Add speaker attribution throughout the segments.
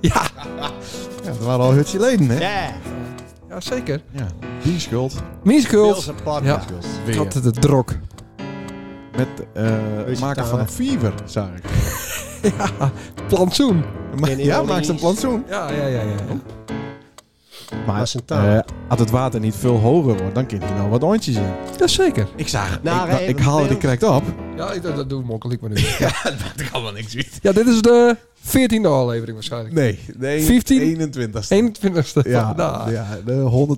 Speaker 1: Ja,
Speaker 2: Ja, dat waren al hutje leden, hè?
Speaker 3: Ja.
Speaker 1: ja zeker.
Speaker 2: Ja. Die schuld.
Speaker 1: Musicals.
Speaker 3: Pilsen podcast.
Speaker 1: Ik
Speaker 2: Weer.
Speaker 1: had het de drok.
Speaker 2: Met eh
Speaker 3: Weet je
Speaker 2: maken
Speaker 3: het
Speaker 2: van
Speaker 3: nou,
Speaker 2: een fever, zag ik.
Speaker 1: Plantsoen. Oh.
Speaker 2: Ma-
Speaker 3: In
Speaker 2: ja,
Speaker 3: Indonesië.
Speaker 2: maakt een plantsoen.
Speaker 1: Ja, ja, ja. ja.
Speaker 2: Maar
Speaker 3: is een taal.
Speaker 2: eh, als het water niet veel hoger wordt, dan kan hij wel wat oontjes in.
Speaker 1: Ja, zeker.
Speaker 2: Ik zag,
Speaker 3: Nou,
Speaker 2: ik,
Speaker 3: hey,
Speaker 2: ik haalde die
Speaker 3: beeld.
Speaker 2: correct op.
Speaker 1: Ja, ik- dat, dat doen we makkelijk maar nu.
Speaker 2: Dat kan wel niks weten.
Speaker 1: Ja, dit is de 14e aflevering waarschijnlijk.
Speaker 2: Nee, nee
Speaker 1: 15?
Speaker 2: 21
Speaker 1: 21e
Speaker 2: Ja,
Speaker 1: vandaag.
Speaker 2: ja, de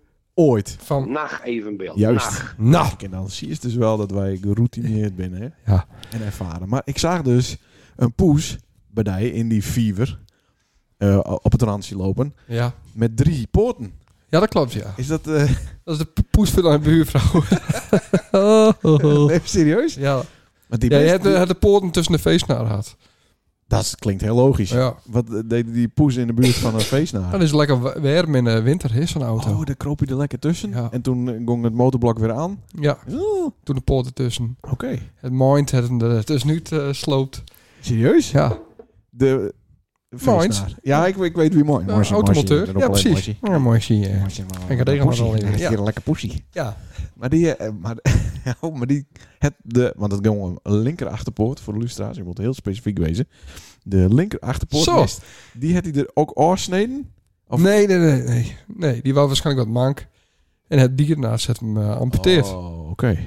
Speaker 2: 118e ooit.
Speaker 1: Van,
Speaker 4: Nacht evenbeeld.
Speaker 2: Juist.
Speaker 4: Nacht.
Speaker 1: nou,
Speaker 2: En dan zie je dus wel dat wij geroutineerd binnen hè?
Speaker 1: Ja.
Speaker 2: en ervaren. Maar ik zag dus een poes bij die in die fever eh, op het randje lopen
Speaker 1: ja.
Speaker 2: met drie poorten.
Speaker 1: Ja, dat klopt, ja.
Speaker 2: Is dat... eh,
Speaker 1: Dat is de p- poes van de buurvrouw.
Speaker 2: nee, serieus?
Speaker 1: ja.
Speaker 2: Want die
Speaker 1: Oh. ja, je
Speaker 2: beest-
Speaker 1: hebt, eh, de- hebt de poorten tussen de feestnaar gehad.
Speaker 2: Dat klinkt heel logisch.
Speaker 1: Ja.
Speaker 2: Wat eh, deed die poes in de buurt van een feestnaar?
Speaker 1: Dan is het lekker wa- warm in de winter, is zo'n auto.
Speaker 2: Oh, daar kroop je er lekker tussen.
Speaker 1: Ja.
Speaker 2: En toen eh, ging het motorblok weer aan. Oh,
Speaker 1: Ja,
Speaker 2: Oeh, Oké.
Speaker 1: toen de poorten tussen. Het mind het hem er tussenuit eh, sloopt.
Speaker 2: Serieus?
Speaker 1: Ja,
Speaker 2: De
Speaker 1: Moins.
Speaker 2: Ja, ik, ik weet wie mooi.
Speaker 1: ja automonteur. Ja, precies. Ja, mooi zie je. Ja. Ik had regelmatig al in. Ja.
Speaker 2: een lekker poesie.
Speaker 1: Ja.
Speaker 2: Maar die, eh, maar, oh, maar die, het, de, want het ging om een linker achterpoort voor de illustratie. Ik moet heel specifiek wezen. De linker achterpoort,
Speaker 1: Zo.
Speaker 2: mist, die had hij er ook oorsneden. Of-
Speaker 1: Nee, nee, nee, nee. Nee, die was waarschijnlijk wat mank. En het dier naast het hem eh, amputeerd.
Speaker 2: Oh, oké.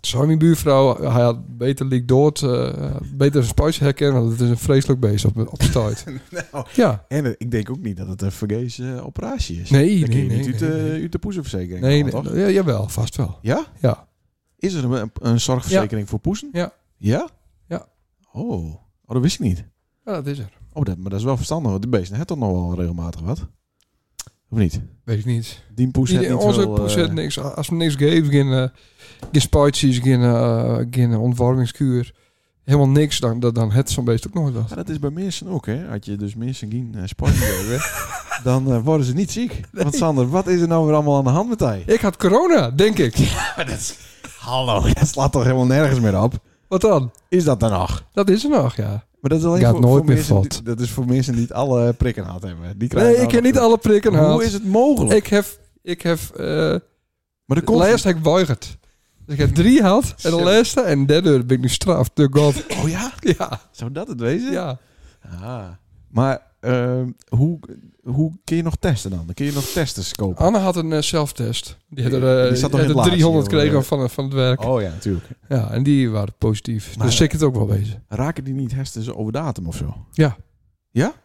Speaker 1: Zo mijn buurvrouw, eh, hij had beter liek dood, eh, beter zijn spuis herkennen, want het is een vreselijk beest op, op stuit.
Speaker 2: Nou,
Speaker 1: Ja.
Speaker 2: En eh, ik denk ook niet dat het een vergees eh, operatie is.
Speaker 1: Nee,
Speaker 2: Dan kun
Speaker 1: nee,
Speaker 2: je niet
Speaker 1: nee.
Speaker 2: uit,
Speaker 1: nee,
Speaker 2: de-
Speaker 1: nee.
Speaker 2: uit de poezenverzekering
Speaker 1: Nee,
Speaker 2: halen,
Speaker 1: nee,
Speaker 2: toch?
Speaker 1: ja, jawel, vast wel.
Speaker 2: Ja?
Speaker 1: Ja.
Speaker 2: Is er een, een zorgverzekering voor poezen?
Speaker 1: Ja.
Speaker 2: Ja?
Speaker 1: Ja.
Speaker 2: Oh. oh, dat wist ik niet.
Speaker 1: ja, dat is er.
Speaker 2: Oh, dat, maar dat is wel verstandig, want de beesten hebben toch nog wel regelmatig wat? Of niet?
Speaker 1: Weet ik niet.
Speaker 2: Die poes heeft
Speaker 1: Ieder-
Speaker 2: niet
Speaker 1: onze
Speaker 2: veel,
Speaker 1: poes
Speaker 2: eh,
Speaker 1: heeft niks. Als we niks geeft, geen, eh, geen spuitjes, geen, eh, geen ontwarmingskuur, helemaal niks, dan, dan, dan het zo'n beest ook nooit wat.
Speaker 2: Ja, dat is bij mensen ook, hè. Had je dus mensen geen uh, geven, dan eh, worden ze niet ziek. Want Sander, wat is er nou weer allemaal aan de hand met hij?
Speaker 1: Ik had corona, denk ik.
Speaker 2: Hallo. Dat slaat toch helemaal nergens meer op?
Speaker 1: Wat dan?
Speaker 2: Is dat dan nog?
Speaker 1: Dat is er nog, ja.
Speaker 2: Maar dat is alleen
Speaker 1: Gaat
Speaker 2: voor,
Speaker 1: nooit
Speaker 2: voor
Speaker 1: meer
Speaker 2: mensen
Speaker 1: valt.
Speaker 2: die- dat is voor mensen die het alle prikken gehad hebben. Die krijgen
Speaker 1: Nee,
Speaker 2: dan
Speaker 1: ik heb
Speaker 2: nog-
Speaker 1: niet alle prikken
Speaker 2: Hoe
Speaker 1: gehad.
Speaker 2: is het mogelijk?
Speaker 1: Ik heb, ik heb eh,
Speaker 2: maar de
Speaker 1: De laatste heb ik weigerd. Dus ik heb drie gehad. En de
Speaker 2: Zo.
Speaker 1: laatste en derde ben ik nu straft door God.
Speaker 2: Oh ja?
Speaker 1: Ja,
Speaker 2: Zou dat het wezen?
Speaker 1: ja.
Speaker 2: Ah. Maar ehm, hoe, hoe kun je nog testen dan? Dan kun je nog testers kopen.
Speaker 1: Anne had een eh, zelftest. Die had er, eh,
Speaker 2: Die zat nog in
Speaker 1: had
Speaker 2: het
Speaker 1: er
Speaker 2: laatste,
Speaker 1: 300
Speaker 2: joh. eh.
Speaker 1: gekregen van, eh, van het werk.
Speaker 2: Oh ja, natuurlijk.
Speaker 1: Ja, en die waren positief.
Speaker 2: Maar-
Speaker 1: dus ik het ook wel wezen.
Speaker 2: Raken die niet hersens over datum of zo?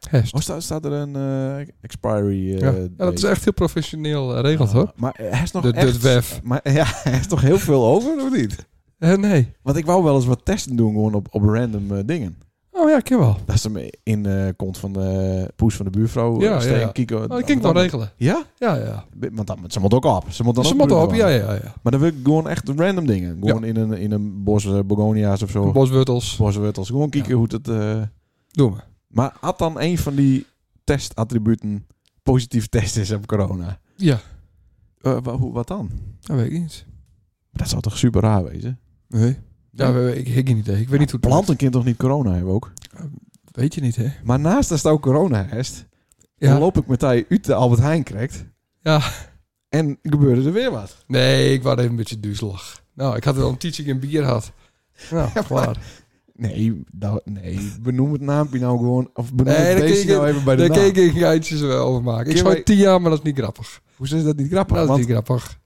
Speaker 1: Hest.
Speaker 2: Of staat, staat er een eh, expiry? Oh, eh,
Speaker 1: ja. ja, dat is
Speaker 2: date?
Speaker 1: echt heel professioneel eh, regeld
Speaker 2: Ah,
Speaker 1: hoor.
Speaker 2: Maar hij is nog
Speaker 1: De- de
Speaker 2: echt...
Speaker 1: WEF.
Speaker 2: Maar ja, hij is toch heel veel over, of niet?
Speaker 1: Eh, nee.
Speaker 2: Want ik wou wel eens wat testen doen gewoon op, op random eh, dingen.
Speaker 1: Oh ja, ik ken wel.
Speaker 2: Dat ze hem in eh komt van de poes van de buurvrouw.
Speaker 1: Ja,
Speaker 2: eh, steen,
Speaker 1: ja, ja.
Speaker 2: kieken,
Speaker 1: Oh, dat kan ik wel regelen.
Speaker 2: Ja?
Speaker 1: Ja, ja.
Speaker 2: Want dan, ze moet ook op. Ze moet dan
Speaker 1: Ze
Speaker 2: ook
Speaker 1: moeten op.
Speaker 2: bloeden
Speaker 1: Ja,
Speaker 2: van.
Speaker 1: ja, ja.
Speaker 2: Maar dan wil ik gewoon echt random dingen. Gewoon in, een, in een bos eh, begonia's of zo.
Speaker 1: Boswortels.
Speaker 2: Boswortels. Gewoon kijken hoe het... eh,
Speaker 1: Doe maar.
Speaker 2: Maar had dan een van die testattributen positief test is op corona?
Speaker 1: Ja,
Speaker 2: Eh, wa- hoe, wat dan?
Speaker 1: dat weet ik niet.
Speaker 2: Dat zou toch super raar wezen?
Speaker 1: Nee. Ja, we- ik heb geen idee. Ik weet niet hoe het
Speaker 2: Planten kind toch niet corona hebben ook?
Speaker 1: werkt. Weet je niet, hè?
Speaker 2: Maar naast dat ook corona heeft, dan
Speaker 1: Ja.
Speaker 2: loop ik met die uit de Albert Heijn krijgt.
Speaker 1: Ja.
Speaker 2: En gebeurde er weer wat.
Speaker 1: Nee, ik was even een beetje duizelig. Nou, ik had wel een teaching in bier gehad. Nou, klaar.
Speaker 2: Nee, dat, nee, benoem het naampje nou gewoon. Of benoem
Speaker 1: Nee,
Speaker 2: het
Speaker 1: dan
Speaker 2: beestje
Speaker 1: keek ik-
Speaker 2: nou even bij de
Speaker 1: Daar
Speaker 2: naam.
Speaker 1: keek ik geitjes wel over maken. Ik
Speaker 2: Kun
Speaker 1: zou
Speaker 2: wij-
Speaker 1: tien jaar, maar dat is niet grappig.
Speaker 2: Hoe is dat niet grappig?
Speaker 1: dat is
Speaker 2: Want
Speaker 1: niet grappig.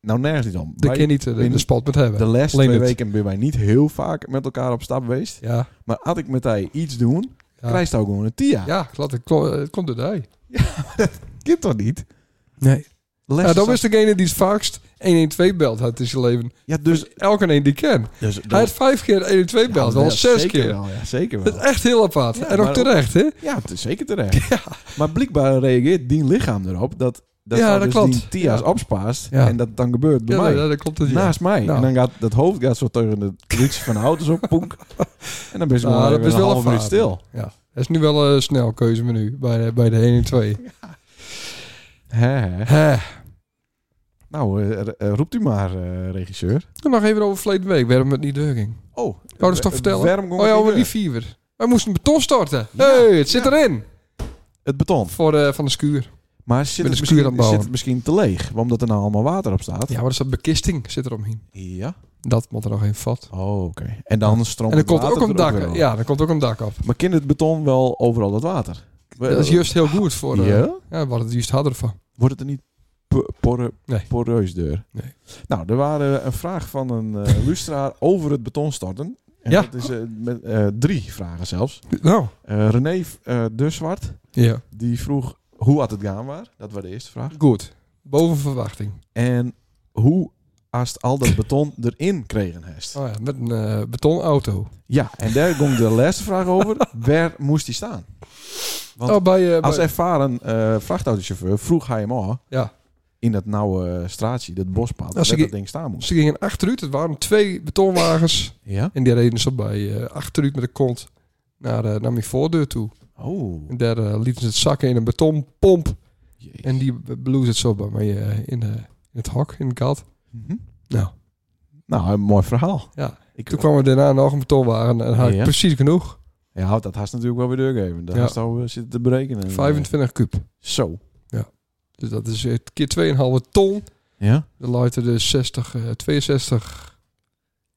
Speaker 2: nou nergens niet om. Wij-
Speaker 1: Daar kun je niet eh, de,
Speaker 2: binnen-
Speaker 1: de spot met hebben.
Speaker 2: de les
Speaker 1: Alleen
Speaker 2: twee
Speaker 1: het.
Speaker 2: weken ben wij niet heel vaak met elkaar op stap geweest.
Speaker 1: Ja,
Speaker 2: Maar had ik met hij iets doen,
Speaker 1: Ja.
Speaker 2: krijg je ook gewoon een TIA.
Speaker 1: ja klopt. Het klo- eh, het komt door hij.
Speaker 2: Kind toch niet?
Speaker 1: Nee.
Speaker 2: Les
Speaker 1: Ja, dat is degene die het vaakst 112 belt had in zijn leven.
Speaker 2: Ja, dus...
Speaker 1: Dus elke een die ken.
Speaker 2: dus
Speaker 1: Hij heeft vijf keer 112
Speaker 2: Ja,
Speaker 1: belt, wel
Speaker 2: ja,
Speaker 1: zes
Speaker 2: zeker
Speaker 1: keer.
Speaker 2: wel, ja, zeker
Speaker 1: Dat is
Speaker 2: wel.
Speaker 1: echt heel apart.
Speaker 2: Ja,
Speaker 1: en ook
Speaker 2: maar-
Speaker 1: terecht, hè?
Speaker 2: Ja, het is zeker terecht. Maar blijkbaar reageert die lichaam erop dat... Dat
Speaker 1: Ja,
Speaker 2: hij
Speaker 1: dat
Speaker 2: dus
Speaker 1: klopt.
Speaker 2: die TIA's
Speaker 1: Ja.
Speaker 2: opspaast
Speaker 1: Ja.
Speaker 2: en dat dan gebeurt bij
Speaker 1: Ja,
Speaker 2: mij.
Speaker 1: ja, dat klopt. Het, ja.
Speaker 2: Naast mij.
Speaker 1: Nou.
Speaker 2: En dan gaat dat hoofd gaat zo tegen de rietje van de auto's op, poenk. En dan ben je
Speaker 1: Nou,
Speaker 2: gewoon
Speaker 1: dat
Speaker 2: even
Speaker 1: is
Speaker 2: een
Speaker 1: wel
Speaker 2: half
Speaker 1: een
Speaker 2: minuut
Speaker 1: vader.
Speaker 2: stil.
Speaker 1: Ja, dat is nu wel een snel keuzemenu bij de, bij de 1 en 2.
Speaker 2: Hè, hè.
Speaker 1: Hè.
Speaker 2: Nou, eh, r- eh, roept u maar, eh, regisseur.
Speaker 1: Dan nog even over verleden week, waarom het niet deur ging.
Speaker 2: Oh,
Speaker 1: Wou je dat toch vertellen?
Speaker 2: Waarom
Speaker 1: Oh ja, over die viever. Wij moesten beton storten.
Speaker 2: Ja,
Speaker 1: hey, het zit
Speaker 2: ja.
Speaker 1: erin.
Speaker 2: het beton.
Speaker 1: Voor, eh, van de skuur.
Speaker 2: Maar zit
Speaker 1: Met
Speaker 2: het,
Speaker 1: de schuur aan het
Speaker 2: misschien,
Speaker 1: bouwen.
Speaker 2: zit het misschien te leeg, omdat er nou allemaal water op staat?
Speaker 1: Ja, maar er staat bekisting zit er omheen.
Speaker 2: Ja.
Speaker 1: Dat moet er nog even vat.
Speaker 2: Oh, oké. En dan stroomt
Speaker 1: En er
Speaker 2: het
Speaker 1: komt
Speaker 2: water
Speaker 1: ook een
Speaker 2: er weer
Speaker 1: dak.
Speaker 2: op.
Speaker 1: Ja, er komt ook een dak op.
Speaker 2: Maar kent het beton wel overal dat water?
Speaker 1: Dat is juist heel goed voor. eh,
Speaker 2: Ja?
Speaker 1: Ja, we hadden het juist harder van.
Speaker 2: Wordt het er niet po- porre-
Speaker 1: Nee.
Speaker 2: poreus deur?
Speaker 1: Nee.
Speaker 2: Nou, er waren een vraag van een eh lustraar over het beton storten. En
Speaker 1: Ja.
Speaker 2: dat is eh, met, eh, drie vragen zelfs.
Speaker 1: Nou.
Speaker 2: Eh, René eh, de Zwart,
Speaker 1: Ja.
Speaker 2: die vroeg hoe had het gaan waar? Dat was de eerste vraag.
Speaker 1: Goed. Boven verwachting.
Speaker 2: En hoe als al dat beton erin kregen heeft.
Speaker 1: Oh ja, met een eh, betonauto.
Speaker 2: Ja, en daar ging de laatste vraag over. Waar moest hij staan? Want
Speaker 1: oh, bij, eh, bij-
Speaker 2: Als ervaren eh, vrachtautochauffeur vroeg hij hem al
Speaker 1: Ja.
Speaker 2: in dat nauwe eh, straatje, dat bospad,
Speaker 1: Als
Speaker 2: dat
Speaker 1: ik-
Speaker 2: dat ding staan moest.
Speaker 1: Ze gingen achteruit. Het waren twee betonwagens.
Speaker 2: Ja?
Speaker 1: En die reden ze bij eh, achteruit met de kont naar, eh, naar mijn voordeur toe.
Speaker 2: Oh.
Speaker 1: En daar eh, lieten ze het zakken in een betonpomp.
Speaker 2: Jee.
Speaker 1: En die bloes het zo bij mij eh, in, eh, in het hok, in het gat.
Speaker 2: Mhm.
Speaker 1: Nou,
Speaker 2: Nou, een mooi verhaal.
Speaker 1: Ja.
Speaker 2: Ik,
Speaker 1: toen kwamen we daarna nog een betonwagen. En had ik
Speaker 2: Ja.
Speaker 1: precies genoeg.
Speaker 2: ja, houdt dat haast natuurlijk wel weer doorgeven. Dat
Speaker 1: Ja.
Speaker 2: haast al eh, zitten te berekenen.
Speaker 1: 25 kub.
Speaker 2: Zo.
Speaker 1: Dus dat is eh, keer 2,5 ton.
Speaker 2: Ja?
Speaker 1: Dan luidt er dus 60, eh, 62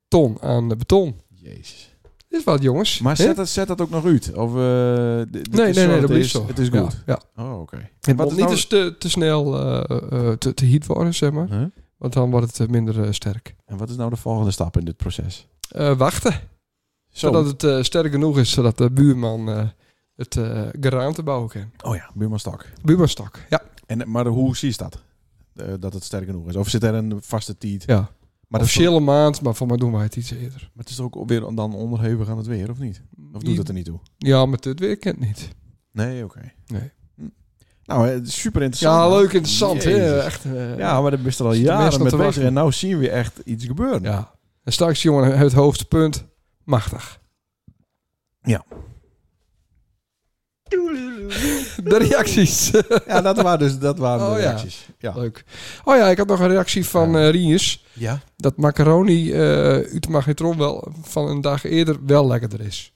Speaker 1: ton aan eh, beton.
Speaker 2: Jezus.
Speaker 1: Dit is wat, jongens.
Speaker 2: Maar
Speaker 1: Hè?
Speaker 2: zet dat, zet dat ook nog uit? Of, eh, d- dit
Speaker 1: Nee,
Speaker 2: is
Speaker 1: nee,
Speaker 2: zo,
Speaker 1: nee, dat
Speaker 2: het
Speaker 1: blijft
Speaker 2: is,
Speaker 1: zo.
Speaker 2: Het is
Speaker 1: Ja,
Speaker 2: goed.
Speaker 1: Ja,
Speaker 2: Oh, oké.
Speaker 1: Het
Speaker 2: En
Speaker 1: moet
Speaker 2: is
Speaker 1: niet eens te, te snel eh, eh, te, te heat worden, zeg maar.
Speaker 2: Huh?
Speaker 1: Want dan wordt het eh, minder eh, sterk.
Speaker 2: En wat is nou de volgende stap in dit proces?
Speaker 1: Eh, wachten,
Speaker 2: Zo.
Speaker 1: zodat het eh, sterk genoeg is zodat de buurman eh, het eh geraamte bouwen kan.
Speaker 2: Oh ja, buurman Stak.
Speaker 1: Buurmanstak, ja.
Speaker 2: En, maar hoe zie je dat? Eh, dat het sterk genoeg is? Of zit er een vaste tiet?
Speaker 1: ja.
Speaker 2: Maar dat is
Speaker 1: Officiële maand, maar voor mij doen wij het iets eerder.
Speaker 2: Maar het is ook weer dan onderhevig aan het weer, of niet? Of doet het er niet toe?
Speaker 1: Ja, maar dit weekend niet.
Speaker 2: Nee, oké.
Speaker 1: Nee.
Speaker 2: Hm. Nou, eh, super interessant.
Speaker 1: Ja, leuk, interessant. hè?
Speaker 2: Jezus.
Speaker 1: Echt, eh,
Speaker 2: Ja, maar daar ben je er al
Speaker 1: Zit de mensen
Speaker 2: jaren mee
Speaker 1: op te
Speaker 2: bezig.
Speaker 1: wachten.
Speaker 2: En nou zien we echt iets gebeuren.
Speaker 1: Ja. En straks, jongen, het hoogtepunt. Machtig.
Speaker 2: Ja.
Speaker 1: De reacties.
Speaker 2: Ja, dat waren dus dat waren
Speaker 1: Oh,
Speaker 2: de
Speaker 1: ja.
Speaker 2: reacties. Ja.
Speaker 1: Leuk. Oh ja, ik had nog een reactie van eh Rinus.
Speaker 2: Ja.
Speaker 1: Dat macaroni eh uit de magnetron wel van een dag eerder wel lekkerder is.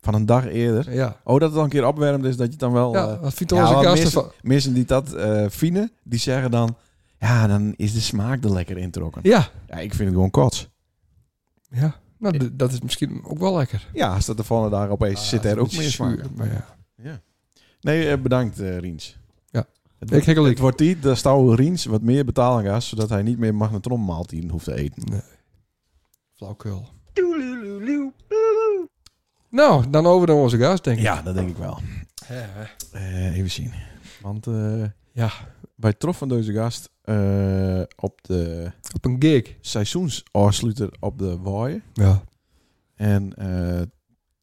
Speaker 2: Van een dag eerder.
Speaker 1: Ja.
Speaker 2: Oh, dat het dan een keer opwarmt is, dat je het dan wel...
Speaker 1: Ja,
Speaker 2: eh,
Speaker 1: wat vindt
Speaker 2: ja,
Speaker 1: onze
Speaker 2: maar
Speaker 1: gasten
Speaker 2: mis-
Speaker 1: van?
Speaker 2: mensen die dat eh vinden, die zeggen dan... Ja, dan is de smaak er lekker introkken.
Speaker 1: Ja.
Speaker 2: Ja, ik vind het gewoon kots.
Speaker 1: Ja. Nou, d- dat is misschien ook wel lekker. Ah,
Speaker 2: Ja, als dat de volgende dag opeens zit er ook meer smaak.
Speaker 1: Zuur, maar ja.
Speaker 2: Nee, eh, bedankt eh Riens.
Speaker 1: Ja.
Speaker 2: Het
Speaker 1: Ik
Speaker 2: wordt,
Speaker 1: hikkel
Speaker 2: het
Speaker 1: ik.
Speaker 2: wordt die, daar stouw Riens wat meer betaling aan, zodat hij niet meer magnetronmaaltien hoeft te eten.
Speaker 1: Flauwkul. Nou, dan over naar onze gast, denk ik.
Speaker 2: Ja, dat denk ik wel.
Speaker 1: Ja.
Speaker 2: Eh, even zien. Want eh,
Speaker 1: Ja.
Speaker 2: wij troffen deze gast eh, op de
Speaker 1: Op een gig.
Speaker 2: seizoensafsluiter op de Waaien.
Speaker 1: Ja.
Speaker 2: En eh,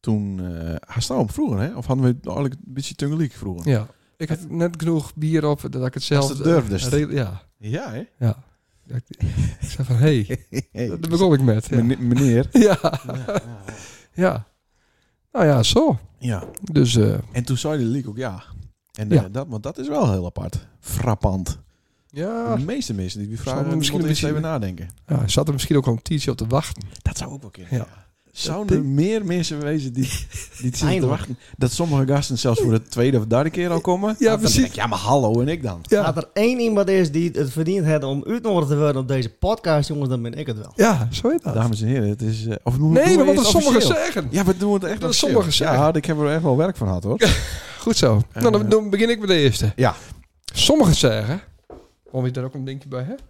Speaker 2: toen eh had hij hem vroeger, hè? Of hadden we het eigenlijk een beetje tungeliek vroeger?
Speaker 1: Ja. Ik had net genoeg bier op dat ik het zelf...
Speaker 2: Als het durfde.
Speaker 1: eh, re- Ja.
Speaker 2: Ja, hè?
Speaker 1: Ja. Ja, Ik ik zei van, hé, hey, daar begon ik met. Ja.
Speaker 2: Meneer- Meneer.
Speaker 1: Ja.
Speaker 2: ja.
Speaker 1: ja. Nou ja, zo.
Speaker 2: ja.
Speaker 1: Dus eh,
Speaker 2: En toen zei de leak ook ja. En
Speaker 1: Ja.
Speaker 2: eh, dat, want dat is wel heel apart. Frappant.
Speaker 1: ja.
Speaker 2: De meeste mensen die
Speaker 1: Zal
Speaker 2: vragen
Speaker 1: er misschien
Speaker 2: misschien eerst
Speaker 1: een
Speaker 2: even
Speaker 1: beetje-
Speaker 2: nadenken.
Speaker 1: ja. hij Zat er misschien ook al een tientje op te wachten.
Speaker 2: Dat zou ook wel kunnen.
Speaker 1: Ja.
Speaker 2: ja. Zouden
Speaker 1: Dat
Speaker 2: er meer mensen wezen die, die het zitten te
Speaker 3: Eindelijk.
Speaker 2: wachten? Dat sommige gasten zelfs voor de tweede of derde keer al komen?
Speaker 1: Ja,
Speaker 2: Dan
Speaker 1: precies.
Speaker 2: denk ik, ja, maar hallo en ik dan.
Speaker 1: Ja.
Speaker 3: Als er één iemand is die het verdient heeft om uitgenodigd te worden op deze podcast, jongens, dan ben ik het wel.
Speaker 1: Ja, zo heet dat.
Speaker 2: Dames en heren, het is... eh, of doen we
Speaker 1: nee, maar
Speaker 2: eerst
Speaker 1: wat er sommigen
Speaker 2: officieel?
Speaker 1: zeggen.
Speaker 2: Ja, we doen het echt
Speaker 1: Dat
Speaker 2: officieel.
Speaker 1: sommigen zeggen.
Speaker 2: Ja, ik heb er echt wel werk van gehad, hoor.
Speaker 1: Goed zo. nou, dan, dan begin ik met de eerste.
Speaker 2: Ja.
Speaker 1: Sommigen zeggen... Om je daar ook een dingje bij hebt?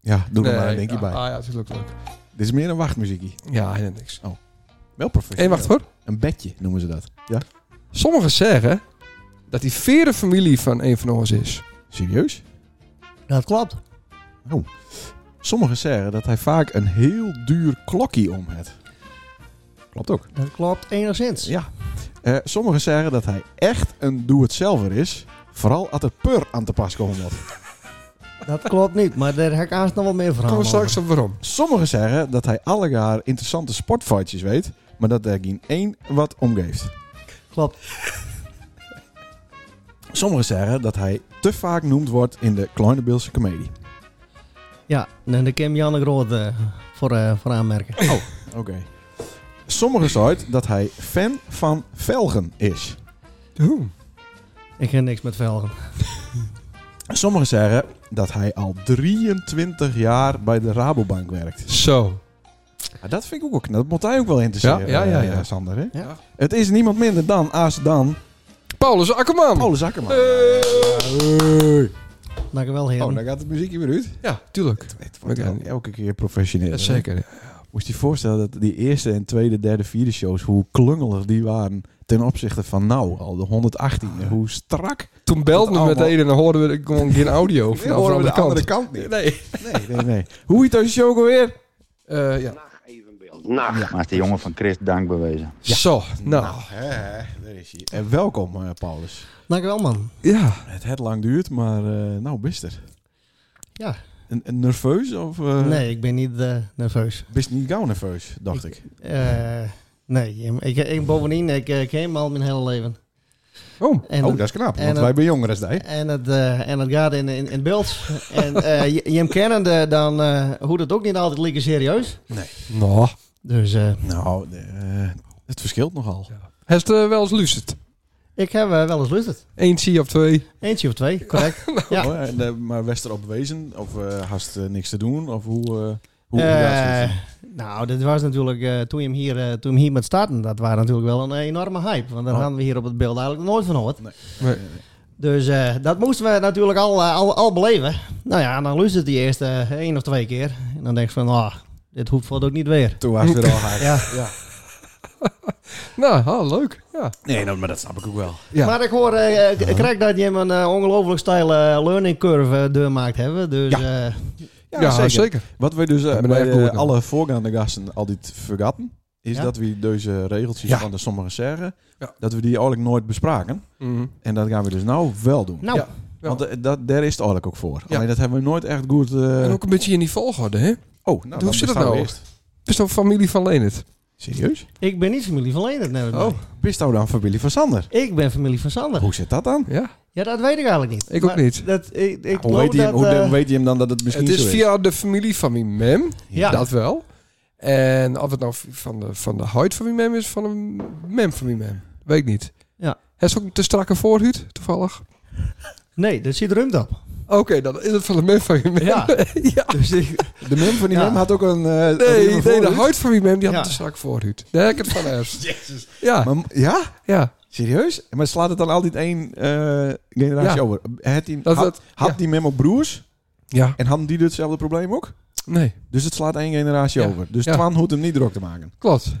Speaker 2: Ja, doe er maar een
Speaker 1: denk
Speaker 2: denkje bij.
Speaker 1: Ah ja, natuurlijk leuk.
Speaker 2: Dit is meer een wachtmuziekie.
Speaker 1: Ja, helemaal niks.
Speaker 2: Wel
Speaker 1: Hé,
Speaker 2: professioneel.
Speaker 1: wacht hoor.
Speaker 2: Een bedje noemen ze dat. Ja.
Speaker 1: Sommigen zeggen dat die vere familie van een van ons is.
Speaker 2: Nou, Serieus?
Speaker 3: Dat klopt.
Speaker 2: Sommigen zeggen dat hij vaak een heel duur klokje om heeft. Klopt ook.
Speaker 3: Dat klopt enigszins.
Speaker 2: Ja. Eh, sommigen zeggen dat hij echt een doe-het-zelver is. Vooral als er pur aan te pas komt.
Speaker 3: Dat klopt niet, maar daar heb ik aanstaan nog wel meer
Speaker 1: Kom
Speaker 3: verhalen
Speaker 1: we straks
Speaker 3: over.
Speaker 1: op waarom.
Speaker 2: Sommigen zeggen dat hij alle jaar interessante sportfightjes weet. Maar dat er geen één wat omgeeft.
Speaker 3: Klopt.
Speaker 2: Sommigen zeggen dat hij te vaak noemd wordt in de Kleine Beelse Comedie.
Speaker 3: Ja, en daar kan Janne Groot eh, voor, eh, voor aanmerken.
Speaker 2: Oké. Sommigen zeiden dat hij fan van velgen is.
Speaker 1: Oeh.
Speaker 3: Ik ken niks met velgen.
Speaker 2: Sommigen zeggen dat hij al 23 jaar bij de Rabobank werkt.
Speaker 1: Zo.
Speaker 2: Ja, dat vind ik ook wel knap. Dat moet hij ook wel interesseren,
Speaker 1: Ja, ja, ja,
Speaker 2: eh,
Speaker 1: ja.
Speaker 2: Sander. Hè?
Speaker 3: Ja.
Speaker 2: Het is niemand minder dan, als dan,
Speaker 1: Paulus Akkerman.
Speaker 2: Paulus Akkerman.
Speaker 1: Hey.
Speaker 2: Hey.
Speaker 3: Dank u wel, heren.
Speaker 2: Oh, daar gaat het muziekje weer uit.
Speaker 1: Ja, tuurlijk.
Speaker 2: Het wordt wel elke keer professioneel.
Speaker 1: Jazeker. ja.
Speaker 2: Moest je je voorstellen dat die eerste en tweede, derde, vierde shows, hoe klungelig die waren ten opzichte van nou, al de 118. En Hoe strak.
Speaker 1: Toen belden we
Speaker 2: allemaal-
Speaker 1: meteen en dan hoorden we gewoon geen audio.
Speaker 2: Dan horen we de andere kant niet.
Speaker 1: Nee.
Speaker 2: Nee, nee, nee. Hoe heet deze show ook alweer?
Speaker 1: Eh, ja.
Speaker 4: Nou, maar is de jongen van Chris dankbewezen.
Speaker 1: Zo, nou.
Speaker 2: hè, daar is hij. En welkom, eh, Paulus.
Speaker 3: Dank u wel, man.
Speaker 1: Ja.
Speaker 2: Het het lang duurt, maar eh, nou, best er.
Speaker 3: Ja.
Speaker 2: En, en nerveus of eh,
Speaker 3: nee, ik ben niet eh, nerveus.
Speaker 2: best niet gauw nerveus, dacht ik.
Speaker 3: Eh, nee, ik, ik, bovendien, ik eh, ken hem al mijn hele leven.
Speaker 1: Oh.
Speaker 3: En
Speaker 2: oh, dat is knap,
Speaker 3: en
Speaker 2: want
Speaker 3: dat-
Speaker 2: wij bij jongeren zijn.
Speaker 3: En het, eh, en het gaat in, in, in beeld. en eh, je, je hem kennende, dan eh hoe dat ook niet altijd lekker serieus.
Speaker 1: Nou.
Speaker 3: Dus eh,
Speaker 2: Nou, eh, het verschilt nogal.
Speaker 1: Heeft er wel eens luisterd?
Speaker 3: ik heb eh, wel eens lust het.
Speaker 1: Eentje of twee?
Speaker 3: Eentje of twee, correct. Ja.
Speaker 2: Oh, en, eh, maar was erop wezen? Of eh hast eh, niks te doen? Of hoe... eh, hoe
Speaker 3: Eh,
Speaker 2: ja, zo-
Speaker 3: nou, dit was natuurlijk, eh, toen, je hem hier, eh, toen we hier met starten, dat was natuurlijk wel een enorme hype. Want daar
Speaker 2: Oh.
Speaker 3: hadden we hier op het beeld eigenlijk nog nooit van gehoord.
Speaker 1: Nee.
Speaker 3: Dus eh, dat moesten we natuurlijk al, eh, al, al beleven. Nou ja, en dan luistert die eerst eh, één of twee keer. En dan denk je van, ah, dit hoeft voor het ook niet weer.
Speaker 2: Toen was het weer al hard.
Speaker 3: Ja.
Speaker 1: Nou, ah, leuk. Ja.
Speaker 2: Nee, nou, maar dat snap ik ook wel.
Speaker 1: Ja.
Speaker 3: Maar ik hoor, eh, ik- ik krijg dat je hem een eh, ongelooflijk stijle learning curve eh, doormaakt hebben. Dus ja.
Speaker 1: Ja, zeker.
Speaker 2: Wat we dus eh,
Speaker 1: Ja, maar
Speaker 2: bij
Speaker 1: daar
Speaker 2: eh,
Speaker 1: doe ik nou.
Speaker 2: alle voorgaande gasten altijd vergatten, is
Speaker 3: Ja?
Speaker 2: dat we deze regeltjes
Speaker 1: Ja.
Speaker 2: van de sommige zeggen,
Speaker 1: Ja.
Speaker 2: dat we die eigenlijk nooit bespraken.
Speaker 1: Mhm.
Speaker 2: En dat gaan we dus nou wel doen.
Speaker 3: nou,
Speaker 1: Ja. Ja.
Speaker 2: Want eh, dat, daar is het eigenlijk ook voor.
Speaker 1: Ja.
Speaker 2: Alleen dat hebben we nooit echt goed... eh,
Speaker 1: En ook een beetje in die volgorde, hè?
Speaker 2: oh, nou,
Speaker 1: hoe zit
Speaker 2: bestaan
Speaker 1: dat
Speaker 2: we
Speaker 1: nou?
Speaker 2: eerst.
Speaker 1: Is dat familie van Leendert?
Speaker 2: Serieus?
Speaker 3: ik ben niet familie van Leendert. Nee,
Speaker 1: Oh.
Speaker 2: Bist nou dan familie van Sander?
Speaker 3: Ik ben familie van Sander.
Speaker 2: Hoe zit dat dan?
Speaker 1: Ja.
Speaker 3: Ja, dat weet ik eigenlijk niet.
Speaker 1: Ik ook niet.
Speaker 3: Dat, ik, ik
Speaker 2: hoe
Speaker 3: geloof
Speaker 2: weet, hij hem,
Speaker 3: dat,
Speaker 2: hoe
Speaker 3: eh,
Speaker 2: dan weet hij hem dan dat het misschien
Speaker 1: Het is
Speaker 2: zo is?
Speaker 1: via de familie van mijn mem.
Speaker 3: Ja.
Speaker 1: Dat wel. En of het nou van de, van de huid van mijn mem is, van de mem van mijn mem. Weet ik niet.
Speaker 3: Ja.
Speaker 1: Heeft ze ook een te strakke voorhuid, toevallig?
Speaker 3: Nee, dat zit ruimt op.
Speaker 1: Oké, dan is het van de mem van mijn mem.
Speaker 3: Ja.
Speaker 1: ja.
Speaker 3: Dus ik,
Speaker 2: De mem van die
Speaker 3: Ja.
Speaker 2: mem had ook een... eh, had ook
Speaker 1: Nee,
Speaker 2: een
Speaker 1: nee, de
Speaker 2: voorhoed.
Speaker 1: huid van mijn mem die had
Speaker 3: Ja.
Speaker 1: een te strakke voorhuid. Daar heb ik het van eerst. Ja,
Speaker 2: Maar- ja?
Speaker 1: ja.
Speaker 2: Serieus? Maar slaat het dan altijd één eh, generatie
Speaker 1: Ja.
Speaker 2: over? Had die,
Speaker 1: Dat-
Speaker 2: had,
Speaker 1: dat-
Speaker 2: had
Speaker 1: ja.
Speaker 2: die mem ook broers?
Speaker 1: Ja,
Speaker 2: En hadden die hetzelfde probleem ook?
Speaker 1: nee,
Speaker 2: Dus het slaat één generatie
Speaker 1: Ja.
Speaker 2: over. Dus
Speaker 1: Ja.
Speaker 2: Twan hoeft hem niet druk te maken.
Speaker 1: klopt.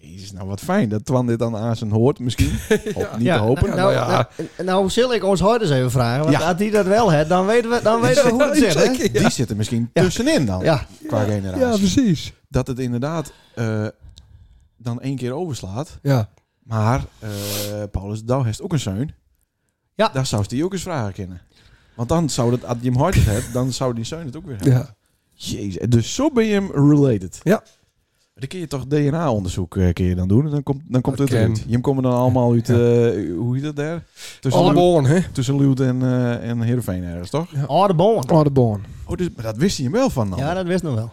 Speaker 2: Jezus, nou wat fijn dat Twan dit dan aan zijn hoort misschien. Of niet
Speaker 3: ja,
Speaker 2: te hopen.
Speaker 3: Nou,
Speaker 1: nou
Speaker 3: nou,
Speaker 1: ja.
Speaker 3: nou, nou zal ik ons hoorders even vragen. Want
Speaker 2: Ja.
Speaker 3: als die dat wel heeft, dan weten we, dan weten we hoe het
Speaker 1: Ja,
Speaker 3: zit. Hè?
Speaker 1: zeker, ja.
Speaker 2: Die zitten misschien tussenin dan,
Speaker 3: Ja,
Speaker 2: qua
Speaker 1: Ja,
Speaker 2: generatie.
Speaker 1: precies.
Speaker 2: dus Dat het inderdaad eh, dan één keer overslaat.
Speaker 1: Ja,
Speaker 2: Maar eh, Paulus Douw heeft ook een zoon.
Speaker 3: Ja.
Speaker 2: Daar zou die ook eens vragen kennen. Want dan zou dat, als je hem hard hebt, dan zou die zoon het ook weer hebben.
Speaker 1: ja.
Speaker 2: Jezus, dus zo ben je hem related.
Speaker 1: Ja.
Speaker 2: Dan kun je toch DNA-onderzoek eh, kun je dan doen en dan komt, dan komt
Speaker 1: Dat
Speaker 2: het eruit.
Speaker 1: kan.
Speaker 2: Je komen dan allemaal uit, eh, hoe heet dat daar? Tussen, Leeuw-
Speaker 1: Aldeborn, hè?
Speaker 2: tussen Leeuwarden en, eh en Heerenveen ergens, toch?
Speaker 3: Aardeboon.
Speaker 1: Aldeborn.
Speaker 2: Oh, dus, maar dat wist hij hem wel van dan.
Speaker 3: Ja, dat wist nog wel.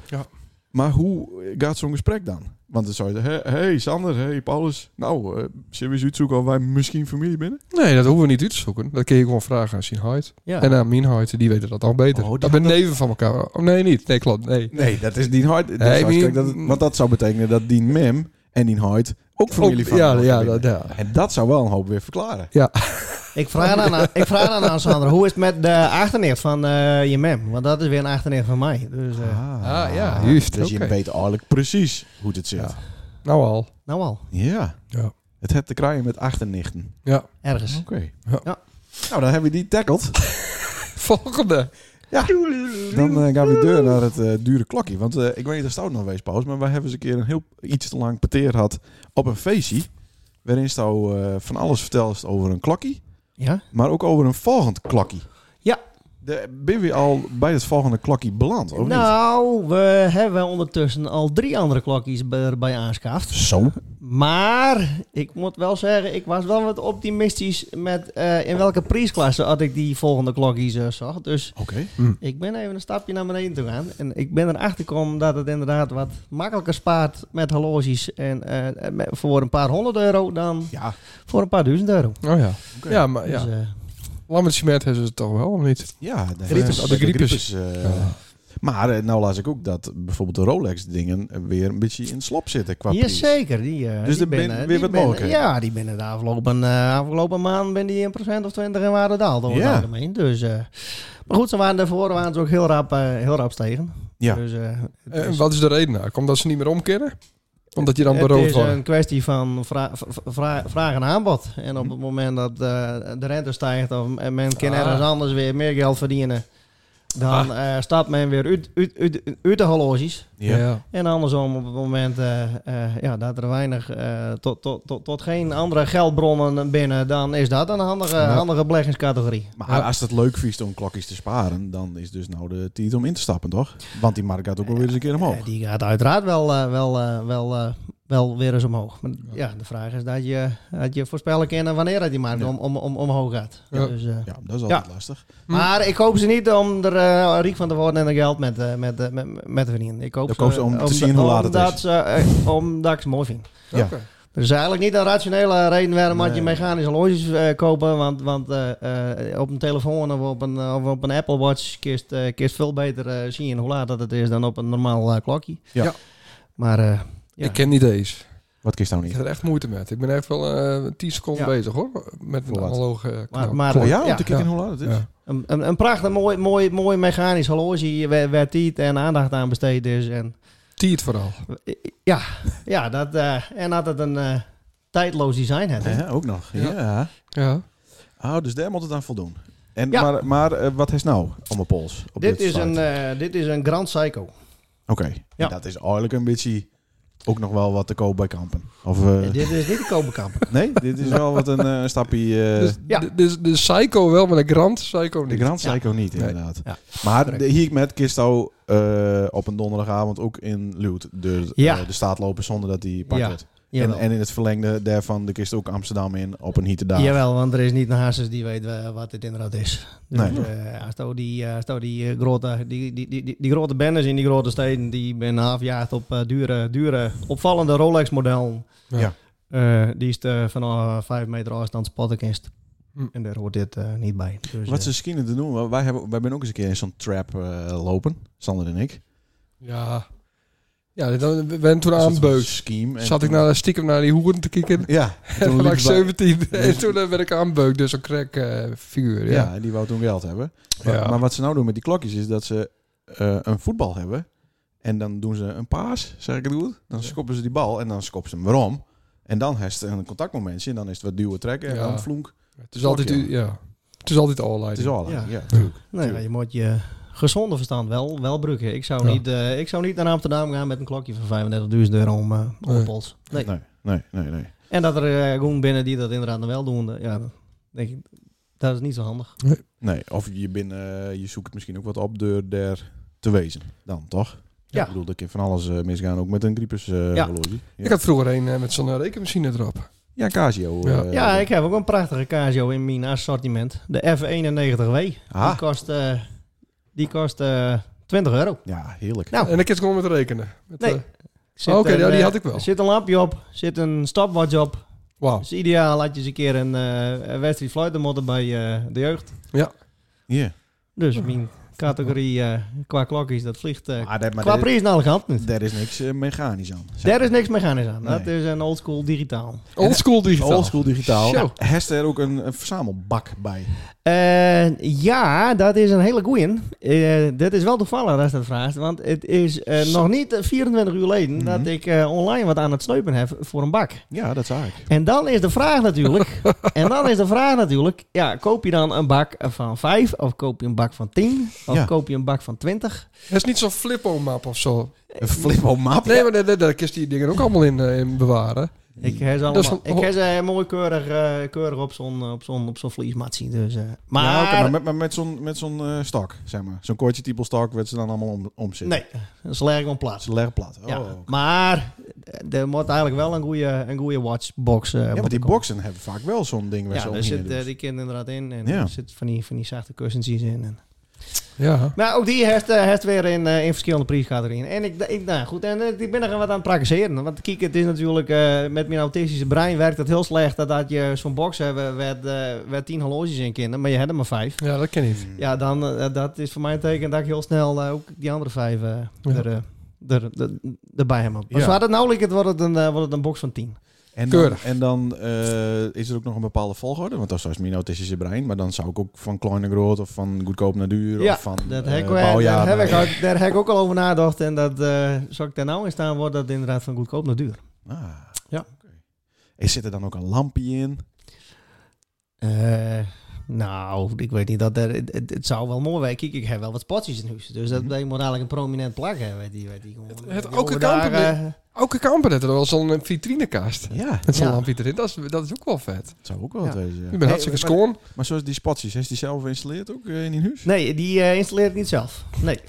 Speaker 2: Maar hoe eh, gaat zo'n gesprek dan? Want dan zou je zeggen, hé hey, Sander, hey Paulus, nou, eh zullen we eens uitzoeken of wij misschien familie binnen?
Speaker 1: Nee, dat hoeven we niet uit te zoeken. Dat kun je gewoon vragen aan zijn huid.
Speaker 3: Ja.
Speaker 1: En aan mijn huid, die weten dat al beter.
Speaker 2: Oh,
Speaker 1: dat
Speaker 2: die
Speaker 1: ben neven van elkaar. Oh, nee, niet. Nee, klopt. Nee.
Speaker 2: Nee, dat is Dien Hart. Dat is
Speaker 1: Nee,
Speaker 2: hartstikke-
Speaker 1: die-
Speaker 2: dat- want dat zou betekenen dat Dien Mem en Dien Hart ook familie
Speaker 1: Ook-
Speaker 2: van
Speaker 1: Oh, ja,
Speaker 2: elkaar
Speaker 1: ja,
Speaker 2: binnen.
Speaker 1: dat, ja.
Speaker 2: En dat zou wel een hoop weer verklaren.
Speaker 3: Ik vraag dan aan, ik vraag dan aan Sandra, hoe is het met de achterneef van eh, je mem? Want dat is weer een achterneef van mij. Dus, eh,
Speaker 1: Ah, ja, juist,
Speaker 2: Dus
Speaker 1: oké.
Speaker 2: je weet eigenlijk precies hoe het zit.
Speaker 1: Ja.
Speaker 2: Ja.
Speaker 1: Nou al.
Speaker 3: nou al,
Speaker 1: Ja.
Speaker 2: Het hebt te krijgen met achternichten.
Speaker 1: Ja.
Speaker 3: ergens.
Speaker 2: Oké.
Speaker 1: Ja.
Speaker 3: Ja.
Speaker 2: Nou, dan hebben we die tackled.
Speaker 1: Volgende.
Speaker 2: Dan eh, gaan we deur naar het eh, dure klokje. Want eh, ik weet niet of Stout nog wees, Paus. Maar wij hebben eens een keer een heel iets te lang peteer gehad op een feestje. Waarin Stout eh, van alles vertelt over een klokje.
Speaker 3: Ja?
Speaker 2: Maar ook over een volgend klokje.
Speaker 3: Ja.
Speaker 2: De, ben je al bij het volgende klokje beland, of niet?
Speaker 3: Nou, we hebben ondertussen al drie andere klokjes erbij aanschaft.
Speaker 2: Zo.
Speaker 3: Maar ik moet wel zeggen, ik was wel wat optimistisch met eh, in welke prijsklasse had ik die volgende klokjes eh, zag. Dus
Speaker 2: Oké.
Speaker 3: ik ben even een stapje naar beneden toe gaan. En ik ben erachter gekomen dat het inderdaad wat makkelijker spaart met horloges. En eh, met- voor een paar honderd euro dan
Speaker 2: Ja.
Speaker 3: voor een paar duizend euro.
Speaker 1: Oh ja.
Speaker 2: Oké.
Speaker 1: Ja, maar
Speaker 3: Dus,
Speaker 1: ja.
Speaker 3: eh,
Speaker 1: Lammert Cement hebben ze het toch wel, of niet?
Speaker 2: Ja, de
Speaker 1: Griepes.
Speaker 2: de
Speaker 1: Oh, de griepes.
Speaker 2: griepes, eh,
Speaker 1: Ja.
Speaker 2: Maar eh, nou las ik ook dat bijvoorbeeld de Rolex-dingen eh, weer een beetje in het slop zitten qua prijs.
Speaker 3: Jazeker, die, eh,
Speaker 2: Dus
Speaker 3: die
Speaker 2: er ben-
Speaker 3: binnen-
Speaker 2: weer
Speaker 3: die
Speaker 2: wat
Speaker 3: binnen-
Speaker 2: mogelijkheden.
Speaker 3: Ja, die binnen de afgelopen, eh, afgelopen maand ben die een procent of twintig in waarde daald over
Speaker 2: Ja.
Speaker 3: het algemeen. Dus, eh, maar goed, ze waren daarvoor waren ze ook heel rap, eh, heel rap stegen.
Speaker 2: Ja.
Speaker 3: Dus, eh, het
Speaker 1: En
Speaker 3: is-
Speaker 1: wat is de reden nou? Komt dat ze niet meer omkeren? Omdat je dan beroofd
Speaker 3: Het is
Speaker 1: wordt?
Speaker 3: een kwestie van vra- v- vra- vraag en aanbod. En op het moment dat eh, de rente stijgt of en men kan
Speaker 1: Ah.
Speaker 3: ergens anders weer meer geld verdienen, dan
Speaker 2: Ah.
Speaker 3: eh, stapt men weer uit, uit, uit, uit de horloges.
Speaker 2: Ja.
Speaker 3: En andersom, op het moment eh, eh, ja, dat er weinig eh, tot, tot, tot, tot geen andere geldbronnen binnen, dan is dat een handige,
Speaker 1: Ja.
Speaker 3: handige beleggingscategorie.
Speaker 2: Maar
Speaker 1: Ja.
Speaker 2: als het leuk vies om klokjes te sparen, dan is dus nou de tijd om in te stappen, toch? Want die markt gaat ook wel weer eens een keer
Speaker 3: Eh,
Speaker 2: omhoog.
Speaker 3: die gaat uiteraard wel, eh, wel, eh, wel, eh, wel weer eens omhoog. Maar ja, de vraag is dat je, dat je voorspellen kan wanneer dat die markt
Speaker 2: Ja.
Speaker 3: om, om, om, omhoog gaat.
Speaker 1: Ja.
Speaker 3: Dus, eh,
Speaker 2: Ja, dat is altijd lastig.
Speaker 1: Hm.
Speaker 3: Maar ik hoop ze niet om er eh, riek van te worden en er geld met, eh, met, eh, met, met te verdienen. Ik hoop
Speaker 2: Ik hoop ze om te zien hoe laat het
Speaker 3: omdat
Speaker 2: is.
Speaker 3: Ze, eh, omdat ik ze mooi vind.
Speaker 2: Ja.
Speaker 1: Oké.
Speaker 3: Er is eigenlijk niet een rationele reden waarom had je
Speaker 2: Nee.
Speaker 3: mechanische horloges eh, kopen. Want, want eh, eh, op een telefoon of op een, of op een Apple Watch kist, eh kist veel beter eh, zien hoe laat dat het is dan op een normaal eh, klokje.
Speaker 2: Ja.
Speaker 1: Ja.
Speaker 3: Maar eh, ja.
Speaker 1: Ik ken niet eens.
Speaker 2: Wat kiest nou
Speaker 1: Ik
Speaker 2: niet?
Speaker 1: heb er echt moeite met. Ik ben echt wel eh 10 seconden
Speaker 3: Ja.
Speaker 1: bezig hoor. Met een
Speaker 2: Voor wat?
Speaker 1: analoge eh, knop.
Speaker 3: maar, maar,
Speaker 2: Oh ja, om
Speaker 3: ja,
Speaker 2: te kijken hoe laat het is.
Speaker 1: Ja.
Speaker 3: een, een, een prachtig mooi, mooi, mooi mechanisch horloge waar, waar tijd en aandacht aan besteed is. En, eh,
Speaker 1: Tiert vooral.
Speaker 3: ja, ja dat, eh, en dat het een eh, tijdloos design heeft. hè.
Speaker 2: Ja, ook nog.
Speaker 1: Ja.
Speaker 2: Ja.
Speaker 1: Ja.
Speaker 2: Oh, dus daar moet het aan voldoen. En,
Speaker 3: Ja.
Speaker 2: Maar, maar eh, wat is nou om mijn pols? Op
Speaker 3: Dit, is
Speaker 2: site?
Speaker 3: een, eh, dit is een Grand Psycho.
Speaker 2: Oké,
Speaker 3: Ja.
Speaker 2: dat is eigenlijk een beetje ook nog wel wat te koop bij kampen. Of, eh,
Speaker 3: Dit is niet de Kopenkampen.
Speaker 2: nee, dit is wel wat een eh, stapje... eh
Speaker 1: Dus,
Speaker 3: ja.
Speaker 1: d- dus de Psycho wel, maar de Grand Psycho
Speaker 2: de
Speaker 1: niet.
Speaker 2: Grand Psycho niet,
Speaker 1: Nee.
Speaker 2: inderdaad.
Speaker 3: Ja.
Speaker 2: Maar
Speaker 3: Correct.
Speaker 2: de, hier met Kisto eh op een donderdagavond ook in Luut. De,
Speaker 3: Ja.
Speaker 2: eh, de staat lopen zonder dat hij pakt
Speaker 3: Ja.
Speaker 2: wordt. En, en in het verlengde daarvan de kist ook Amsterdam in op een hitte dag.
Speaker 3: Jawel, want er is niet een hazes die weet eh, wat dit inderdaad is. Dus,
Speaker 2: Nee.
Speaker 3: eh, als nou die, eh, als nou die, eh, grote, die, die, die, die, die grote banners in die grote steden, die ben afjaagd op eh, dure, dure, opvallende Rolex-modellen.
Speaker 1: Ja.
Speaker 2: Ja.
Speaker 3: Eh, die is eh, vanaf 5 meter afstand spotten kinst.
Speaker 1: Hm.
Speaker 3: En daar hoort dit eh, niet bij. Dus,
Speaker 2: Wat
Speaker 3: eh,
Speaker 2: ze schienen te doen, wij, hebben, wij zijn ook eens een keer in zo'n trap eh, lopen, Sander en ik.
Speaker 1: Ja. Ja, dan we zijn toen aan
Speaker 2: Een soort
Speaker 1: beuk.
Speaker 2: scheme. En
Speaker 1: Zat ik
Speaker 2: toen-
Speaker 1: nou stiekem naar die hoeren te kijken.
Speaker 2: Ja, toen
Speaker 1: En toen was
Speaker 2: liepen
Speaker 1: ik
Speaker 2: wij-
Speaker 1: 17. En toen eh, werd ik aanbeuk, dus een crack eh, figuur. Ja.
Speaker 2: Ja, en die wou toen geld hebben.
Speaker 1: Ja.
Speaker 2: Maar, maar wat ze nou doen met die klokjes is dat ze eh, een voetbal hebben. En dan doen ze een paas, zeg ik het goed. Dan schoppen ze die bal en dan schoppen ze hem weer om. En dan heeft het een contactmomentje en dan is het wat duwen trekken en
Speaker 1: Ja.
Speaker 2: dan vloenk.
Speaker 1: Het is altijd, u- ja. Het is altijd all
Speaker 2: Het is al. Ja.
Speaker 3: nou Ja.
Speaker 2: Ja, natuurlijk.
Speaker 3: nee, maar je moet je gezonde verstand wel, wel bruggen. Ik zou,
Speaker 1: Ja.
Speaker 3: niet, eh, ik zou niet naar Amsterdam gaan met een klokje van 35.000 euro om, eh om
Speaker 1: Nee.
Speaker 3: pols. Nee.
Speaker 2: Nee, nee, nee. nee.
Speaker 3: En dat er eh, gewoon binnen die dat inderdaad wel doen, eh, ja, dan denk ik, dat is niet zo handig.
Speaker 2: Nee, of je, bent, eh, je zoekt misschien ook wat op door daar te wezen. Dan, toch?
Speaker 3: Ja.
Speaker 2: Ik bedoel, dat kan van alles eh, misgaan, ook met een Griepers eh,
Speaker 3: Ja.
Speaker 2: horloge. Ja.
Speaker 1: Ik had vroeger een eh, met zo'n eh, rekenmachine erop.
Speaker 2: ja, Casio.
Speaker 1: Ja.
Speaker 2: eh,
Speaker 3: ja, ik heb ook een prachtige Casio in mijn assortiment. De F91W.
Speaker 2: Ah.
Speaker 3: Die kost, eh, die kost eh, 20 euro.
Speaker 2: Ja, heerlijk.
Speaker 3: Nou,
Speaker 1: En dan kan je gewoon met rekenen. Met,
Speaker 3: Nee.
Speaker 1: eh,
Speaker 3: Zit
Speaker 1: oké,
Speaker 3: een,
Speaker 1: ja, die
Speaker 3: eh,
Speaker 1: had ik wel. Oh.
Speaker 3: Zit een lampje op, zit een stopwatch op.
Speaker 1: Wauw.
Speaker 3: Dat is ideaal, laat je eens een keer een eh wedstrijd fluiten modder bij eh, de jeugd.
Speaker 2: Ja. Ah,
Speaker 3: Dus mijn categorie eh, qua klokjes, dat vliegt eh,
Speaker 2: Maar, daar- maar
Speaker 3: qua
Speaker 2: daar-
Speaker 3: prijs naar alle kanten niet.
Speaker 2: daar is niks eh, mechanisch aan.
Speaker 3: Daar is niks mechanisch aan.
Speaker 2: Nee.
Speaker 3: Dat is een oldschool digitaal.
Speaker 1: Oldschool digitaal.
Speaker 2: Oldschool digitaal.
Speaker 1: Zo.
Speaker 2: Hest er ook een, een verzamelbak bij.
Speaker 3: Eh, ja, dat is een hele goeie. Eh dat is wel toevallig als je dat vraagt. Want het is eh, nog niet 24 uur geleden dat
Speaker 2: Mhm.
Speaker 3: ik eh, online wat aan het sleupen heb voor een bak.
Speaker 2: Ja, dat zag ik.
Speaker 3: En dan is de vraag natuurlijk... en dan is de vraag natuurlijk... Ja, koop je dan een bak van 5? Of koop je een bak van 10? Of
Speaker 2: Ja.
Speaker 3: koop je een bak van 20?
Speaker 1: Het is niet zo'n flippo-map of zo.
Speaker 2: Een flippo map.
Speaker 1: Nee, maar daar, daar, daar kun je die dingen ook allemaal in, eh, in bewaren.
Speaker 3: Ik heb ze
Speaker 1: Dat is
Speaker 3: allemaal.
Speaker 1: een-
Speaker 3: Ik heb ze eh, mooi keurig, eh, keurig op zo'n op zo'n op zo'n vliesmat zien. Dus, eh, maar,
Speaker 2: Ja, oké, maar met, maar met zo'n met zo'n eh, stak, zeg maar. Zo'n kortje type stak werd ze dan allemaal om, omzitten.
Speaker 3: nee, dat is lekker op plaats.
Speaker 2: Ze leggen plat. Oh,
Speaker 3: ja,
Speaker 2: oké.
Speaker 3: Maar er moet eigenlijk wel een goede een goede watchbox. eh,
Speaker 2: Ja, maar
Speaker 3: moeten
Speaker 2: die
Speaker 3: komen.
Speaker 2: boxen hebben vaak wel zo'n ding waar ze
Speaker 3: Ja, daar
Speaker 2: omheen
Speaker 3: zit
Speaker 2: doen.
Speaker 3: eh, die kind inderdaad in. En
Speaker 2: dus. Ja.
Speaker 3: er zit van die, van die zachte kussens in. En,
Speaker 1: Ja.
Speaker 3: maar ook die heeft, eh, heeft weer in, eh, in verschillende prijscategorieën. En ik, ik nou goed, en eh, ik ben er wat aan het praktiseren. Want kijk, het is natuurlijk, eh, met mijn autistische brein werkt het heel slecht. Dat, dat je zo'n box hebben, werd, eh werd tien horloges in kinderen, maar je hebt er maar vijf.
Speaker 1: ja, dat ken ik.
Speaker 3: Ja, dan, eh, dat is voor mij een teken dat ik heel snel eh, ook die andere vijf eh,
Speaker 1: Ja.
Speaker 3: er, eh, er, er, erbij heb.
Speaker 2: Ja.
Speaker 3: Als we het nou lijkt, het wordt het een, eh, wordt het een box van tien.
Speaker 2: En dan,
Speaker 1: Keurig.
Speaker 2: en dan eh, is er ook nog een bepaalde volgorde. Want dat is mijn autistische brein. Maar dan zou ik ook van klein naar groot of van goedkoop naar duur.
Speaker 3: Ja,
Speaker 2: of van
Speaker 3: Dat
Speaker 2: eh,
Speaker 3: heb ik, eh,
Speaker 2: bouwjaar
Speaker 3: daar, heb
Speaker 2: naar-
Speaker 3: ik, ook- daar heb ik ook al over nagedacht. En dat eh zal ik daar nou in staan, wordt dat inderdaad van goedkoop naar duur.
Speaker 2: Ah,
Speaker 3: Ja.
Speaker 2: oké. En zit er dan ook een lampje in?
Speaker 3: Eh, nou, ik weet niet dat er, het, het- het zou wel mooi zijn. Kijk, ik heb wel wat spotjes in huis. Dus dat
Speaker 2: Mhm.
Speaker 3: ik moet eigenlijk een prominent plak hebben. weet Die, weet die, gewoon,
Speaker 1: het
Speaker 3: die
Speaker 1: ook een
Speaker 3: overdag,
Speaker 1: kampen-
Speaker 3: eh,
Speaker 1: Elke kamper heeft er wel zo'n vitrinekast.
Speaker 2: Ja,
Speaker 1: Met zo'n
Speaker 3: Ja.
Speaker 1: lampje erin. Dat is, dat is ook wel vet.
Speaker 2: dat zou ook wel
Speaker 3: Ja.
Speaker 2: wat wezen. ja.
Speaker 1: Ik ben hartstikke schoon.
Speaker 2: Maar zoals die spatjes, heeft die zelf geïnstalleerd ook eh, in die huis?
Speaker 3: Nee, die eh installeert het niet zelf. Nee.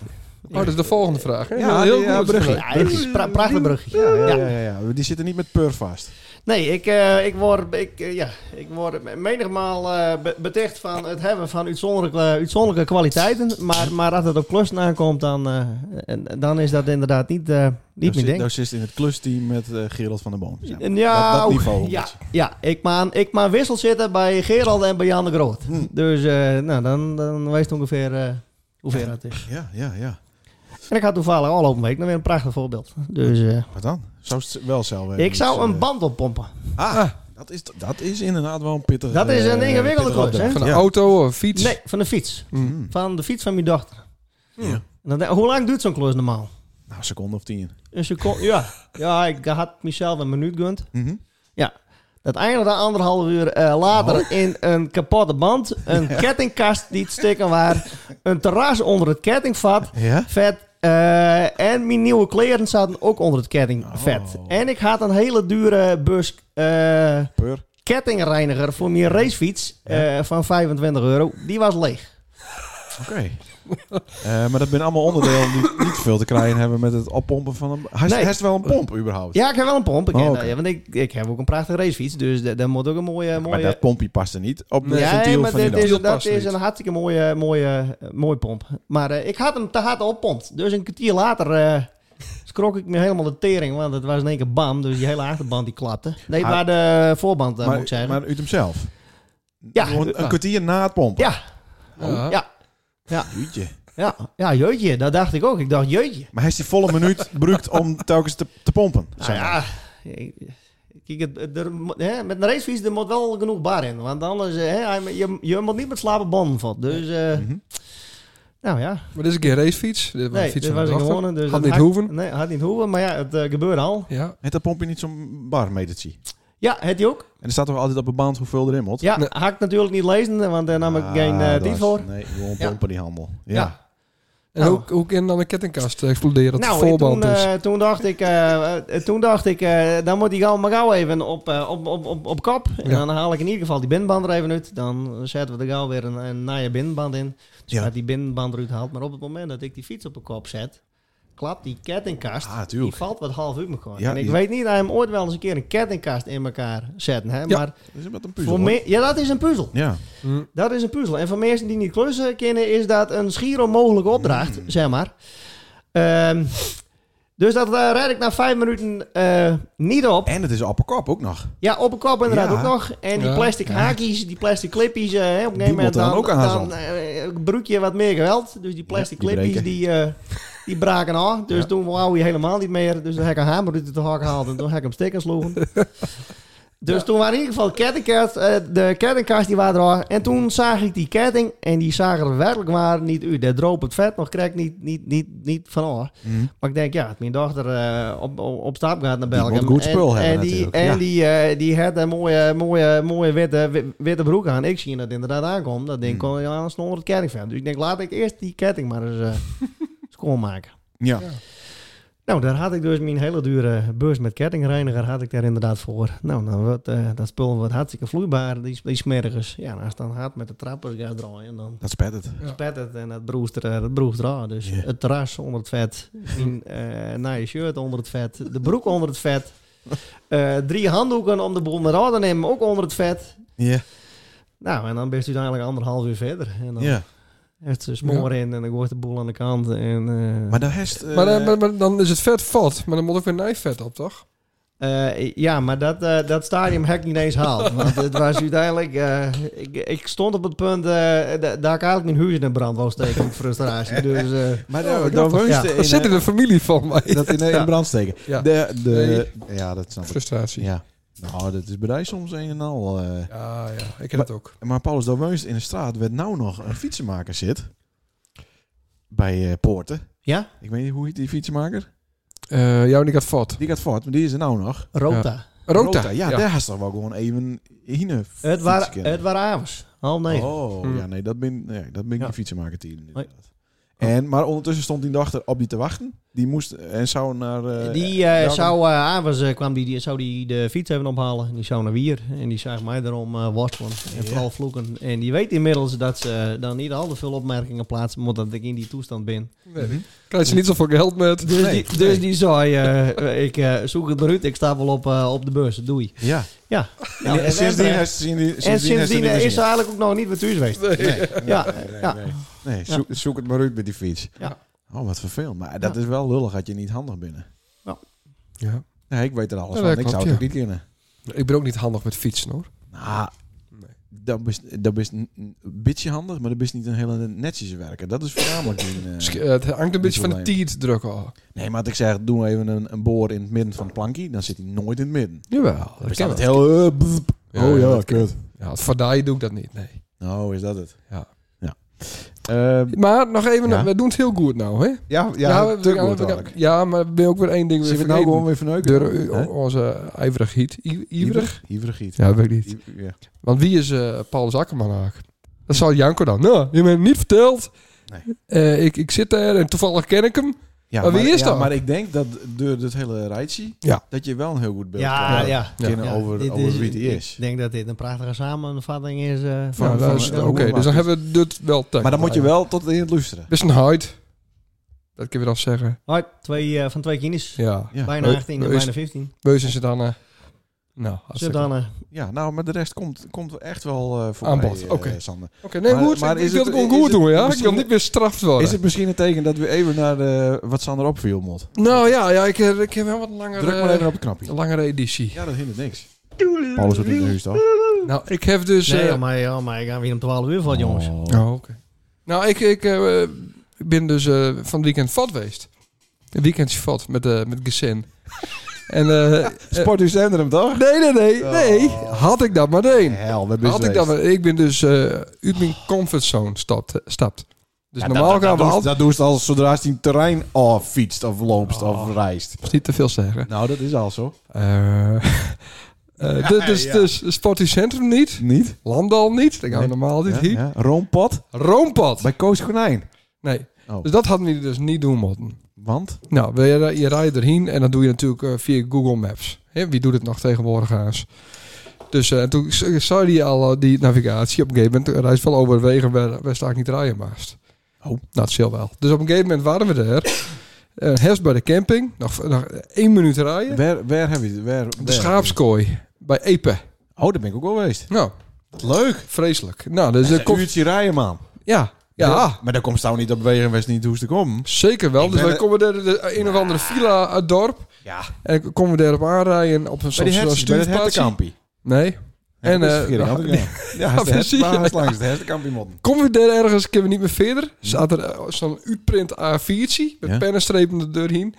Speaker 1: Oh, dat is de volgende vraag. hè?
Speaker 2: Ja,
Speaker 1: heel
Speaker 2: ja, ja,
Speaker 1: goed.
Speaker 2: bruggen.
Speaker 1: Ja,
Speaker 3: Ja, het is pra prachtig bruggetje. Ja.
Speaker 2: ja, ja, ja. Die zitten niet met pur vast.
Speaker 3: Nee, ik, eh, ik word, ik, eh, ja, ik word menigmaal eh, be- beticht van het hebben van uitzonderlijke, uitzonderlijke kwaliteiten. Maar, maar als het op klussen aankomt, dan, eh, en- dan is dat inderdaad niet, eh, niet
Speaker 2: daar
Speaker 3: mijn
Speaker 2: zit,
Speaker 3: ding.
Speaker 2: daar zit in het klusteam met eh, Gerald van der Boom. zeg maar.
Speaker 3: En ja,
Speaker 2: nou, dat, dat
Speaker 3: ook-
Speaker 2: niveau.
Speaker 3: ja, ja, ik maan ik maan wissel zitten bij Gerald en bij Jan de Groot.
Speaker 2: Hm.
Speaker 3: Dus eh, nou, dan, dan weet je ongeveer eh hoe ver dat is.
Speaker 2: ja, ja, ja.
Speaker 3: En ik had toevallig al op een week nog weer een prachtig voorbeeld. Dus eh,
Speaker 2: Wat dan? Zou het wel zelf hebben,
Speaker 3: ik
Speaker 2: dus,
Speaker 3: zou een
Speaker 2: eh,
Speaker 3: band oppompen.
Speaker 2: Ah, dat is, dat is inderdaad wel een pittig...
Speaker 3: Dat is een
Speaker 2: eh,
Speaker 3: ingewikkelde
Speaker 2: pittig
Speaker 3: klus, hè?
Speaker 2: opdracht.
Speaker 1: Van een
Speaker 2: Ja.
Speaker 1: auto of fiets.
Speaker 3: Nee, van de fiets.
Speaker 2: Mm.
Speaker 3: Van de fiets van mijn dochter.
Speaker 2: Ja.
Speaker 3: En dan denk- hoe lang duurt zo'n klus normaal?
Speaker 2: Nou, een seconde of tien.
Speaker 3: Een seconde. Ja. ja, ik had mezelf een minuut gunt.
Speaker 2: Mhm.
Speaker 3: Dat eindigde anderhalf uur eh, later
Speaker 2: Oh.
Speaker 3: in een kapotte band. Een kettingkast die het stikken waar. Een terras onder het kettingvat.
Speaker 2: Ja?
Speaker 3: Vet. eh, en mijn nieuwe kleren zaten ook onder het kettingvet.
Speaker 2: Oh.
Speaker 3: En ik had een hele dure bus eh,
Speaker 2: Pur.
Speaker 3: kettingreiniger voor mijn racefiets eh, van 25 euro. Die was leeg.
Speaker 2: Oké. Eh, maar dat zijn allemaal onderdelen die niet veel te krijgen hebben met het oppompen van een... Hij
Speaker 3: Nee.
Speaker 2: heeft wel een pomp, überhaupt.
Speaker 3: Ja, ik heb wel een pomp. Ik
Speaker 2: Oh,
Speaker 3: ken-
Speaker 2: oké.
Speaker 3: ja, want ik, ik heb ook een prachtige racefiets. Dus da- daar moet ook een mooie...
Speaker 2: Maar
Speaker 3: mooie
Speaker 2: dat pompje past er niet op de
Speaker 3: Ja,
Speaker 2: ventiel
Speaker 3: maar
Speaker 2: van die
Speaker 3: dit is,
Speaker 2: dan.
Speaker 3: dat
Speaker 1: past
Speaker 3: is
Speaker 1: niet.
Speaker 3: een hartstikke mooie, mooie, eh, mooie pomp. Maar eh, ik had hem te hard oppompt. Dus een kwartier later eh skrok ik me helemaal de tering. Want het was in één keer bam. Dus die hele achterband die klapte. Nee,
Speaker 2: Ah.
Speaker 3: maar de voorband eh, moet ik
Speaker 2: Maar,
Speaker 3: zeggen.
Speaker 2: maar uit hemzelf.
Speaker 3: Ja.
Speaker 2: Gewoon een kwartier na het pompen.
Speaker 3: ja,
Speaker 1: Ja.
Speaker 3: ja,
Speaker 2: Jeetje.
Speaker 3: ja, ja, jeutje. Dat dacht ik ook. Ik dacht, jeutje.
Speaker 2: Maar hij is die volle minuut gebruikt om telkens te, te pompen.
Speaker 3: Nou ja, ik- kijk, het- het- er moet- hè, met een racefiets er moet wel genoeg bar in. Want anders, eh, hè, hij- je, je moet niet met slapen banden vat. Dus, eh,
Speaker 2: Mhm.
Speaker 3: nou ja.
Speaker 1: Maar dit is een keer racefiets. Dit was een
Speaker 3: Nee,
Speaker 1: fiets
Speaker 3: dit
Speaker 1: van
Speaker 3: was
Speaker 1: de
Speaker 3: een
Speaker 1: dochter.
Speaker 3: gewone. Dus
Speaker 1: Had
Speaker 3: dat
Speaker 1: niet hoeven.
Speaker 3: Nee, had niet hoeven, maar ja, het eh, gebeurde al.
Speaker 1: Ja.
Speaker 2: Heeft dat pompje niet zo'n barmetertje?
Speaker 3: Ja, het die ook.
Speaker 2: En er staat toch altijd op een band hoeveel erin moet?
Speaker 3: Ja,
Speaker 1: Nee.
Speaker 3: had ik natuurlijk niet lezen, want daar nam ik
Speaker 2: Ah,
Speaker 3: geen eh
Speaker 2: dat
Speaker 3: die
Speaker 2: is-
Speaker 3: voor.
Speaker 2: Nee, gewoon
Speaker 3: Ja.
Speaker 2: pompen die handel. Ja.
Speaker 3: Ja.
Speaker 1: En
Speaker 3: Nou.
Speaker 1: hoe, hoe kan dan een kettingkast exploderen? Dat
Speaker 3: nou, en
Speaker 1: voorband
Speaker 3: toen,
Speaker 1: is.
Speaker 3: eh, toen dacht ik, eh, eh, toen dacht ik eh, dan moet ik gauw maar gauw even op, eh, op, op, op, op kop. En
Speaker 1: Ja.
Speaker 3: dan haal ik in ieder geval die bindband er even uit. Dan zetten we er gauw weer een, een naaie bindband in. Dus
Speaker 2: Ja.
Speaker 3: dat die bindband eruit haalt. Maar op het moment dat ik die fiets op de kop zet, klapt die kettingkast.
Speaker 2: Ah,
Speaker 3: die
Speaker 2: tuurlijk.
Speaker 3: valt wat half uit elkaar.
Speaker 2: Ja,
Speaker 3: en ik
Speaker 2: die-
Speaker 3: weet niet dat hij hem ooit wel eens een keer een kettingkast in elkaar zetten. Hè?
Speaker 1: Ja.
Speaker 3: Maar
Speaker 2: Dat is met een
Speaker 3: voor
Speaker 2: puzzel. hoor.
Speaker 3: me- ja, dat is een puzzel.
Speaker 2: Ja.
Speaker 1: Hm.
Speaker 3: Dat is een puzzel. En voor mensen die niet klussen kennen, is dat een schier onmogelijke opdracht, zeg maar. Ehm, dus dat eh, red ik na vijf minuten eh, niet op.
Speaker 2: En het is appelkop ook nog.
Speaker 3: Ja, op een kop inderdaad
Speaker 2: Ja.
Speaker 3: ook nog. En die
Speaker 1: Ja.
Speaker 3: plastic haakjes, die plastic clipjes, eh, op een
Speaker 2: Die
Speaker 3: gegeven moment
Speaker 2: moeten
Speaker 3: dan,
Speaker 2: dan ook aan
Speaker 3: dan eh, gebruik je wat meer geweld. Dus die plastic
Speaker 2: Ja, die
Speaker 3: clipjes,
Speaker 2: breken.
Speaker 3: die, eh, die braken af. Dus
Speaker 2: Ja.
Speaker 3: toen wou je helemaal niet meer. Dus toen heb ik een hamer uit de hak gehaald en toen heb ik hem stikken sloegen. Dus toen waren in ieder geval kettingkast, eh, de kettingkast die waren er al. En toen zag ik die ketting en die zagen er werkelijk waar niet uit. Daar droop het vet nog, krijg ik niet, niet, niet, niet van af. Maar ik denk, ja, dat mijn dochter eh, op, op, op stap gaat naar
Speaker 2: Die
Speaker 3: België.
Speaker 2: moet goed
Speaker 3: En-
Speaker 2: spul hebben
Speaker 3: En die,
Speaker 2: natuurlijk,
Speaker 3: en
Speaker 2: ja.
Speaker 3: die, eh, die had een mooie, mooie, mooie witte, wi- witte broek aan. Ik zie dat inderdaad aankomt. Dat ding
Speaker 2: Hmm.
Speaker 3: kon je aan een snoer het ketting van. Dus ik denk, laat ik eerst die ketting maar eens eh, schoonmaken.
Speaker 2: Ja.
Speaker 1: Ja.
Speaker 3: Nou, daar had ik dus mijn hele dure beurs met kettingreiniger had ik daar inderdaad voor. Nou, dan wordt, eh, dat spul wordt hartstikke vloeibaar, die, die smerigers. Ja, en als het dan hard met de trappers gaat draaien, dan
Speaker 2: Dat spet het.
Speaker 1: Ja.
Speaker 3: spet het en het broest er, eh, het broest eraan. Dus
Speaker 2: Ja.
Speaker 3: het ras onder het vet, mijn eh naaie shirt onder het vet, de broek onder het vet. eh, drie handdoeken om de boel met aan te nemen, ook onder het vet.
Speaker 2: Ja.
Speaker 3: Nou, en dan bent u eigenlijk anderhalf uur verder. En dan
Speaker 2: ja.
Speaker 3: heeft ze smoor in en dan wordt de boel aan de kant. En, eh,
Speaker 2: Maar dan heeft...
Speaker 1: Maar, dan- maar, maar dan is het vet vat, maar dan moet ook weer nijvet op, toch?
Speaker 3: Eh, ja, maar dat, eh, dat stadium heb ik niet eens haald. Want het was uiteindelijk... eh, ik, ik stond op het punt eh, da- dat ik eigenlijk mijn huis in de brand wou steken. van frustratie. Dus, eh,
Speaker 2: maar
Speaker 1: Oh,
Speaker 2: dan,
Speaker 1: dat-
Speaker 2: dan woonst
Speaker 3: ja.
Speaker 2: in, eh,
Speaker 1: Dat zit in de familie van mij.
Speaker 2: dat in, eh, in brand steken.
Speaker 1: Ja.
Speaker 2: De, de, ja, dat snap ik.
Speaker 1: Frustratie. Ja,
Speaker 2: Ja. Nou, dat is bij mij soms een en al. eh.
Speaker 1: ja, ik heb het ook.
Speaker 2: Maar Paulus, dan woonst in een straat waar nou nog een fietsenmaker zit. Bij eh, Poorten.
Speaker 3: ja,
Speaker 2: Ik weet niet, hoe heet die fietsenmaker?
Speaker 1: Eh jou niet gaat vat.
Speaker 2: Die gaat voort, maar die is er nou nog.
Speaker 3: Rota.
Speaker 1: Rota.
Speaker 2: Ja, daar had ze toch wel gewoon even heen
Speaker 3: Het waren het waren avonds. Half negen.
Speaker 2: Oh,
Speaker 1: Hmm.
Speaker 2: ja, nee, dat ben, nee, dat ben ik
Speaker 3: Ja.
Speaker 2: die fietsenmaker team inderdaad. En, maar ondertussen stond die dochter op die te wachten. Die moest en zou naar... eh,
Speaker 3: Die eh,
Speaker 2: welke-
Speaker 3: zou eh, avonds eh, kwam die, die zou die de fiets even ophalen. Die zou naar Wier. En die zag mij daarom eh worstelen. En
Speaker 2: Ja.
Speaker 3: vooral vloeken. En die weet inmiddels dat ze eh, dan niet al te veel opmerkingen plaatsen. Maar dat ik in die toestand ben.
Speaker 1: Nee. Mhm. Krijg je niet zoveel geld met.
Speaker 3: Dus,
Speaker 2: Nee,
Speaker 3: die, dus
Speaker 2: nee.
Speaker 3: die zei, eh, ik eh, zoek het maar uit. Ik sta wel op, eh, op de beurs. Doei.
Speaker 2: Ja.
Speaker 3: Ja.
Speaker 2: En, en sindsdien
Speaker 3: en
Speaker 2: is sindsdien,
Speaker 3: sindsdien,
Speaker 2: sindsdien
Speaker 3: is ze eigenlijk ook nog niet meer thuis geweest.
Speaker 2: Nee, nee,
Speaker 3: Ja,
Speaker 2: nee,
Speaker 3: ja.
Speaker 2: nee. Nee, zoek, zoek het maar uit met die fiets.
Speaker 3: Ja.
Speaker 2: Oh, wat vervelend. Maar dat
Speaker 3: Ja.
Speaker 2: is wel lullig dat je niet handig binnen.
Speaker 1: Ja.
Speaker 2: Nee, ik weet er alles
Speaker 1: Ja,
Speaker 2: van.
Speaker 1: dat
Speaker 2: Ik
Speaker 1: klopt,
Speaker 2: zou
Speaker 1: ja.
Speaker 2: het ook niet kunnen.
Speaker 1: Ik ben ook niet handig met fietsen, hoor.
Speaker 2: Nou,
Speaker 1: Nee.
Speaker 2: dat is, dat is een een beetje handig, maar dat is niet een hele netjes werken. Dat is voornamelijk een... eh,
Speaker 1: Sch- eh, Het hangt een beetje van de
Speaker 2: probleem.
Speaker 1: tiet druk al.
Speaker 2: nee, maar wat ik zeg, doe even een, een boor in het midden van het plankje, dan zit hij nooit in het midden.
Speaker 1: Jawel,
Speaker 2: Dan
Speaker 1: Oh, dat
Speaker 2: staat
Speaker 1: kan
Speaker 2: het
Speaker 1: wel.
Speaker 2: heel... eh, bzz,
Speaker 1: Ja,
Speaker 2: oh
Speaker 1: ja,
Speaker 2: ja,
Speaker 1: dat
Speaker 2: kut.
Speaker 1: Ja, het Vardai doe ik dat niet, nee.
Speaker 2: Nou, is dat het?
Speaker 1: Ja.
Speaker 2: Ja. Eh,
Speaker 1: Maar nog even,
Speaker 2: Ja.
Speaker 1: we doen het heel goed nou, hè?
Speaker 2: ja, ja,
Speaker 1: we-
Speaker 2: te
Speaker 1: we-
Speaker 2: goed
Speaker 1: we-
Speaker 2: eigenlijk.
Speaker 1: ja, maar we ben ook weer één ding
Speaker 2: Zullen
Speaker 1: weer
Speaker 2: we het nou gewoon
Speaker 1: vergeten.
Speaker 2: weer verneuken?
Speaker 1: Door u-
Speaker 2: Hè?
Speaker 1: onze ijverig giet. I- Ijverig?
Speaker 2: Ivrig? Ivrig giet.
Speaker 1: Ja, weet ik niet.
Speaker 2: I- ja.
Speaker 1: Want wie is eh Paulus Akkerman eigenlijk? Dat zal Janko dan. Nou, je bent niet verteld.
Speaker 2: Nee.
Speaker 1: Eh, ik, ik zit daar en toevallig ken ik hem.
Speaker 2: Ja,
Speaker 1: Maar wie is
Speaker 2: ja,
Speaker 1: dat?
Speaker 2: Maar ik denk dat door dit hele rijtje,
Speaker 1: Ja.
Speaker 2: dat je wel een heel goed beeld
Speaker 3: Ja,
Speaker 2: krijgt.
Speaker 3: ja.
Speaker 2: Kennen
Speaker 3: Ja,
Speaker 2: over,
Speaker 3: dit
Speaker 2: over
Speaker 3: is-
Speaker 2: wie die is.
Speaker 3: Ik denk dat dit een prachtige samenvatting is. eh,
Speaker 1: Ja,
Speaker 2: van-
Speaker 1: dat is-
Speaker 2: van-
Speaker 1: Oké,
Speaker 2: van-
Speaker 1: dus dan hebben we dit wel tijd.
Speaker 2: Maar dan moet je wel tot in het luisteren.
Speaker 1: Best een huid. Dat kunnen we dan zeggen.
Speaker 3: Hoi, twee, eh, van twee kinders.
Speaker 1: Ja.
Speaker 2: Ja.
Speaker 3: Bijna
Speaker 1: Leuk.
Speaker 3: 18 en
Speaker 1: Is-
Speaker 3: bijna 15.
Speaker 1: Beus en Sedana. Nou, hartstikke.
Speaker 3: Zodanig.
Speaker 2: Ja, nou, maar de rest komt, komt echt wel eh voor
Speaker 1: Aan bod, oké.
Speaker 2: Sander.
Speaker 1: Oké, nee,
Speaker 2: Maar-
Speaker 1: goed.
Speaker 2: maar
Speaker 1: ik
Speaker 2: is
Speaker 1: wil
Speaker 2: het-
Speaker 1: het gewoon
Speaker 2: is
Speaker 1: goed
Speaker 2: het
Speaker 1: doen, ja. Ik
Speaker 2: misschien-
Speaker 1: wil niet meer straft worden.
Speaker 2: Is het misschien een teken dat we even naar de, wat Sander opviel moet?
Speaker 1: Nou ja, ja ik, eh, ik heb wel wat langer,
Speaker 2: Druk maar
Speaker 1: eh,
Speaker 2: even op het knopje.
Speaker 1: een langere editie.
Speaker 2: Ja, dat hindert niks. Alles wordt in de huis, toch?
Speaker 1: Nou, ik heb dus...
Speaker 3: Nee,
Speaker 1: eh,
Speaker 3: oh maar, oh maar ik ga weer om 12 uur van, jongens.
Speaker 1: Oh, oké. Nou, ik, ik eh, ik ben dus eh, van het weekend vat geweest. Een weekendje vat met, eh met Gesin. en, eh, eh,
Speaker 2: Sport u hem, toch?
Speaker 1: nee, nee, nee,
Speaker 2: Oh.
Speaker 1: nee. Had ik dat maar één.
Speaker 2: Hel, we
Speaker 1: Had ik dat maar Ik ben dus eh uit mijn comfortzone stapt. stapt. Dus normaal gaan we altijd...
Speaker 2: Dat doe je al zodra je een terrein of fietst of loopt of reist.
Speaker 1: Niet te veel zeggen.
Speaker 2: Ah. Nou, dat is al zo.
Speaker 1: Eh, eh, dus, dus,
Speaker 2: Ja.
Speaker 1: dus Sportief Centrum niet.
Speaker 2: Niet?
Speaker 1: Landal niet. Dat gaan we
Speaker 2: Nee.
Speaker 1: normaal niet
Speaker 2: Ja,
Speaker 1: hier.
Speaker 2: ja. Roompad
Speaker 1: Roompad.
Speaker 2: bij Koos Konijn.
Speaker 1: Nee.
Speaker 2: Oh.
Speaker 1: Dus dat hadden we dus niet doen moeten.
Speaker 2: Want?
Speaker 1: Nou, wil je, je rijdt erheen en dat doe je natuurlijk eh, via Google Maps. Hè, wie doet het nog tegenwoordig eens? Dus eh, toen z- zag hij al eh, die navigatie. Op een gegeven moment rijdt wel over wegen waar, waar sta ik niet rijden maast.
Speaker 2: Oh.
Speaker 1: Nou, dat zal wel. Dus op een gegeven moment waren we daar. Eh Hest bij de camping. Nog, nog één minuut rijden.
Speaker 2: Waar, waar heb je waar,
Speaker 1: De
Speaker 2: waar-
Speaker 1: schaapskooi bij Epe.
Speaker 2: Oh, daar ben ik ook wel geweest.
Speaker 1: Nou,
Speaker 2: Leuk.
Speaker 1: vreselijk. Nou, dus er
Speaker 2: Een
Speaker 1: komt...
Speaker 2: uurtje rijden, man.
Speaker 1: Ja, ja.
Speaker 2: Maar daar komt Stouw niet op wegen en wist niet hoe ze te komen.
Speaker 1: Zeker wel.
Speaker 2: Ik
Speaker 1: Dus
Speaker 2: ben
Speaker 1: wij
Speaker 2: er-
Speaker 1: komen daar de, de een of andere villa uit het dorp.
Speaker 2: Ja.
Speaker 1: En dan komen we daarop aanrijden op een
Speaker 2: Bij die
Speaker 1: soort
Speaker 2: hertz, bij het
Speaker 1: stuurplaats.
Speaker 2: hertenkampie.
Speaker 1: Nee.
Speaker 2: Ja,
Speaker 1: En,
Speaker 2: dat is
Speaker 1: eh,
Speaker 2: verkeerd, had ik
Speaker 1: nou,
Speaker 2: gedaan. Ja, dat is de
Speaker 1: precies,
Speaker 2: hertz- waar is
Speaker 1: ja.
Speaker 2: langs de hertenkampie modden.
Speaker 1: Kom we daar ergens, kunnen we niet meer verder. Staat er eh, zo'n uitprint A4'tje met
Speaker 2: Ja.
Speaker 1: pennenstrepen de deur heen.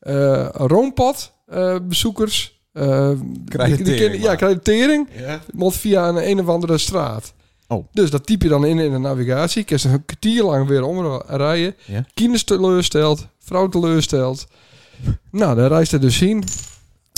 Speaker 1: Eh, een roompad, eh, bezoekers. Eh,
Speaker 2: Krijg je
Speaker 1: die- die
Speaker 2: tering,
Speaker 1: ken-
Speaker 2: maar.
Speaker 1: Ja, krijg je tering.
Speaker 2: Ja.
Speaker 1: Moet via een een of andere straat.
Speaker 2: Oh.
Speaker 1: Dus dat typ je dan in in de navigatie. Kun je een kwartier lang weer omrijden.
Speaker 2: Ja.
Speaker 1: Kinders teleurstelt, vrouw teleurstelt. Nou, dan reist hij dus heen.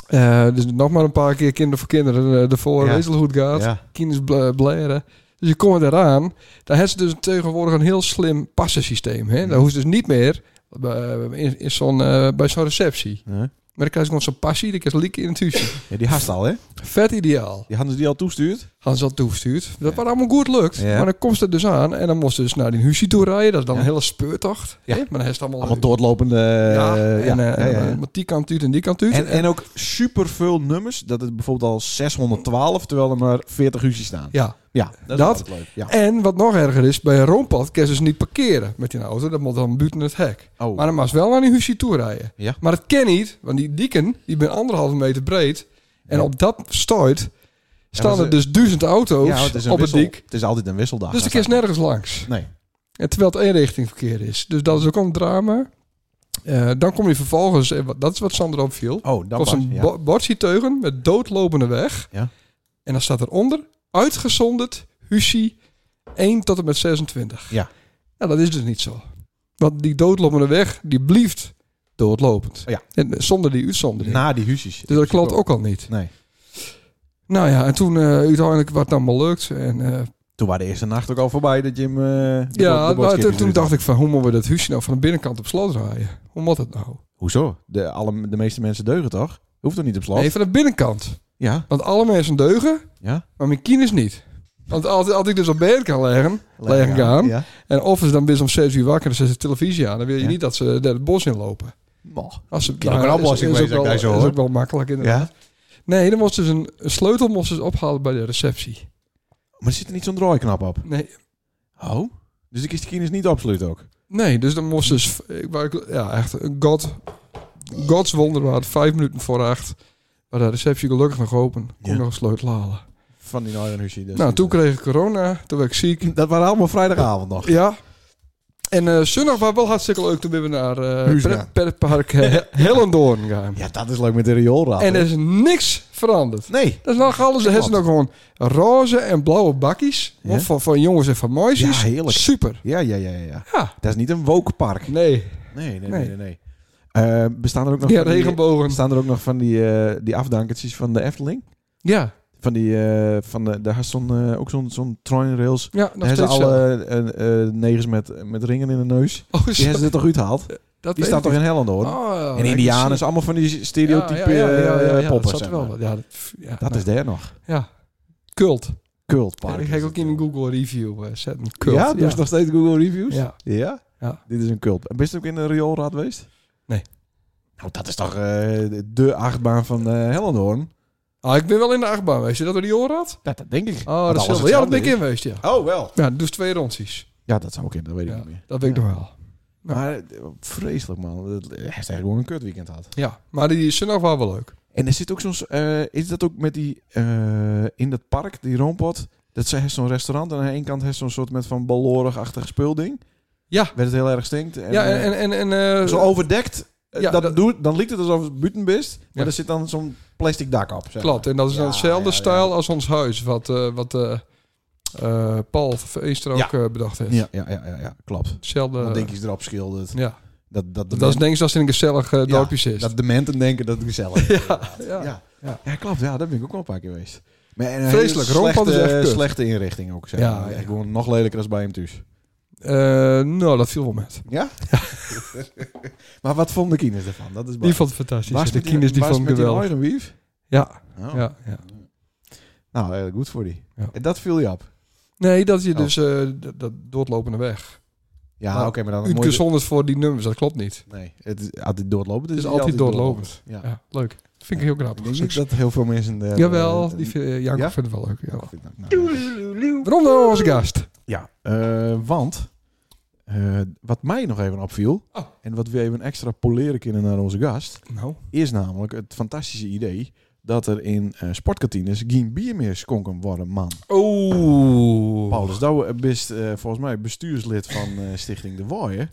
Speaker 1: Eh, dus nog maar een paar keer kinder voor kinderen eh, ervoor.
Speaker 2: Ja.
Speaker 1: Wees wel hoe het gaat
Speaker 2: Ja.
Speaker 1: kinders bla- blaren. Dus je
Speaker 2: Mm.
Speaker 1: komt eraan. Daar hebben ze dus tegenwoordig een heel slim passensysteem. Hè? Daar hoeft dus niet meer bij, in, in zo'n, eh, bij zo'n receptie.
Speaker 2: Ja.
Speaker 1: Maar dan krijg ik nog zo'n passie, dan krijg ik lekker in het huisje.
Speaker 2: Ja, die haast al, hè?
Speaker 1: Vet ideaal.
Speaker 2: Die hadden ze die al toestuurd.
Speaker 1: Hadden ze dat toegestuurd. Dat was allemaal goed lukt.
Speaker 2: Ja.
Speaker 1: Maar dan komt ze er dus aan en dan moest ze dus naar die huisje toe rijden. Dat is dan
Speaker 2: Ja.
Speaker 1: een hele speurtocht.
Speaker 2: Ja.
Speaker 1: hè? Maar dan is het allemaal...
Speaker 2: Allemaal doodlopende...
Speaker 1: ja,
Speaker 2: eh,
Speaker 1: en, eh,
Speaker 2: ja, ja, ja.
Speaker 1: en met die kant uit en die kant uit.
Speaker 2: En, en ook super veel nummers. Dat het bijvoorbeeld al 612, terwijl er maar 40 uurtjes staan.
Speaker 1: ja.
Speaker 2: Ja, dat is
Speaker 1: Dat?
Speaker 2: altijd leuk. Ja.
Speaker 1: En wat nog erger is, bij een roompad kan ze dus niet parkeren met die auto. Dat moet dan buiten het hek.
Speaker 2: Oh.
Speaker 1: Maar dan mag ze wel naar die huisje toe rijden.
Speaker 2: Ja.
Speaker 1: Maar dat kan niet, want die dieken, die ben anderhalve meter breed. En
Speaker 2: Ja.
Speaker 1: op dat stoit staan
Speaker 2: maar
Speaker 1: er
Speaker 2: ze-
Speaker 1: dus duizend auto's
Speaker 2: Ja, het is een
Speaker 1: op het
Speaker 2: wissel-
Speaker 1: dik.
Speaker 2: Het is altijd een wisseldag.
Speaker 1: Dus de
Speaker 2: Dat
Speaker 1: keer is
Speaker 2: staat-
Speaker 1: nergens langs.
Speaker 2: Nee.
Speaker 1: En terwijl het eenrichting verkeer is. Dus dat is ook een drama. Eh, dan kom je vervolgens, en wat- dat is wat Sander opviel.
Speaker 2: Oh, dan
Speaker 1: Kost
Speaker 2: was
Speaker 1: een
Speaker 2: ja.
Speaker 1: bo- bordje teugen met doodlopende weg.
Speaker 2: Ja.
Speaker 1: En dan staat eronder uitgezonderd Husi 1 tot en met 26.
Speaker 2: Ja.
Speaker 1: Nou, dat is dus niet zo. Want die doodlopende weg, die blieft doodlopend.
Speaker 2: Oh, Ja. Nou,
Speaker 1: En eh, zonder die uitzondering.
Speaker 2: Na die huisjes.
Speaker 1: dus dat klopt ook al niet.
Speaker 2: Nee.
Speaker 1: Nou ja, en toen eh, uiteindelijk wat dan maar lukt. En, eh,
Speaker 2: Toen waren de eerste nacht ook al voorbij dat je hem... eh, de bo-
Speaker 1: ja,
Speaker 2: de
Speaker 1: maar
Speaker 2: boodschap
Speaker 1: toen, toen
Speaker 2: doet.
Speaker 1: dacht ik van hoe moeten we dat Husi nou van de binnenkant op slot draaien? Hoe moet dat nou?
Speaker 2: Hoezo? De, alle, de meeste mensen deugen toch? Hoeft toch niet op slot?
Speaker 1: Nee, van de binnenkant.
Speaker 2: Ja,
Speaker 1: Want alle mensen deugen,
Speaker 2: ja.
Speaker 1: maar mijn kines niet. Want als, als ik dus op bed kan leggen, leggen
Speaker 2: Lekker aan.
Speaker 1: gaan,
Speaker 2: Ja.
Speaker 1: En of ze dan best om 6 uur wakker en ze de televisie aan, dan wil je
Speaker 2: Ja.
Speaker 1: niet dat ze daar het bos in lopen.
Speaker 2: Moch.
Speaker 1: Als ze, Nou,
Speaker 2: kan ook een oplossing
Speaker 1: is, is, ook
Speaker 2: wezen,
Speaker 1: wel,
Speaker 2: ik denk zo,
Speaker 1: is
Speaker 2: hoor.
Speaker 1: ook wel makkelijk. Inderdaad.
Speaker 2: Ja.
Speaker 1: Nee, dan moest dus een, een sleutel moest dus ophalen bij de receptie.
Speaker 2: Maar er zit er niet zo'n draaiknap op.
Speaker 1: Nee,
Speaker 2: Oh. Dus ik is de kines niet absoluut ook.
Speaker 1: nee dus dan moest dus, ik, waar ik- ja echt, een god, gods wonderwaard, vijf minuten voor acht, bij de receptie gelukkig nog open, kon
Speaker 2: Ja.
Speaker 1: nog een sleutel halen.
Speaker 2: Van die Nederlandse huisje. Dus
Speaker 1: nou, toen kreeg ik corona, toen werd ik ziek.
Speaker 2: Dat waren allemaal vrijdagavond nog.
Speaker 1: Ja. En eh zondag was wel hartstikke leuk, toen ben we naar
Speaker 2: Huus
Speaker 1: eh
Speaker 2: gaan.
Speaker 1: Petpark Hellendoorn gegaan.
Speaker 2: Ja, dat is leuk met de rioolraad.
Speaker 1: En
Speaker 2: hè?
Speaker 1: er is niks veranderd.
Speaker 2: Nee.
Speaker 1: Dat is nog alles. Er zijn nog gewoon roze en blauwe bakjes.
Speaker 2: Ja?
Speaker 1: Van, van jongens en van meisjes.
Speaker 2: Ja, heerlijk.
Speaker 1: Super.
Speaker 2: Ja, ja, ja, ja, ja.
Speaker 1: Ja.
Speaker 2: Dat is niet een wokpark.
Speaker 1: Nee.
Speaker 2: Nee, nee, nee,
Speaker 1: Nee.
Speaker 2: nee. nee. Eh, bestaan er ook nog
Speaker 1: Ja,
Speaker 2: van die-
Speaker 1: regenbogen.
Speaker 2: Staan er ook nog van die, eh, die afdankertjes van de Efteling?
Speaker 1: Ja.
Speaker 2: Van die, eh, van de, daar had zo'n, eh, ook zo'n, zo'n treinrails.
Speaker 1: Ja, nog
Speaker 2: Daar hebben
Speaker 1: steeds
Speaker 2: ze
Speaker 1: zo.
Speaker 2: alle eh, eh, negers met, met ringen in de neus.
Speaker 1: Oh,
Speaker 2: Die
Speaker 1: zo.
Speaker 2: hebben ze er toch uitgehaald?
Speaker 1: dat
Speaker 2: Die
Speaker 1: weet
Speaker 2: staat
Speaker 1: ik
Speaker 2: toch in Helland hoor?
Speaker 1: niet. Oh,
Speaker 2: en
Speaker 1: ja,
Speaker 2: Indianen,
Speaker 1: ik
Speaker 2: is allemaal van die
Speaker 1: zie-
Speaker 2: stereotype
Speaker 1: ja, ja, ja, ja, ja,
Speaker 2: eh,
Speaker 1: ja,
Speaker 2: poppen.
Speaker 1: Dat, zat
Speaker 2: zeg
Speaker 1: er wel
Speaker 2: maar.
Speaker 1: wat. Ja, dat, pff, ja,
Speaker 2: dat
Speaker 1: nou,
Speaker 2: is daar nog.
Speaker 1: Ja. Cult.
Speaker 2: Cultpark.
Speaker 1: ik
Speaker 2: is
Speaker 1: ga ook
Speaker 2: het.
Speaker 1: in een Google review eh, zetten. Cult.
Speaker 2: Ja, dus nog steeds Google Reviews?
Speaker 1: Ja.
Speaker 2: Ja?
Speaker 1: Ja.
Speaker 2: Dit is een cult. En Bist u ook in de rioolraad geweest?
Speaker 1: Nee.
Speaker 2: Nou, dat is toch eh, de achtbaan van eh Hellendoorn?
Speaker 1: Ah, ik ben wel in de achtbaan geweest. Is dat door die oor had?
Speaker 2: Dat, Nou, dat denk ik. Want
Speaker 1: Oh, dat
Speaker 2: alles
Speaker 1: is wel. Ja, dat ben ik
Speaker 2: hetzelfde
Speaker 1: in geweest,
Speaker 2: is.
Speaker 1: ja.
Speaker 2: Oh, wel.
Speaker 1: Ja, dus twee rondjes.
Speaker 2: Ja, dat zou ik in, dat weet ik
Speaker 1: Ja,
Speaker 2: niet meer.
Speaker 1: dat weet ik
Speaker 2: Ja.
Speaker 1: nog wel. Ja.
Speaker 2: Maar eh, vreselijk, man. Dat- Hij heeft eigenlijk gewoon een kut weekend gehad.
Speaker 1: Ja, maar die zondag was wel leuk.
Speaker 2: En er zit ook zo'n... eh, is dat ook met die... eh, in dat park, die roompot... Dat ze heeft zo'n restaurant en aan de ene kant heeft zo'n soort met van ballorig-achtig speelding.
Speaker 1: Ja.
Speaker 2: Werd het heel erg stinkt. En,
Speaker 1: ja,
Speaker 2: eh,
Speaker 1: en... en, en, en eh,
Speaker 2: zo overdekt. eh,
Speaker 1: Ja,
Speaker 2: dat
Speaker 1: dat-
Speaker 2: doet, dan lijkt het alsof het buiten best, maar
Speaker 1: Ja.
Speaker 2: er zit dan zo'n plastic dak op. Zeg
Speaker 1: Klopt,
Speaker 2: maar.
Speaker 1: en dat is dan
Speaker 2: Ja,
Speaker 1: hetzelfde
Speaker 2: ja, ja.
Speaker 1: stijl als ons huis, wat, eh, wat eh, eh, Paul van Eester ook
Speaker 2: Ja.
Speaker 1: eh, bedacht heeft.
Speaker 2: Ja, ja, ja, ja, ja, klopt.
Speaker 1: Hetzelfde.
Speaker 2: Dan denk je erop schilderd.
Speaker 1: ja.
Speaker 2: Dat, Eh, dat, de
Speaker 1: Dat is
Speaker 2: men-
Speaker 1: denk ik als het in een gezellig eh,
Speaker 2: ja,
Speaker 1: dorpje zit.
Speaker 2: Dat de mensen denken dat het gezellig is. ja,
Speaker 1: ja.
Speaker 2: ja.
Speaker 1: Ja.
Speaker 2: Ja, klopt. Ja, daar ben ik ook wel een paar keer geweest. Maar en een
Speaker 1: Vreselijk,
Speaker 2: hele
Speaker 1: Roompad is
Speaker 2: slechte-
Speaker 1: echt kut.
Speaker 2: slechte inrichting ook. Zeg.
Speaker 1: Ja,
Speaker 2: maar.
Speaker 1: ja.
Speaker 2: Echt Gewoon nog lelijker als bij hem thuis.
Speaker 1: Eh, nou, dat viel wel met.
Speaker 2: Ja? maar wat vonden de kinderen ervan? Dat is
Speaker 1: Die vond het fantastisch.
Speaker 2: Was
Speaker 1: de
Speaker 2: met
Speaker 1: kinders die
Speaker 2: was
Speaker 1: vonden het
Speaker 2: met
Speaker 1: geweldig.
Speaker 2: eigen wief?
Speaker 1: Ja,
Speaker 2: Oh.
Speaker 1: ja, ja.
Speaker 2: Nou, eh, goed voor die.
Speaker 1: Ja.
Speaker 2: En dat viel je op.
Speaker 1: Nee, dat je
Speaker 2: Oh.
Speaker 1: dus eh, dat, dat doodlopende weg.
Speaker 2: Ja,
Speaker 1: Nou,
Speaker 2: oké, maar dan een
Speaker 1: Uitke
Speaker 2: mooie-
Speaker 1: zonder voor die nummers, dat klopt niet.
Speaker 2: Nee, het is altijd doorlopend.
Speaker 1: Het is
Speaker 2: niet
Speaker 1: altijd doorlopend.
Speaker 2: doorlopend. Ja.
Speaker 1: Ja, leuk. vind ik heel
Speaker 2: Ik
Speaker 1: grappig.
Speaker 2: denk niet
Speaker 1: Succes.
Speaker 2: dat heel veel mensen... eh,
Speaker 1: Jawel,
Speaker 2: eh,
Speaker 1: die vind, eh, Jacob
Speaker 2: Ja?
Speaker 1: vindt het wel leuk. Ja.
Speaker 2: Nou,
Speaker 1: Waarom nou onze gast?
Speaker 2: ja, eh, want eh, wat mij nog even opviel...
Speaker 1: Oh.
Speaker 2: en wat we even extra poleren kunnen naar onze gast...
Speaker 1: Nou,
Speaker 2: is namelijk het fantastische idee... dat er in eh, sportkantines geen bier meer skonken worden, man.
Speaker 1: Oeh.
Speaker 2: Paulus Douwe bist eh, volgens mij bestuurslid van eh, Stichting De Waaien.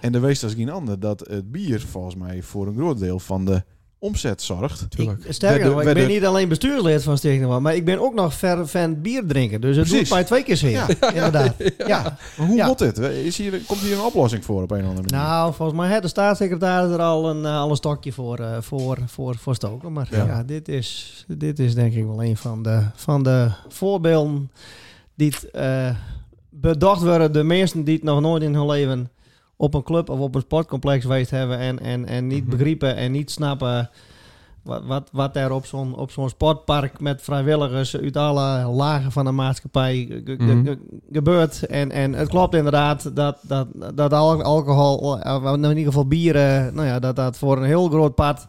Speaker 2: En er wees als geen ander dat het bier volgens mij voor een groot deel van de omzet zorgt.
Speaker 1: Tuurlijk.
Speaker 3: Ik, sterker nog,
Speaker 2: Wij
Speaker 3: ik
Speaker 2: de-
Speaker 3: ben niet alleen bestuurslid van Stichting Noord, maar ik ben ook nog ver fan bier drinken. Dus het
Speaker 2: Precies.
Speaker 3: doet mij twee keer zeer.
Speaker 2: Ja.
Speaker 3: Inderdaad. Ja.
Speaker 2: Maar hoe
Speaker 3: Ja.
Speaker 2: moet dit? Is hier, komt hier een oplossing voor op een of andere manier?
Speaker 3: Nou, volgens mij had de staatssecretaris er al een, eh, al een stokje voor, eh, voor, voor, voor stoken. Maar
Speaker 2: Ja.
Speaker 3: ja, dit, is, dit is denk ik wel een van de, van de voorbeelden die het, eh, bedacht worden. De mensen die het nog nooit in hun leven op een club of op een sportcomplex geweest hebben en, en, en niet
Speaker 2: Mhm.
Speaker 3: begrijpen en niet snappen wat, wat, wat er op zo'n, op zo'n sportpark met vrijwilligers uit alle lagen van de maatschappij ge- ge-
Speaker 1: Mhm.
Speaker 3: ge- gebeurt. En, en het klopt inderdaad dat, dat, dat al- alcohol, eh, nou in ieder geval bieren, nou ja, dat dat voor een heel groot pad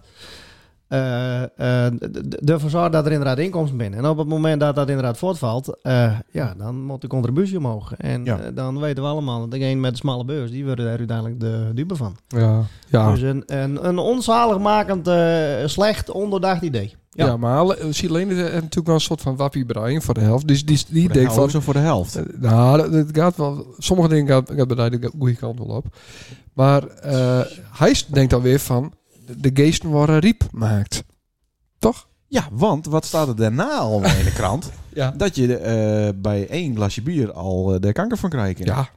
Speaker 3: eh, eh, d- d- ervoor zorgt dat er inderdaad inkomsten binnen. En op het moment dat dat inderdaad voortvalt, eh, ja, dan moet de contributie omhoog. En
Speaker 2: Ja.
Speaker 3: eh, dan weten we allemaal dat degene met de smalle beurs, die worden daar uiteindelijk de dupe van.
Speaker 1: Ja, ja.
Speaker 3: Dus een, een, een onzaligmakend, eh, slecht, onderdacht idee.
Speaker 1: ja.
Speaker 3: ja.
Speaker 1: maar Silene heeft eh, natuurlijk wel een soort van wappie brein voor de helft. Dus die, die
Speaker 2: Voor de
Speaker 1: denkt van,
Speaker 2: helft of voor de helft.
Speaker 1: Eh, Nou, dat, dat gaat wel. Sommige dingen gaat, gaat bij mij de goede kant wel op. Maar eh, hij s- denkt alweer van de geesten worden riep maakt. Toch?
Speaker 2: Ja, want wat staat er daarna al in de krant?
Speaker 1: Ja.
Speaker 2: Dat je eh, bij één glasje bier al eh, de kanker van krijgt.
Speaker 1: Ja.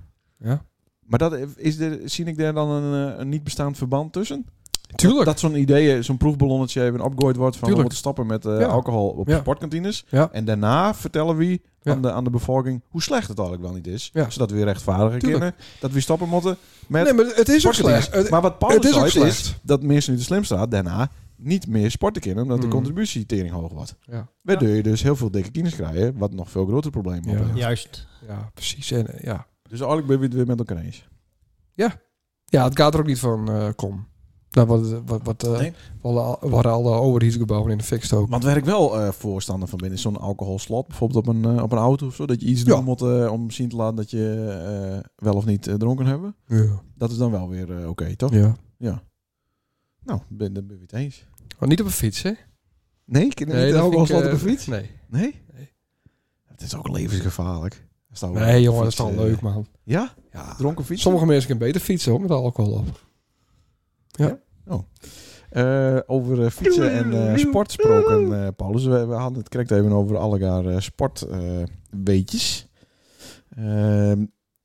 Speaker 2: Maar dat, is er, zie ik daar dan een, eh, een niet bestaand verband tussen?
Speaker 1: Tuurlijk.
Speaker 2: Dat zo'n idee, eh, zo'n proefballonnetje even opgooid wordt van we
Speaker 1: Tuurlijk.
Speaker 2: moeten stoppen met eh,
Speaker 1: Ja.
Speaker 2: alcohol op
Speaker 1: Ja.
Speaker 2: sportkantines.
Speaker 1: Ja.
Speaker 2: En daarna vertellen we
Speaker 1: Ja.
Speaker 2: aan, de, aan de bevolking hoe slecht het eigenlijk wel niet is.
Speaker 1: Ja.
Speaker 2: Zodat we weer rechtvaardigen
Speaker 1: Tuurlijk.
Speaker 2: kunnen. Dat we stoppen moeten met
Speaker 1: nee, maar het is ook
Speaker 2: sportkantines.
Speaker 1: slecht. Het,
Speaker 2: maar wat Paulus
Speaker 1: het is ook
Speaker 2: zei is
Speaker 1: slecht.
Speaker 2: dat mensen nu de slim staat daarna niet meer sporten kunnen omdat
Speaker 1: Mhm.
Speaker 2: de contributietering hoog wordt.
Speaker 1: Ja.
Speaker 2: Waardoor je dus heel veel dikke kines krijgen, wat nog veel groter probleem
Speaker 1: Ja.
Speaker 2: oplevert.
Speaker 3: Juist.
Speaker 1: Ja, precies. En, eh, ja.
Speaker 2: Dus eigenlijk ben je het weer met elkaar eens.
Speaker 1: ja, het gaat er ook niet van eh, kom. Nou, wat, wat, wat, eh,
Speaker 2: Nee.
Speaker 1: alle- waren alle overheidsgebouwen in de fik ook.
Speaker 2: Want waar ik wel eh, voorstander van ben, is zo'n alcoholslot. Bijvoorbeeld op een, eh, op een auto of zo. Dat je iets
Speaker 1: Ja.
Speaker 2: doen moet eh, om zien te laten dat je eh, wel of niet eh, dronken hebben.
Speaker 1: Ja.
Speaker 2: Dat is dan wel weer eh, oké, toch?
Speaker 1: ja.
Speaker 2: Nou, ben, dan ben je het eens.
Speaker 1: Maar niet op een fiets, hè?
Speaker 2: Nee, ik niet
Speaker 1: dat vind ik,
Speaker 2: alcoholslot op
Speaker 1: eh,
Speaker 2: een fiets.
Speaker 1: Nee.
Speaker 2: Nee?
Speaker 1: Nee.
Speaker 2: Het is ook levensgevaarlijk. Er staat wel
Speaker 1: Nee,
Speaker 2: een
Speaker 1: jongen, dat is
Speaker 2: fiets,
Speaker 1: toch
Speaker 2: eh,
Speaker 1: leuk, man.
Speaker 2: Ja?
Speaker 1: Ja.
Speaker 2: Dronken fiets?
Speaker 1: Sommige mensen kunnen beter fietsen hoor, met alcohol op.
Speaker 2: Eh, over eh, fietsen en eh, sport gesproken, eh, Paulus. We, we hadden het correct even over allegaar eh sportweetjes. we,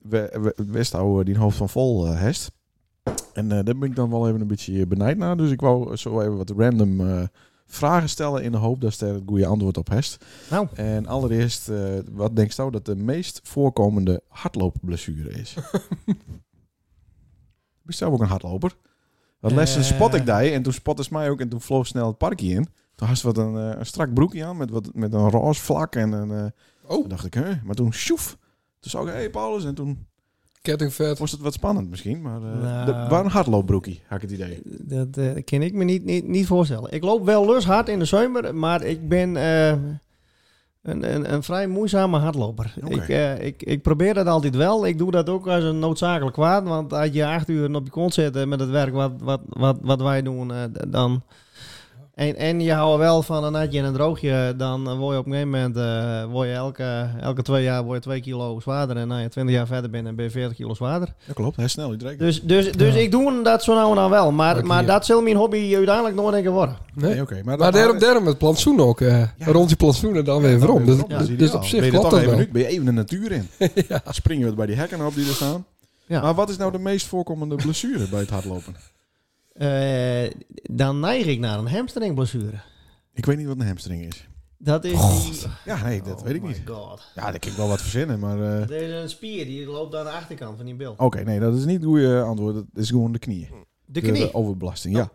Speaker 2: we, Westouw die een hoofd van vol eh, hest. En eh, daar ben ik dan wel even een beetje eh, benijd naar. Dus ik wou zo even wat random eh, vragen stellen in de hoop dat ze er het goede antwoord op hest.
Speaker 3: Nou.
Speaker 2: En allereerst, eh, wat denkt jou dat de meest voorkomende hardloopblessure is? ik ben zelf ook een hardloper. Dat lessen
Speaker 3: Eh.
Speaker 2: spot ik daar en toen spotte ze mij ook en toen vloog snel het parkje in. Toen had ze wat een, eh, een strak broekje aan met, wat, met een roze vlak en een... eh,
Speaker 1: Oh.
Speaker 2: Toen dacht ik, hè? Maar toen sjoef. Toen zag ik, hé hey, Paulus, en toen
Speaker 1: Kettingvet.
Speaker 2: was het wat spannend misschien, maar eh
Speaker 3: Nou.
Speaker 2: de, waar een hardloopbroekie, had ik het idee.
Speaker 3: Dat eh, kan ik me niet, niet, niet voorstellen. Ik loop wel lus hard in de zomer, maar ik ben eh, een, een, een vrij moeizame hardloper.
Speaker 2: Oké.
Speaker 3: Ik, eh, ik, ik probeer dat altijd wel. Ik doe dat ook als een noodzakelijk kwaad. Want als je acht uur op je kont zit eh, met het werk wat, wat, wat, wat wij doen, eh, d- dan... En, en je houdt wel van een natje en een droogje, dan eh, word je op een gegeven moment eh, word je elke, elke twee jaar word je twee kilo zwaarder. En als je twintig jaar verder bent, dan ben je veertig kilo zwaarder.
Speaker 2: Dat klopt, hij snel, iedereen.
Speaker 3: Dus, dus, dus
Speaker 1: Ja.
Speaker 3: ik doe dat zo nou en dan wel. Maar,
Speaker 1: Leuk
Speaker 3: maar
Speaker 1: hier.
Speaker 3: dat zal mijn hobby uiteindelijk nooit een keer worden.
Speaker 1: Nee.
Speaker 2: oké. Maar,
Speaker 1: Maar daarom, daarom het plantsoen ook. eh, Rond die plantsoen en dan weer
Speaker 2: dan
Speaker 1: waarom.
Speaker 2: weer
Speaker 1: Dus,
Speaker 2: rond, dat is
Speaker 1: dus
Speaker 2: ideaal.
Speaker 1: op zich
Speaker 2: ben je er
Speaker 1: klopt
Speaker 2: toch
Speaker 1: dat
Speaker 2: even
Speaker 1: wel.
Speaker 2: nu, ben je even de natuur in. Spring je wat bij die hekken op die er staan.
Speaker 3: Ja.
Speaker 2: Maar wat is nou de meest voorkomende blessure bij het hardlopen?
Speaker 3: Eh, dan neig ik naar een hamstringblessure.
Speaker 2: Ik weet niet wat een hamstring is. Oh
Speaker 3: Dat is. Oh
Speaker 2: Ja, nee, dat weet ik niet.
Speaker 3: God.
Speaker 2: Ja, daar kan ik wel wat verzinnen, maar... eh,
Speaker 3: Er is een spier die loopt aan de achterkant van die bil.
Speaker 2: Oké, nee, dat is niet het goede antwoord. Dat is gewoon de knieën. De-
Speaker 3: De knie.
Speaker 2: De overbelasting, ja.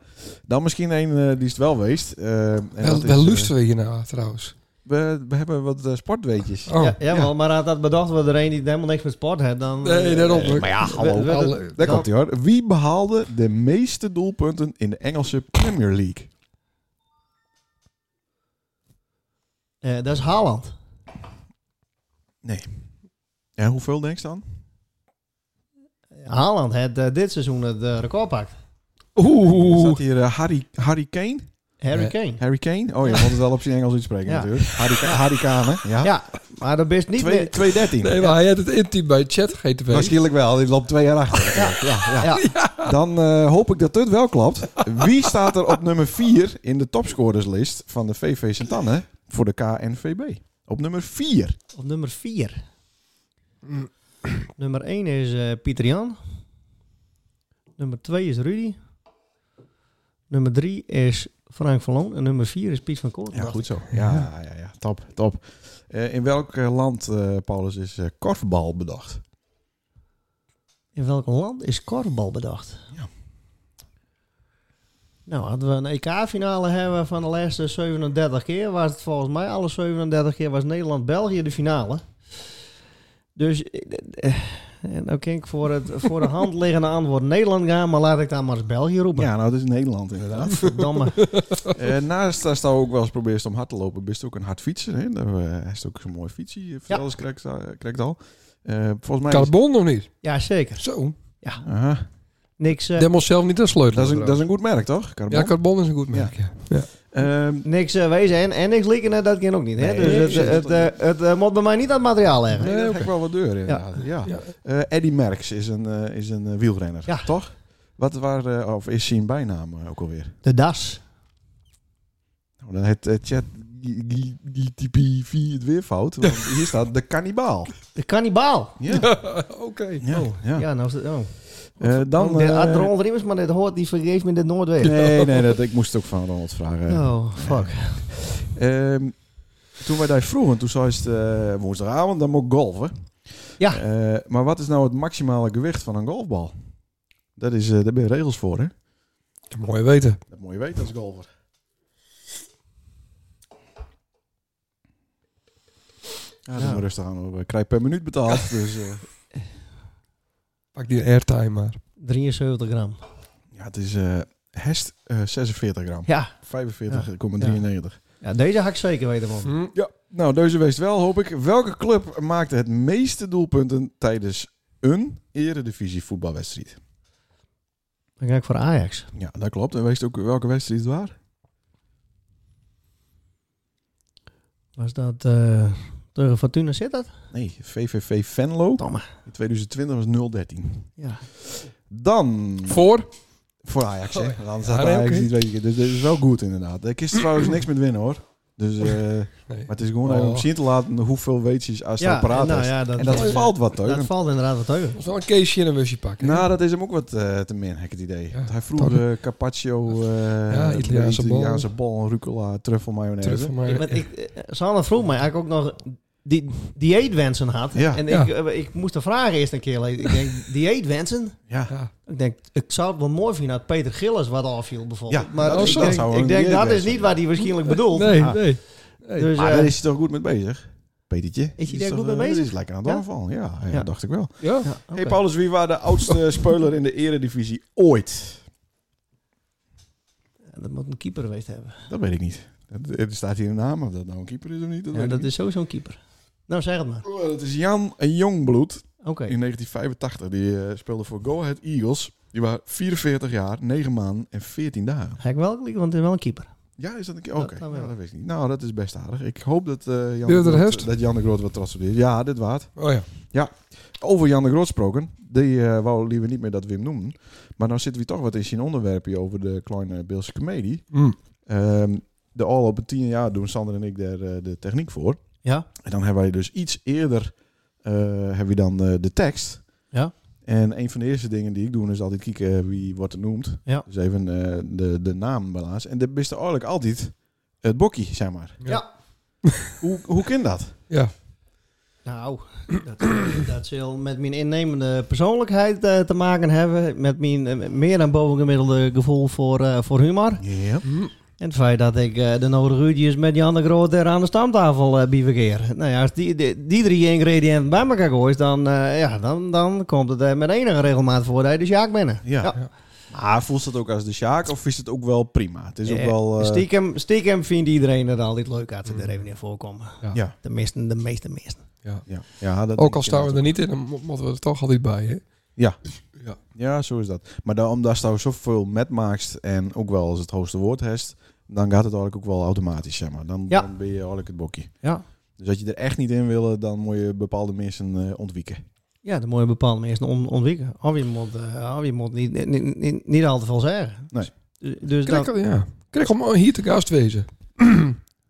Speaker 2: Dan misschien een eh, die is het wel geweest. eh, en dat
Speaker 1: Oh. Wel,
Speaker 2: is,
Speaker 1: wel
Speaker 2: eh,
Speaker 1: luisteren we hierna trouwens.
Speaker 2: We, we hebben wat eh, sportweetjes.
Speaker 1: Oh.
Speaker 3: ja, jawel,
Speaker 1: ja.
Speaker 3: maar had dat bedacht wordt er een die helemaal niks met sport heeft, dan. eh,
Speaker 1: Nee, daarom.
Speaker 2: maar ja, hallo.
Speaker 3: we- we-
Speaker 1: Alle-
Speaker 2: Daar
Speaker 3: Dan-
Speaker 2: komt hij hoor. Wie behaalde de meeste doelpunten in de Engelse Premier League?
Speaker 3: eh, dat is Haaland.
Speaker 2: En hoeveel denk je dan?
Speaker 3: Haaland heeft eh, dit seizoen het eh, record pakt.
Speaker 2: Staat
Speaker 1: Oeh.
Speaker 2: hier eh, Harry, Harry Kane?
Speaker 3: Harry
Speaker 1: Ja.
Speaker 3: Kane.
Speaker 2: Harry Kane? Oh, je moet het wel op zijn Engels uitspreken
Speaker 3: Ja.
Speaker 2: natuurlijk. Harry, Ka- Harry Kane, hè? ja.
Speaker 3: Ja, maar dat is niet
Speaker 2: Twee-
Speaker 3: meer.
Speaker 2: 213.
Speaker 1: Nee, maar hij had het intiem bij chat GTP.
Speaker 2: Waarschijnlijk wel, die loopt twee jaar achter. Ja, ja.
Speaker 3: Ja.
Speaker 2: Dan eh, hoop ik dat dit wel klopt. Wie staat er op nummer 4 in de topscorerslijst van de VV Santanne voor de KNVB? Op nummer 4.
Speaker 3: Op nummer 4. Nummer 1 is eh Pieter Jan. Nummer 2 is Rudy. Nummer 3 is Frank van Loon. En nummer 4 is Piet van Koort.
Speaker 2: Ja, goed zo. Ja, ja, ja. Top, top. Eh, in welk eh, land, eh, Paulus, is eh korfbal bedacht?
Speaker 3: In welk land is korfbal bedacht?
Speaker 2: Ja.
Speaker 3: Nou, hadden we een EK-finale hebben van de laatste 37 keer. Was het volgens mij alle 37 keer was Nederland-België de finale. Dus, eh, eh, nou kan ik voor het voor de hand liggende antwoord Nederland gaan, maar laat ik dan maar eens België roepen.
Speaker 2: Ja, nou, dat is Nederland inderdaad.
Speaker 3: Verdomme.
Speaker 2: Eh, naast dat je ook wel eens probeert om hard te lopen, ben je ook een hard fietser. Hè? Dan eh, is het ook zo'n mooi fietsje, eh, vertel eens, krijgt krijgt al. Eh, volgens mij... is-
Speaker 1: Carbon of niet?
Speaker 3: Ja, zeker.
Speaker 1: Zo.
Speaker 2: Aha.
Speaker 3: Niks, eh,
Speaker 1: Dat moet zelf niet een sleutel.
Speaker 2: Dat, is een, dat is een goed merk, toch? Carbon?
Speaker 1: ja, carbon is een goed merk. Ja.
Speaker 2: Ehm,
Speaker 3: niks eh, wezen en, en niks lieken, eh, dat kan ook niet. Hè?
Speaker 2: Nee,
Speaker 3: dus het,
Speaker 2: precies.
Speaker 3: het, eh, het, eh, moet bij mij niet aan het materiaal leggen.
Speaker 2: nee,
Speaker 1: Nee,
Speaker 2: dat
Speaker 1: oké.
Speaker 2: heb ik wel wat deur inderdaad. Ja.
Speaker 1: Ja.
Speaker 2: Eh, Eddy Merckx is een, eh, is een eh, wielrenner,
Speaker 3: Ja.
Speaker 2: toch? Wat waar, eh, of is zijn bijnaam eh, ook alweer?
Speaker 3: De das.
Speaker 2: Nou, dan heeft eh, chat GTP het weer fout. Want hier staat de kannibaal.
Speaker 3: De kannibaal.
Speaker 2: Ja.
Speaker 1: Oké.
Speaker 2: Ja.
Speaker 1: Oh.
Speaker 2: ja.
Speaker 3: Ja, nou is het... Oh.
Speaker 2: Eh, dan...
Speaker 3: de
Speaker 2: eh,
Speaker 3: Adron Riemers, maar dit hoort, die vergeeft me dit nooit weer.
Speaker 2: nee, nee, dat, ik moest het ook van Ronald vragen.
Speaker 3: Oh, fuck.
Speaker 2: Ehm, toen wij daar vroegen, toen zei het eh, woensdagavond, dan moet ik golven.
Speaker 3: Ja.
Speaker 2: Eh, maar wat is nou het maximale gewicht van een golfbal? Dat is, eh daar ben je regels voor, hè?
Speaker 1: Dat is mooi weten.
Speaker 2: Dat moet je weten als golfer. Ja, doe
Speaker 3: Ja.
Speaker 2: maar rustig aan. hoor. We krijgen per minuut betaald. Dus eh,
Speaker 1: Pak die airtime maar.
Speaker 3: 73 gram.
Speaker 2: ja, het is eh hest eh, 46 gram.
Speaker 3: Ja.
Speaker 2: 45,93.
Speaker 3: ja, deze hak zeker weten, man.
Speaker 1: Hm.
Speaker 2: Nou, deze wees wel, hoop ik. Welke club maakte het meeste doelpunten tijdens een eredivisie voetbalwedstrijd?
Speaker 3: Dan ga ik voor Ajax.
Speaker 2: Ja, dat klopt. En wees ook welke wedstrijd het waar?
Speaker 3: Was dat eh tegen Fortuna zit dat?
Speaker 2: Nee, VVV Venlo.
Speaker 3: Domme.
Speaker 2: In 2020 was 0-13.
Speaker 3: Ja.
Speaker 2: Dan
Speaker 1: Voor? Oh,
Speaker 2: voor Ajax, hè? Dan
Speaker 1: Ja, Ah,
Speaker 2: staat
Speaker 1: nee,
Speaker 2: Ajax
Speaker 1: oké.
Speaker 2: niet, weet je. Dus dit is wel goed, inderdaad. Ik is trouwens niks met winnen, hoor. Dus, eh,
Speaker 1: Nee.
Speaker 2: maar het is gewoon
Speaker 1: Oh.
Speaker 2: even om zien te laten hoeveel weetjes als
Speaker 3: Ja,
Speaker 2: ja, paraat
Speaker 3: nou
Speaker 2: is.
Speaker 3: ja, dat-
Speaker 2: en dat
Speaker 3: dat-
Speaker 2: valt wat,
Speaker 3: Dat
Speaker 2: hoor.
Speaker 3: valt inderdaad wat teugen.
Speaker 1: Of wel een keesje en een busje pakken.
Speaker 2: Nou, dat is hem ook wat eh, te min, heb ik het idee.
Speaker 1: Ja,
Speaker 2: Want hij vroeg
Speaker 1: toch?
Speaker 2: eh, carpaccio, eh,
Speaker 1: Ja, Italiaanse bol.
Speaker 2: Italiaanse bol, rucola, truffelmayonaise.
Speaker 1: Terug voor mij.
Speaker 3: Ik, ben- ik, eh, Sanne vroeg mij eigenlijk ook nog die dieetwensen had.
Speaker 2: Ja.
Speaker 3: En
Speaker 1: Ja.
Speaker 3: Ik, eh, ik moest de vraag eerst een keer lezen. Ik denk, dieetwensen?
Speaker 2: Ja.
Speaker 1: Ja.
Speaker 3: Ik denk, ik zou het wel mooi vinden dat Peter Gillis wat afviel bijvoorbeeld.
Speaker 2: Ja,
Speaker 3: maar
Speaker 2: dat
Speaker 3: ik
Speaker 1: zou-
Speaker 3: denk,
Speaker 2: dat zou
Speaker 3: ik
Speaker 2: een
Speaker 3: denk dat is
Speaker 2: dieetwens
Speaker 3: niet waar hij waarschijnlijk bedoelt.
Speaker 1: Nee,
Speaker 2: Ah.
Speaker 1: nee. nee.
Speaker 3: Dus,
Speaker 2: Maar
Speaker 3: eh,
Speaker 2: daar is hij toch goed mee bezig? Petertje.
Speaker 3: hij daar
Speaker 2: toch,
Speaker 3: goed mee
Speaker 2: eh,
Speaker 3: bezig?
Speaker 2: Dat is lekker aan het
Speaker 3: Ja?
Speaker 2: aanvallen, ja. ja,
Speaker 3: Ja.
Speaker 2: dacht ik wel.
Speaker 1: ja.
Speaker 3: ja, oké.
Speaker 2: Hey Paulus, wie was de oudste speler in de eredivisie ooit?
Speaker 3: Ja, Dat moet een keeper geweest hebben.
Speaker 2: Dat weet ik niet. Het- Er staat hier een naam, of dat nou een keeper is of niet. Dat,
Speaker 3: Ja,
Speaker 2: weet ik
Speaker 3: dat is sowieso een keeper. Nou, zeg het maar.
Speaker 2: niet. Oh, dat is Jan Jongbloed
Speaker 3: Oké.
Speaker 2: in 1985. Die eh, speelde voor Go Ahead Eagles. Die was 44 jaar, 9 maanden en 14 dagen.
Speaker 3: Ga ik wel klikken, want het is wel een keeper.
Speaker 2: Ja, is dat een keer?
Speaker 3: Dat-
Speaker 2: Oké,
Speaker 3: dat wel.
Speaker 2: nou, dat weet ik niet. Nou, dat is best aardig. Ik hoop dat, eh, Jan,
Speaker 1: Wil je
Speaker 2: de
Speaker 1: dat
Speaker 2: Groot,
Speaker 1: herfst?
Speaker 2: dat Jan de Groot wat trots op is. Ja, dit waard.
Speaker 1: Oh ja.
Speaker 2: Over Jan de Groot gesproken, die eh, wou liever niet meer dat we hem noemen. Maar nou zitten we toch wat in zijn onderwerpje over de kleine Beelse comedie.
Speaker 1: Hm.
Speaker 2: Ehm, de al op tien jaar doen Sander en ik daar eh, de techniek voor.
Speaker 3: Ja.
Speaker 2: En dan hebben wij dus iets eerder eh, hebben we dan eh, de tekst.
Speaker 3: Ja.
Speaker 2: En een van de eerste dingen die ik doe is altijd kijken eh, wie wordt er noemd.
Speaker 3: Ja.
Speaker 2: Dus even eh, de, de naam balans. En dat is er eigenlijk altijd het bokkie, zeg maar.
Speaker 1: Ja.
Speaker 3: Ja.
Speaker 2: hoe, hoe kan dat?
Speaker 1: Ja.
Speaker 3: Nou, dat, dat zal met mijn innemende persoonlijkheid eh, te maken hebben. Met mijn eh, meer dan bovengemiddelde gevoel voor, eh, voor humor.
Speaker 2: Ja.
Speaker 1: Hm.
Speaker 3: En het feit dat ik eh, de nodige uurtjes met Jan de Groot daar aan de stamtafel uh, bivakkeer. Nou ja, als die, die, die drie ingrediënten bij elkaar gooit, dan, eh, ja, dan, dan komt het eh, met enige regelmaat voor dat je de Sjaak bent.
Speaker 2: Ja.
Speaker 1: Ja.
Speaker 2: Maar voelt dat ook als de Sjaak of is het ook wel prima? Het is ook
Speaker 3: Eh,
Speaker 2: wel... eh,
Speaker 3: stiekem, stiekem vindt iedereen het altijd leuk als ze er even in voorkomen.
Speaker 2: Ja.
Speaker 3: De meeste, de meeste, de meeste.
Speaker 2: Ja. Ja, dat
Speaker 1: Ook al
Speaker 2: denk ik
Speaker 1: staan we
Speaker 2: inderdaad
Speaker 1: er niet in, dan mo- moeten we er toch altijd bij.
Speaker 2: Dus
Speaker 1: Hè?
Speaker 2: ook. Ja, zo is dat. Maar dan, omdat je zoveel met maakt en ook wel als het hoogste woord hebt, dan gaat het eigenlijk ook wel automatisch, zeg maar. Dan,
Speaker 3: Ja.
Speaker 2: dan ben je eigenlijk het bokje.
Speaker 3: Ja.
Speaker 2: Dus als je er echt niet in wil, dan moet je bepaalde mensen eh, ontwieken.
Speaker 3: Ja, dan moet je bepaalde mensen on ontwikkelen. Of je moet, eh, of je moet niet, niet, niet, niet al te veel zeggen.
Speaker 2: Nee.
Speaker 3: Dus, dus
Speaker 1: Krijg,
Speaker 3: dan,
Speaker 1: ja. Krijg om eh, hier te gast wezen.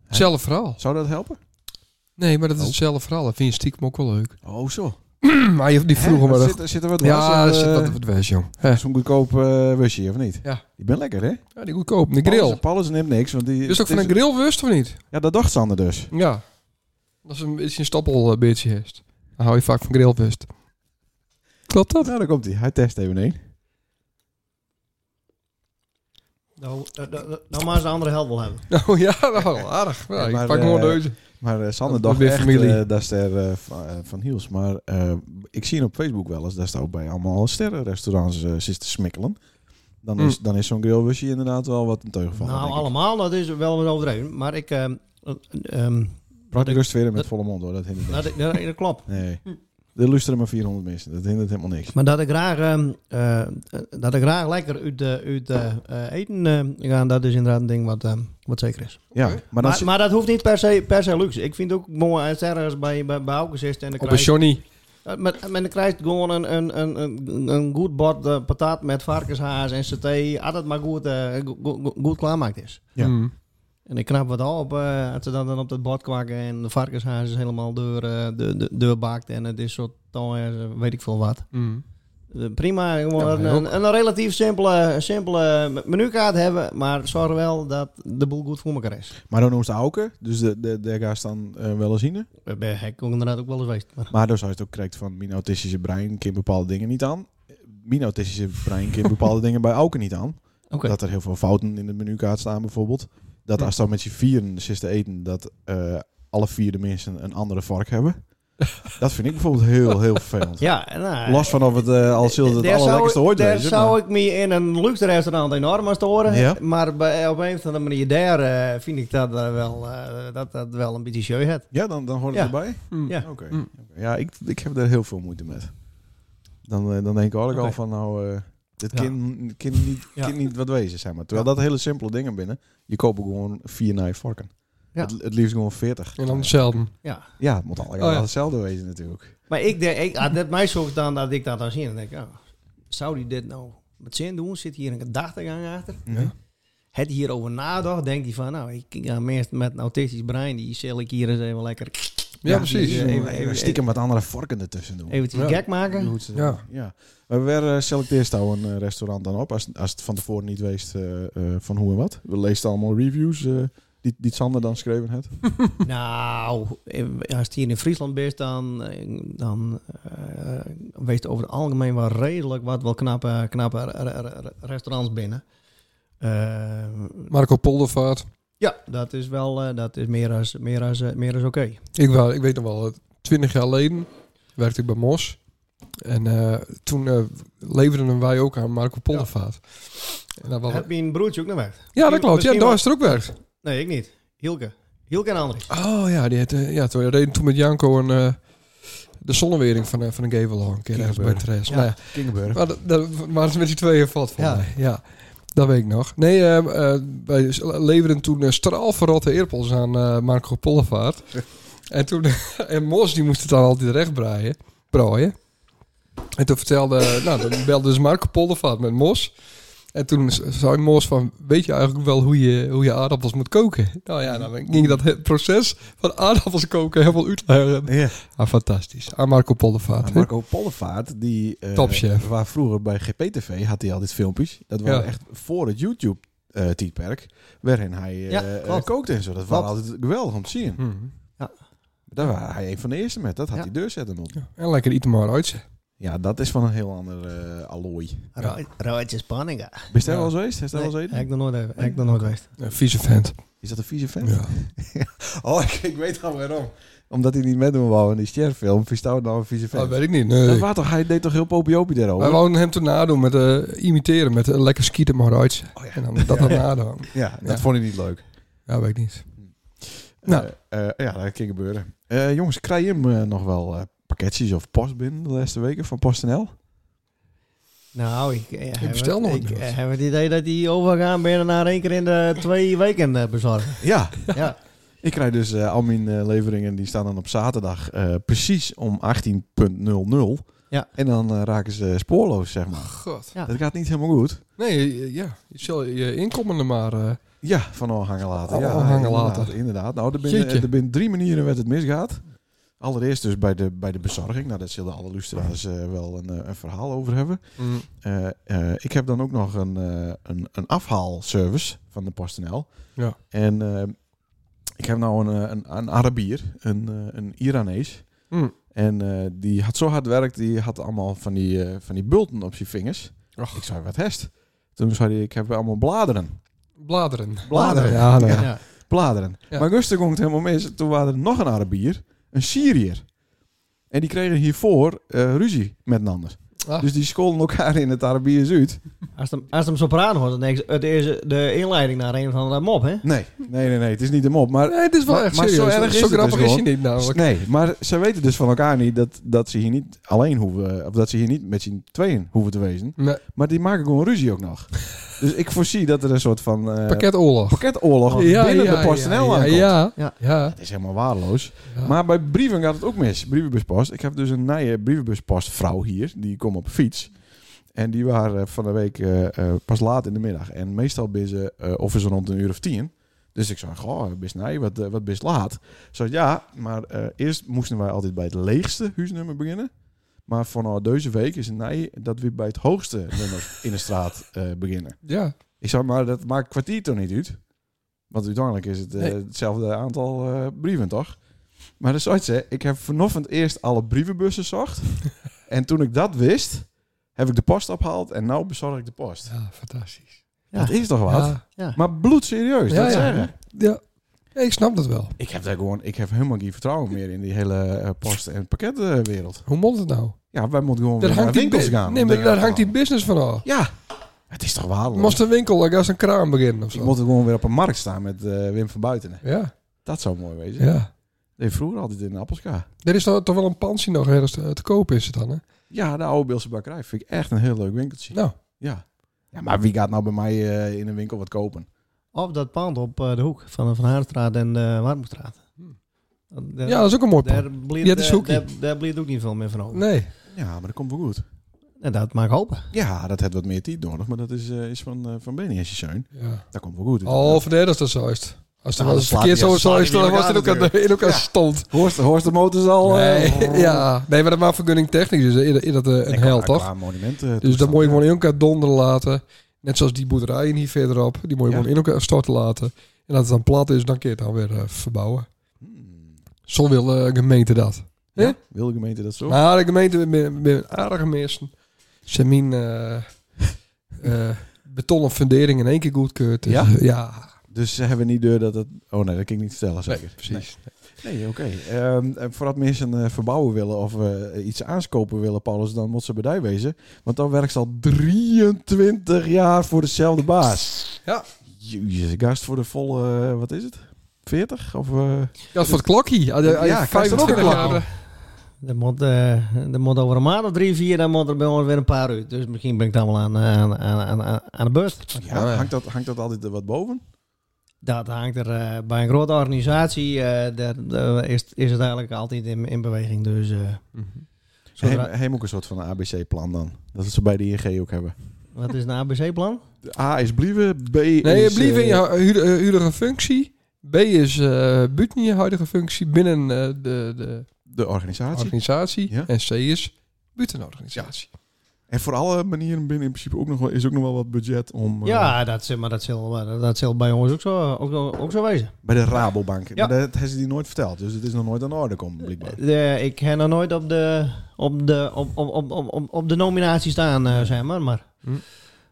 Speaker 1: Hetzelfde verhaal.
Speaker 2: Zou dat helpen?
Speaker 1: Nee, maar dat is
Speaker 2: Oh.
Speaker 1: hetzelfde verhaal. Dat vind je stiekem ook wel leuk.
Speaker 2: Oh, zo.
Speaker 1: Maar je, die vroeger
Speaker 2: Hè?
Speaker 1: maar...
Speaker 2: Zit, zit er wat
Speaker 1: ja,
Speaker 2: was,
Speaker 1: dat zit
Speaker 2: eh,
Speaker 1: wat op het wijs, jong. Hè.
Speaker 2: Zo'n goedkoop eh wusje, of niet?
Speaker 1: Ja.
Speaker 2: Die ben lekker, hè?
Speaker 1: Ja, die goedkoop. De grill.
Speaker 2: Paulus, Paulus neemt niks, want die...
Speaker 1: Is het ook van
Speaker 2: het
Speaker 1: een grill wust of niet?
Speaker 2: Ja, dat dacht Sander dus.
Speaker 1: Ja. Dat is een beetje een stoppelbeertje heeft. Dan hou je vaak van grillwust. Klopt dat?
Speaker 2: Nou, daar komt hij. Hij test even één.
Speaker 3: Nou, nou maar eens de andere helft wel hebben.
Speaker 1: Oh ja, nou, aardig. Nou,
Speaker 2: Ja,
Speaker 1: ik
Speaker 2: maar,
Speaker 1: pak gewoon
Speaker 2: eh,
Speaker 1: deze.
Speaker 2: Maar eh Sander
Speaker 1: Dat
Speaker 2: dacht
Speaker 1: wordt weer
Speaker 2: echt
Speaker 1: familie.
Speaker 2: eh, dat is er eh, van, eh, van Hiels. Maar eh, ik zie op Facebook wel eens, daar staan ook bij allemaal sterrenrestaurants eh zitten te smikkelen. Dan is,
Speaker 1: Mm.
Speaker 2: dan is zo'n grillwusje inderdaad wel wat een teugel van.
Speaker 3: nou, allemaal, dat is wel wat overdreven. Maar ik... ehm, eh, ehm,
Speaker 2: Praat rust verder met
Speaker 3: dat-
Speaker 2: volle mond hoor, dat hindert
Speaker 3: nou,
Speaker 2: niks.
Speaker 3: dat, dat, dat klopt.
Speaker 2: Nee, er luisteren maar 400 mensen, dat hindert helemaal niks.
Speaker 3: Maar dat ik graag, ehm, eh, dat ik graag lekker uit, de- uit de, eh, eten eh, ga, dat is inderdaad een ding wat, ehm, wat zeker is.
Speaker 2: Ja,
Speaker 1: Oké.
Speaker 2: maar dan
Speaker 3: Maar, maar dat hoeft niet per se, per se luxe. Ik vind het ook mooi als ergens bij, bij, bij Aukes is en dan
Speaker 1: Op een
Speaker 3: krijg je,
Speaker 1: Johnny.
Speaker 3: eh, met, met- dan krijg je gewoon een, een, een, een, een goed bord eh, patat met varkenshaas en saté. Als het maar goed, eh, go- go- go- goed klaarmaakt is.
Speaker 2: Ja.
Speaker 1: Mm.
Speaker 3: En ik knap wat op eh, als ze dat dan op dat bord kwakken en de varkenshaas is helemaal door, eh, de de deurbakt en het is zo tong, eh, weet ik veel wat.
Speaker 1: Mm.
Speaker 3: Eh, Prima, gewoon
Speaker 1: Ja, mij
Speaker 3: een, een, een relatief simpele, simpele menukaart hebben, maar zorg wel dat de boel goed voor elkaar is.
Speaker 2: Maar dan noemt ze Auken, dus de, de, daar gaat ze dan eh, wel eens in.
Speaker 3: Ik ben ik ook inderdaad ook wel eens geweest. Maar.
Speaker 2: Maar dan zou je het ook krijgt van mijn autistische brein kind bepaalde dingen niet aan. Mijn autistische brein kind bepaalde dingen bij Auken niet aan.
Speaker 3: Oké.
Speaker 2: Dat er heel veel fouten in de menukaart staan bijvoorbeeld. Dat
Speaker 1: Hm.
Speaker 2: als dan met je vieren zit te eten, dat eh, alle vier de mensen een andere vark hebben. dat vind ik bijvoorbeeld heel, heel vervelend.
Speaker 3: Ja, nou,
Speaker 2: Los van of het eh, al zullen het
Speaker 3: daar
Speaker 2: allerlekkerste
Speaker 3: zou,
Speaker 2: ooit
Speaker 3: daar
Speaker 2: wezen,
Speaker 3: zou
Speaker 2: maar-
Speaker 3: ik me in een luxe restaurant enorm aan storen.
Speaker 2: Ja.
Speaker 3: Maar bij, op een of andere manier daar eh, vind ik dat, eh, wel, eh, dat dat wel een beetje show heeft.
Speaker 2: Ja, dan, dan hoort
Speaker 3: Ja.
Speaker 2: het erbij?
Speaker 1: Mm.
Speaker 3: Ja.
Speaker 2: Oké.
Speaker 1: Hm.
Speaker 2: Oké. Ja, ik, ik heb daar heel veel moeite met. Dan, eh, dan denk ik ook
Speaker 3: Oké.
Speaker 2: al van, nou, eh, dit
Speaker 3: Ja.
Speaker 2: kind, kind, niet,
Speaker 3: Ja.
Speaker 2: kind niet wat wezen, zeg maar. Terwijl dat hele simpele dingen binnen. Je koopt ook gewoon vier naar je varken.
Speaker 3: Ja.
Speaker 2: Het, het liefst gewoon 40.
Speaker 1: En dan hetzelfde.
Speaker 3: Ja.
Speaker 2: Ja, het moet allemaal
Speaker 1: Oh, ja.
Speaker 2: hetzelfde wezen natuurlijk.
Speaker 3: Maar ik denk, ik, ah, dat mij zorgt dan dat ik dat dan zie. Dan denk ik, ja, zou die dit nou met zin doen? Zit hier een gedachtegang achter?
Speaker 2: Ja.
Speaker 3: Het hierover nadacht, denkt hij van, nou, ik ga mensen met een autistisch brein, die zal ik hier eens even lekker
Speaker 1: Ja, precies.
Speaker 3: die, eh,
Speaker 2: Even,
Speaker 3: even- even-
Speaker 2: stiekem wat andere varken ertussen doen.
Speaker 3: eventjes
Speaker 1: Ja.
Speaker 3: gek maken.
Speaker 2: Hoe ze-
Speaker 1: Ja.
Speaker 2: ja. Maar waar eh, selecteert nou een eh, restaurant dan op? Als, als het van tevoren niet weest eh, eh, van hoe en wat. We lezen allemaal reviews eh, die, die Sander dan schreven heeft.
Speaker 3: Nou, eh, als het hier in Friesland is, dan, eh, dan eh, wees het over het algemeen wel redelijk wat wel knappe, knappe re- re- re- restaurants binnen. Eh,
Speaker 1: Marco Poldervaart.
Speaker 3: ja, dat is wel eh, dat is meer als, meer als, eh, meer als oké.
Speaker 1: Ik, wa- ik weet nog wel, twintig jaar geleden werkte ik bij Mos. En eh, toen eh, leverden wij ook aan Marco Poldervaart. En dat was,
Speaker 3: Heb je een broertje ook nog weg?
Speaker 1: ja, dat klopt. Ja,
Speaker 3: misschien
Speaker 1: daar
Speaker 3: wel-
Speaker 1: is het ook werkt.
Speaker 3: Nee, ik niet. Hielke. Hielke en Andries.
Speaker 1: Oh ja, die had, eh, ja toen, we reden toen met Janko een, eh, de zonnewering van, eh, van een gavel al een keer ergens bij
Speaker 2: Kinderburg.
Speaker 1: Therese.
Speaker 3: Ja.
Speaker 1: Nou ja,
Speaker 2: Kingenburg.
Speaker 1: Maar dat, dat waren ze met die tweeën vat van
Speaker 3: Ja.
Speaker 1: mij. Ja, dat weet ik nog. Nee, eh, eh, wij leverden toen eh, straalverrotte eerpels aan eh, Marco Pollevaart. en toen, en Mos die moest het dan altijd recht braaien, braaien. En toen vertelde, nou, dan belde dus Marco Pollevaart met Mos. En toen z- zei Mos van, weet je eigenlijk wel hoe je, hoe je aardappels moet koken? Nou ja, dan ging dat het proces van aardappels koken helemaal uitleggen.
Speaker 2: Ja.
Speaker 1: Ah, fantastisch. Aan Marco Pollevaart.
Speaker 2: Maar Marco Pollevaart, die eh,
Speaker 1: Topchef.
Speaker 2: waar vroeger bij GPTV had hij al dit filmpjes. Dat waren
Speaker 1: Ja.
Speaker 2: echt voor het YouTube eh tijdperk, waarin hij eh,
Speaker 3: Ja,
Speaker 2: eh,
Speaker 3: klopt.
Speaker 2: kookte en zo. Dat was
Speaker 3: Klopt.
Speaker 2: altijd geweldig om te zien.
Speaker 1: Hm.
Speaker 2: Daar was hij een van de eerste met. Dat had
Speaker 3: Ja.
Speaker 2: hij deur zetten op.
Speaker 1: Ja, En lekker iets maar uit.
Speaker 2: Ja, dat is van een heel ander eh, allooi.
Speaker 1: Ja.
Speaker 3: Roodje Spanninga.
Speaker 2: Bist jij
Speaker 1: Ja.
Speaker 2: wel eens geweest? Heeft hij wel
Speaker 3: Nee,
Speaker 2: eens eten?
Speaker 3: heb ik nog nooit, heb ik nog nooit geweest.
Speaker 1: Een vieze vent.
Speaker 2: Is dat een vieze vent?
Speaker 1: Ja.
Speaker 2: Oh, ik, ik weet al waarom. Omdat hij niet meedoen wou in die sterfilm. Vies nou een vieze
Speaker 1: Dat
Speaker 2: vent.
Speaker 1: Ah, weet ik niet. Nee.
Speaker 2: dat was toch, hij deed toch heel popiopie daarover?
Speaker 1: Wij wouden hem toen nadoen met eh, imiteren met eh, lekker skieten maar uit.
Speaker 2: Oh ja.
Speaker 1: En dan dat dan nadoen.
Speaker 2: ja, dat
Speaker 1: Ja.
Speaker 2: vond hij niet leuk.
Speaker 1: Ja, weet ik niet. Nou.
Speaker 2: Eh, eh, ja, dat kan gebeuren. Eh, jongens, krijg je hem eh, nog wel eh, pakketjes of post binnen de laatste weken van PostNL?
Speaker 3: Nou, ik, eh, heb
Speaker 1: bestel
Speaker 3: het-
Speaker 1: nooit
Speaker 3: Ik
Speaker 1: meer wat.
Speaker 3: eh, heb het idee dat die overgaan binnen na één keer in de twee weken eh, bezorgen.
Speaker 2: Ja,
Speaker 3: ja.
Speaker 2: ik krijg dus eh, al mijn eh, leveringen, die staan dan op zaterdag eh, precies om 18.00.
Speaker 3: Ja.
Speaker 2: En dan eh, raken ze spoorloos, zeg maar.
Speaker 1: God.
Speaker 3: Ja.
Speaker 2: Dat gaat niet helemaal goed.
Speaker 1: Nee, eh, ja. Je zal je inkomende maar... eh,
Speaker 2: Ja, van hangen later.
Speaker 1: Al
Speaker 2: ja,
Speaker 1: hangen
Speaker 2: inderdaad,
Speaker 1: laten.
Speaker 2: Inderdaad. Nou, er
Speaker 1: Jeetje.
Speaker 2: binnen, er binnen drie manieren werd het misgaat. Allereerst dus bij de, bij de bezorging. Nou, daar zullen alle luisteraars eh, wel een, eh, een verhaal over hebben.
Speaker 1: mm,
Speaker 2: Eh, eh, ik heb dan ook nog een, eh, een, een afhaalservice van de PostNL.
Speaker 1: Ja.
Speaker 2: En eh, ik heb nou een, eh, een, een Arabier, een, eh, een Iranees.
Speaker 1: mm.
Speaker 2: En eh, die had zo hard werkt, die had allemaal van die, eh, van die bulten op zijn vingers.
Speaker 1: Och.
Speaker 2: Ik zei, wat hest? Toen zei hij, ik heb allemaal bladeren.
Speaker 1: Bladeren.
Speaker 2: Bladeren.
Speaker 1: Ja, nou ja.
Speaker 3: Ja.
Speaker 2: Bladeren.
Speaker 1: Ja.
Speaker 2: Maar Guster ging het helemaal mis. Toen waren er nog een Arabier, een Syriër. En die kregen hiervoor eh, ruzie met een ander.
Speaker 1: Ah.
Speaker 2: Dus die scholden elkaar in het Arabiers uit.
Speaker 3: Als hem, als hem sopraan hoort, dan denk je, het is eh, de inleiding naar een van de mop, hè?
Speaker 2: Nee, nee, nee, nee. Het is niet hem op. Maar
Speaker 1: Nee, het is wel
Speaker 2: Maar-
Speaker 1: echt
Speaker 2: maar zo
Speaker 1: serieus.
Speaker 2: erg is
Speaker 1: zo
Speaker 2: het
Speaker 1: grappig
Speaker 2: dus
Speaker 1: is hij
Speaker 2: gewoon.
Speaker 1: niet namelijk.
Speaker 2: Nee, maar ze weten dus van elkaar niet dat, dat ze hier niet alleen hoeven, of dat ze hier niet met z'n tweeën hoeven te wezen.
Speaker 1: Nee,
Speaker 2: Maar die maken gewoon ruzie ook nog. dus ik voorzie dat er een soort van eh,
Speaker 1: pakket oorlog.
Speaker 2: pakketoorlog binnen de PostNL
Speaker 1: ja,
Speaker 2: aankomt.
Speaker 1: ja, ja,
Speaker 3: Ja.
Speaker 1: ja.
Speaker 2: Dat is helemaal waardeloos.
Speaker 1: Ja.
Speaker 2: Maar bij brieven gaat het ook mis. Brievenbuspost. Ik heb dus een nieuwe brievenbuspastvrouw hier. Die komt op fiets. En die waren eh, van de week eh, eh, pas laat in de middag. En meestal ben ze, eh, of is ze rond een uur of tien. Dus ik zei, goh, best nee, wat, eh, wat best laat. Ze zei, ja, maar eh, eerst moesten wij altijd bij het leegste huisnummer beginnen. Maar vanaf deze week is het nee dat we bij het hoogste nummer in de straat eh, beginnen.
Speaker 1: ja.
Speaker 2: Ik zei, maar dat maakt kwartier toch niet uit? Want uiteindelijk is het eh,
Speaker 1: Nee.
Speaker 2: hetzelfde aantal eh, brieven, toch? Maar dat is ooit ze. Ik heb vanochtend eerst alle brievenbussen zocht. en toen ik dat wist, heb ik de post opgehaald. En nu bezorg ik de post.
Speaker 1: Ja, fantastisch.
Speaker 3: Ja.
Speaker 2: Dat is toch wat?
Speaker 1: Ja.
Speaker 2: Maar bloedserieus,
Speaker 1: Ja,
Speaker 2: dat
Speaker 1: ja.
Speaker 2: zeggen.
Speaker 1: Ja. Ja, ik snap dat wel.
Speaker 2: Ik heb daar gewoon, ik heb helemaal geen vertrouwen meer in die hele eh, post- en pakketwereld.
Speaker 1: Hoe moet het nou?
Speaker 2: Ja, wij moeten gewoon
Speaker 1: Daar
Speaker 2: weer naar
Speaker 1: hangt, die,
Speaker 2: winkels
Speaker 1: bu-
Speaker 2: gaan.
Speaker 1: nee,
Speaker 2: om
Speaker 1: maar
Speaker 2: dingen
Speaker 1: daar
Speaker 2: te
Speaker 1: hangt die
Speaker 2: halen.
Speaker 1: business van af.
Speaker 2: Ja, het is toch waardeloos.
Speaker 1: Moest een winkel, ik als een kraan beginnen of
Speaker 2: Ik
Speaker 1: zo.
Speaker 2: moet gewoon weer op een markt staan met eh, Wim van Buiten.
Speaker 1: Ja,
Speaker 2: Dat zou mooi wezen.
Speaker 1: ja.
Speaker 2: Nee, vroeger altijd in de Appelska.
Speaker 1: Er is toch toch wel een pansie nog ergens te, te kopen is het dan, hè?
Speaker 2: Ja, de oude Beelse bakkerij vind ik echt een heel leuk winkeltje.
Speaker 1: Nou,
Speaker 2: Ja. ja, maar wie gaat nou bij mij eh, in een winkel wat kopen?
Speaker 3: Op dat pand op eh, de hoek van Van Haarstraat en de Warmoestraat.
Speaker 1: Hmm.
Speaker 3: Daar-
Speaker 1: ja, dat is ook een mooi plan.
Speaker 3: Daar bleef,
Speaker 1: Ja, het is
Speaker 3: daar-
Speaker 1: hoekie.
Speaker 3: daar- daar bleef ook niet veel meer van over.
Speaker 1: Nee,
Speaker 2: Ja, maar dat komt wel goed.
Speaker 3: En dat maakt hopen.
Speaker 2: Ja, dat heeft wat meer tijd nodig, maar dat is, eh, is van, eh van Benny en Sjeun.
Speaker 1: ja.
Speaker 2: Dat komt wel goed.
Speaker 1: Oh, van de dat is zo is het. Als
Speaker 2: Nou,
Speaker 1: er wel
Speaker 2: dan
Speaker 1: eens
Speaker 2: slaat
Speaker 1: verkeerd
Speaker 2: die-
Speaker 1: zo
Speaker 2: slaat
Speaker 1: zo
Speaker 2: die
Speaker 1: is, dan
Speaker 2: weer
Speaker 1: was het ook
Speaker 2: elkaar
Speaker 1: aan de- in elkaar
Speaker 2: Ja.
Speaker 1: stond.
Speaker 2: Horst, Horst de Motors al.
Speaker 1: Nee, ja. nee, maar dat maakt vergunning technisch. Dus eerder, eerder dat, eh, een hel, toch?
Speaker 2: eh,
Speaker 1: Dus dan moet je gewoon in elkaar donderen laten. Net zoals die boerderijen hier verderop. Die moet je
Speaker 2: Ja.
Speaker 1: gewoon in elkaar storten laten. En als het dan plat is, dan kun je het dan weer eh, verbouwen. Zo wil eh, de gemeente dat.
Speaker 2: Hmm. Ja? Wil de gemeente dat zo?
Speaker 1: Maar Nou, de gemeente met, met aardige mensen. Ze min eh, eh, betonnen fundering in één keer goedkeurt. Dus,
Speaker 2: Ja?
Speaker 1: eh, ja,
Speaker 2: Dus ze hebben niet deur dat het... Oh nee, dat kan ik niet vertellen, zeker.
Speaker 1: nee, precies.
Speaker 2: Nee, oké. Ehm, en voordat mensen eh, verbouwen willen of eh, iets aanskopen willen, Paulus, dan moet ze bedij wezen. Want dan werkt ze al 23 jaar voor dezelfde baas.
Speaker 1: Ja.
Speaker 2: Jezus, gast voor de volle, eh, wat is het? 40? Of, eh,
Speaker 1: Ja, voor het klokje. Ja,
Speaker 2: Ja, krijg je er ook een klokje?
Speaker 3: Er moet, eh, er moet over een maand of drie, vier, dan moet er bij ons weer een paar uit. Dus misschien ben ik dan wel aan, eh, aan, aan, aan, aan de beurt.
Speaker 2: ja, hangt, dat, hangt dat altijd er wat boven?
Speaker 3: Dat hangt er eh, bij een grote organisatie, eh, daar, daar is, is het eigenlijk altijd in, in beweging. Dus eh,
Speaker 1: Mhm.
Speaker 3: zodra-
Speaker 2: Heem, heem ook een soort van ABC-plan dan. Dat ze bij de ING ook hebben.
Speaker 3: wat is een ABC-plan?
Speaker 2: De A is blieven, B is...
Speaker 1: Nee, je blijft in je
Speaker 2: eh,
Speaker 1: hu- hu- eh, huidige functie. B is eh buiten je huidige functie binnen eh, de, de
Speaker 2: de organisatie.
Speaker 1: organisatie.
Speaker 2: Ja.
Speaker 1: En C is buiten de organisatie.
Speaker 2: En voor alle manieren binnen in principe ook nog wel, is ook nog wel wat budget om... eh,
Speaker 3: Ja, dat, zit- maar dat zal, eh, dat zal bij ons ook zo, ook, zo- ook zo wezen.
Speaker 2: Bij de Rabobank.
Speaker 3: Ja.
Speaker 2: Maar dat heeft ze die nooit verteld. Dus het is nog nooit aan de orde komt, blijkbaar.
Speaker 3: Eh, ik heb nog nooit op de, op de, op, op, op, op, op, op de nominatie staan, eh, zeg maar. maar
Speaker 1: Hm.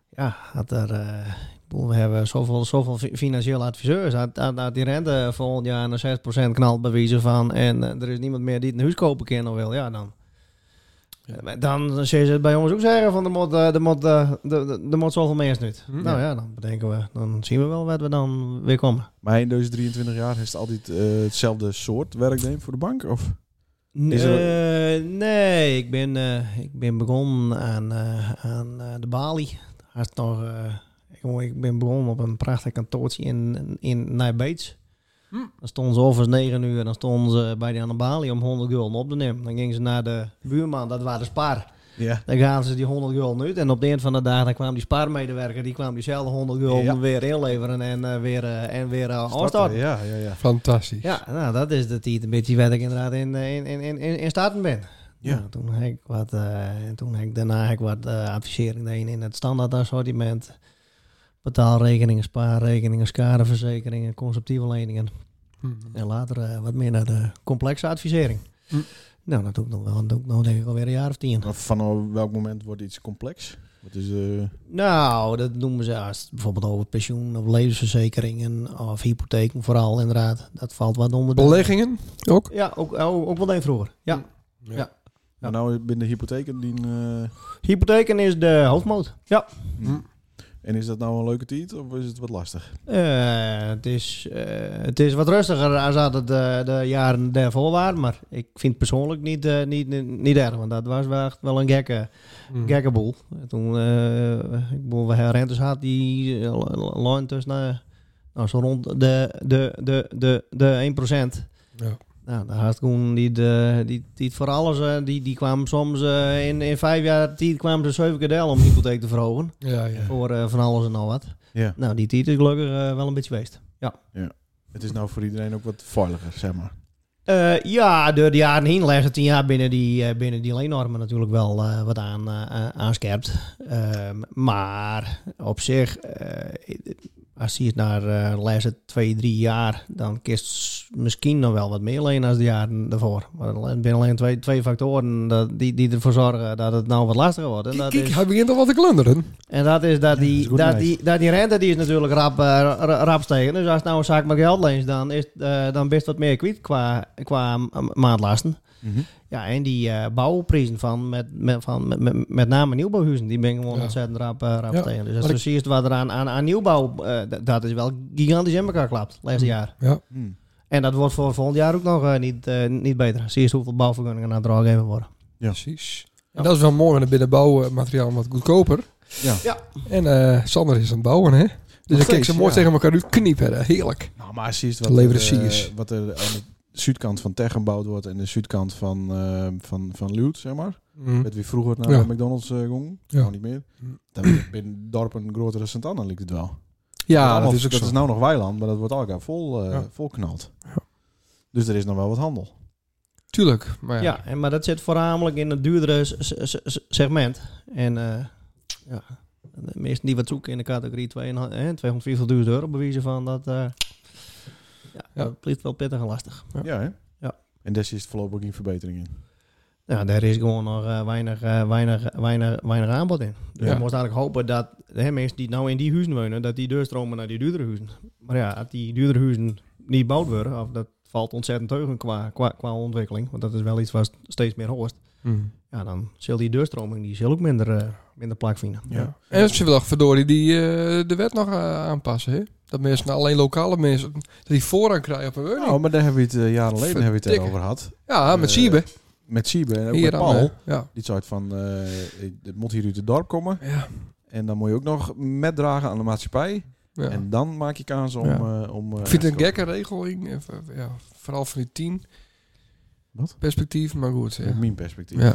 Speaker 3: ja, had er, eh, ik bedoel, we hebben zoveel, zoveel fi- financiële adviseurs. Had, had, had die rente volgend jaar naar 6% knalt bewijzen van... en eh, er is niemand meer die het een huis kopen kan of wil. Ja, dan... eh, Dan zullen ze het bij ons ook zeggen van er moet, eh, er moet, eh, er- er- er moet zoveel meer nu.
Speaker 1: Hm.
Speaker 3: Nou ja, dan bedenken we, dan zien we wel wat we dan weer komen.
Speaker 2: Maar in deze 23 jaar heeft het altijd eh, hetzelfde soort werk deed voor de bank? Of? Is
Speaker 3: Eh, nee, ik ben, eh, ik ben begonnen aan, eh, aan eh, de Bali. Hij is nog, eh, jongen, ik ben begonnen op een prachtig kantoortje in, in Nijbeets.
Speaker 1: Hm.
Speaker 3: Dan stonden ze overigens 9 uur en dan stonden ze bij die aan de Bali om 100 gulden op te nemen. Dan gingen ze naar de buurman, dat waren de spaar.
Speaker 2: Ja.
Speaker 3: Dan gaan ze die 100 gulden uit en op de eind van de dag dan kwam die spaarmedewerker, die kwam diezelfde 100 gulden
Speaker 2: Ja.
Speaker 3: weer inleveren en eh, weer, eh, en weer eh,
Speaker 2: ja,
Speaker 3: afstarten.
Speaker 2: ja, ja.
Speaker 1: Fantastisch.
Speaker 3: Ja, nou, dat is de tijd een beetje waar ik inderdaad in, eh, in, in, in, in, in starten ben.
Speaker 2: Ja.
Speaker 3: Nou, toen heb ik wat, eh, en toen heb ik daarna heb ik wat eh, advisering deed in het standaard assortiment. Betaalrekeningen, spaarrekeningen, schadeverzekeringen, conceptieve leningen.
Speaker 1: Hm.
Speaker 3: En later eh, wat meer naar de complexe advisering.
Speaker 1: Hm.
Speaker 3: Nou, dat doe ik nog wel. Dat doe ik nog denk ik alweer een jaar of tien.
Speaker 2: Maar Van welk moment wordt iets complex? Wat is eh, de...
Speaker 3: Nou, dat noemen ze als het bijvoorbeeld over pensioen of levensverzekeringen of hypotheken vooral inderdaad. Dat valt wat onder. de-
Speaker 1: Beleggingen ook?
Speaker 3: Ja, ook, ook, ook wel even vroeger. Ja. Ja.
Speaker 2: Nou, binnen de hypotheken die... eh,
Speaker 3: Hypotheken is de hoofdmoot. Ja.
Speaker 1: Hm.
Speaker 2: En is dat nou een leuke tijd of is het wat lastig?
Speaker 3: Eh, het, is, eh, het is wat rustiger als dat het eh, de jaren daarvoor waren. Maar ik vind het persoonlijk niet, eh, niet, niet, niet erg. Want dat was wel echt wel een gekke,
Speaker 1: Hm.
Speaker 3: gekke boel. Toen eh, ik bedoel, we hebben rentes had die eh, l- lijn tussen eh, nou, zo rond de, de, de, de, de 1%.
Speaker 1: Ja.
Speaker 3: Nou, de Haartkoen, die, de- die, die het voor alles, eh, die, die kwamen soms eh, in, in vijf jaar tijd kwamen ze zeven keer deel om de hypotheek te verhogen.
Speaker 1: Ja, ja.
Speaker 3: Voor eh, van alles en al wat.
Speaker 2: Ja.
Speaker 3: Nou, die tijd is gelukkig eh, wel een beetje geweest. Ja,
Speaker 2: Het is nou voor iedereen ook wat veiliger, zeg maar.
Speaker 3: Eh, ja door de jaren heen leggen het tien jaar binnen die, eh, binnen die leennormen natuurlijk wel eh, wat aan, eh, aan- aanscherpt. Ehm, maar op zich, eh, als je het naar eh lezen twee, drie jaar, dan kiest misschien nog wel wat meer lenen als de jaren daarvoor. Maar het zijn alleen twee, twee factoren dat, die, die ervoor zorgen dat het nou wat lastiger wordt. En dat
Speaker 1: Kijk,
Speaker 3: is-
Speaker 1: hij begint al wat te klunderen.
Speaker 3: en dat is dat
Speaker 2: dat is
Speaker 3: die,
Speaker 2: goed
Speaker 3: dat
Speaker 2: meid.
Speaker 3: die, dat die rente die is natuurlijk rap, eh, ra- rap stegen. Dus als het nou een zaak met geld leent, dan is het, eh, dan best wat meer kwijt qua, qua ma- maandlasten.
Speaker 2: Mhm.
Speaker 3: Ja, en die eh, bouwprijzen van met, met, van, met, met, met name nieuwbouwhuizen, die ben ik gewoon
Speaker 1: Ja.
Speaker 3: ontzettend rap, eh, rap
Speaker 1: Ja,
Speaker 3: tegen. Dus
Speaker 1: maar
Speaker 3: als
Speaker 1: ik-
Speaker 3: je ziet wat er aan, aan, aan nieuwbouw, eh, d- dat is wel gigantisch in elkaar klapt, laatste
Speaker 1: Mm.
Speaker 3: jaar.
Speaker 1: Ja.
Speaker 3: Hmm.
Speaker 2: Hm.
Speaker 3: En dat wordt voor volgend jaar ook nog eh, niet, eh, niet beter. Zie je hoeveel bouwvergunningen aan draag even worden.
Speaker 1: Precies. En dat is wel mooi, want dan binnenbouwmateriaal wat goedkoper.
Speaker 2: Ja.
Speaker 3: Ja.
Speaker 1: En eh, Sander is aan het bouwen, hè? Dus dan kijk
Speaker 2: steeds,
Speaker 1: ze mooi
Speaker 2: ja.
Speaker 1: tegen elkaar uit kniepen. hè. Heerlijk.
Speaker 2: Nou, maar als je ziet
Speaker 1: Te
Speaker 2: wat, er,
Speaker 1: leveren zie je eens.
Speaker 2: eh, wat er aan de zuidkant van Tech gebouwd wordt en de zuidkant van, eh van, van Luut, zeg maar.
Speaker 1: Hm.
Speaker 2: Met wie vroeger naar
Speaker 1: Ja.
Speaker 2: de McDonald's eh gong,
Speaker 1: Ja.
Speaker 2: nou niet meer.
Speaker 1: Hm.
Speaker 2: Dan binnen- binnen dorpen grotere Sint-Anna ligt het wel.
Speaker 1: Ja,
Speaker 2: Allemaal-
Speaker 1: dat is ook
Speaker 2: dat
Speaker 1: zo.
Speaker 2: is nou nog weiland, maar dat wordt elkaar vol, eh
Speaker 1: Ja.
Speaker 2: volknald.
Speaker 1: Ja.
Speaker 2: Dus er is nog wel wat handel.
Speaker 1: Tuurlijk. Maar ja.
Speaker 3: Ja, en, maar dat zit voornamelijk in het duurdere s- s- s- s- segment. En eh, ja, de meesten die wat zoeken in de categorie 2,5, eh, 250.000 euro bewijzen van dat. eh ja,
Speaker 1: Ja.
Speaker 3: dat blijft wel pittig en lastig.
Speaker 1: Ja.
Speaker 2: Ja, hè?
Speaker 3: Ja.
Speaker 2: En daar zit voorlopig geen verbetering in.
Speaker 3: Ja, daar is gewoon nog eh, weinig, eh, weinig, weinig, weinig aanbod in. Dus
Speaker 1: Ja.
Speaker 3: je moest eigenlijk hopen dat hè, mensen die nou in die huizen wonen, dat die doorstromen naar die duurdere huizen. Maar ja, als die duurdere huizen niet gebouwd worden, of dat valt ontzettend teugen qua, qua, qua ontwikkeling. Want dat is wel iets wat steeds meer hoort.
Speaker 1: Hm.
Speaker 3: ja, dan zal die deurstroming die zal ook minder, eh, minder plak vinden.
Speaker 1: Ja. En ze willen verdorie die, eh, de wet nog eh, aanpassen. Hè? Dat mensen, alleen lokale mensen, dat die voorrang krijgen op een woning.
Speaker 2: Nou, maar daar hebben we het eh, jaren geleden hebben we het
Speaker 1: Verdikke.
Speaker 2: over gehad.
Speaker 1: ja, met
Speaker 2: eh,
Speaker 1: Siebe.
Speaker 2: Met Siebe en ook
Speaker 1: Hier
Speaker 2: met
Speaker 1: aan
Speaker 2: Paul.
Speaker 1: de- ja.
Speaker 2: Die soort van, eh, ik- het moet hier uit het dorp komen.
Speaker 1: Ja.
Speaker 2: En dan moet je ook nog metdragen aan de maatschappij.
Speaker 1: ja.
Speaker 2: En dan maak je kans om...
Speaker 1: Ja.
Speaker 2: eh, om eh,
Speaker 1: Ik vind het
Speaker 2: echt
Speaker 1: een gekke regeling. eh, v- Ja, vooral van die tien.
Speaker 2: Wat?
Speaker 1: Perspectief, maar goed.
Speaker 2: op- Uit
Speaker 1: Ja.
Speaker 2: mijn perspectief.
Speaker 1: Ja.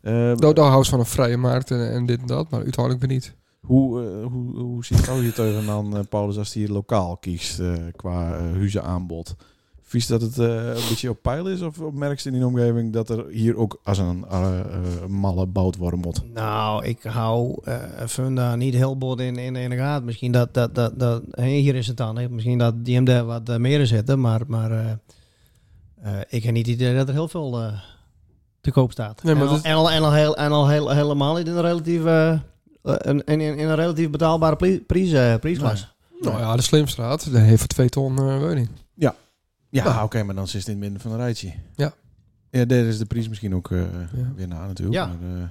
Speaker 2: Eh,
Speaker 1: Nou, daar houdt ze van een vrije markt en, en dit en dat, maar uiteindelijk weer niet.
Speaker 2: hoe, eh, hoe, hoe ziet jou hier tegen dan, eh, Paulus, als hij hier lokaal kiest eh, qua eh huizenaanbod? Vies dat het eh, een beetje op pijl is? Of merk je in de omgeving dat er hier ook als een eh, eh, malle bouwd worden moet?
Speaker 3: Nou, ik hou eh Funda niet heel bot in, in, in de gaten. Misschien dat, dat, dat, dat hè, hier is het dan. hè. Misschien dat die hem daar wat eh, meer in zitten. Maar, maar eh, eh, ik heb niet het idee dat er heel veel eh, te koop staat.
Speaker 1: Nee, maar
Speaker 3: en, al,
Speaker 1: dat-
Speaker 3: en, al, en, al heel, en al heel, helemaal niet in een relatief, eh, eh, een- in, in, in een relatief betaalbare pri- prijs, eh, prijsklasse.
Speaker 1: Nou ja, de Slimstraat, die heeft voor twee ton eh, woning.
Speaker 2: Ja,
Speaker 1: Nou.
Speaker 2: Ah, oké, maar dan zit het in het midden van een rijtje.
Speaker 1: Ja.
Speaker 2: Ja, daar is de prijs misschien ook eh,
Speaker 1: Ja.
Speaker 2: weer na natuurlijk.
Speaker 3: Ja.
Speaker 2: Maar, eh,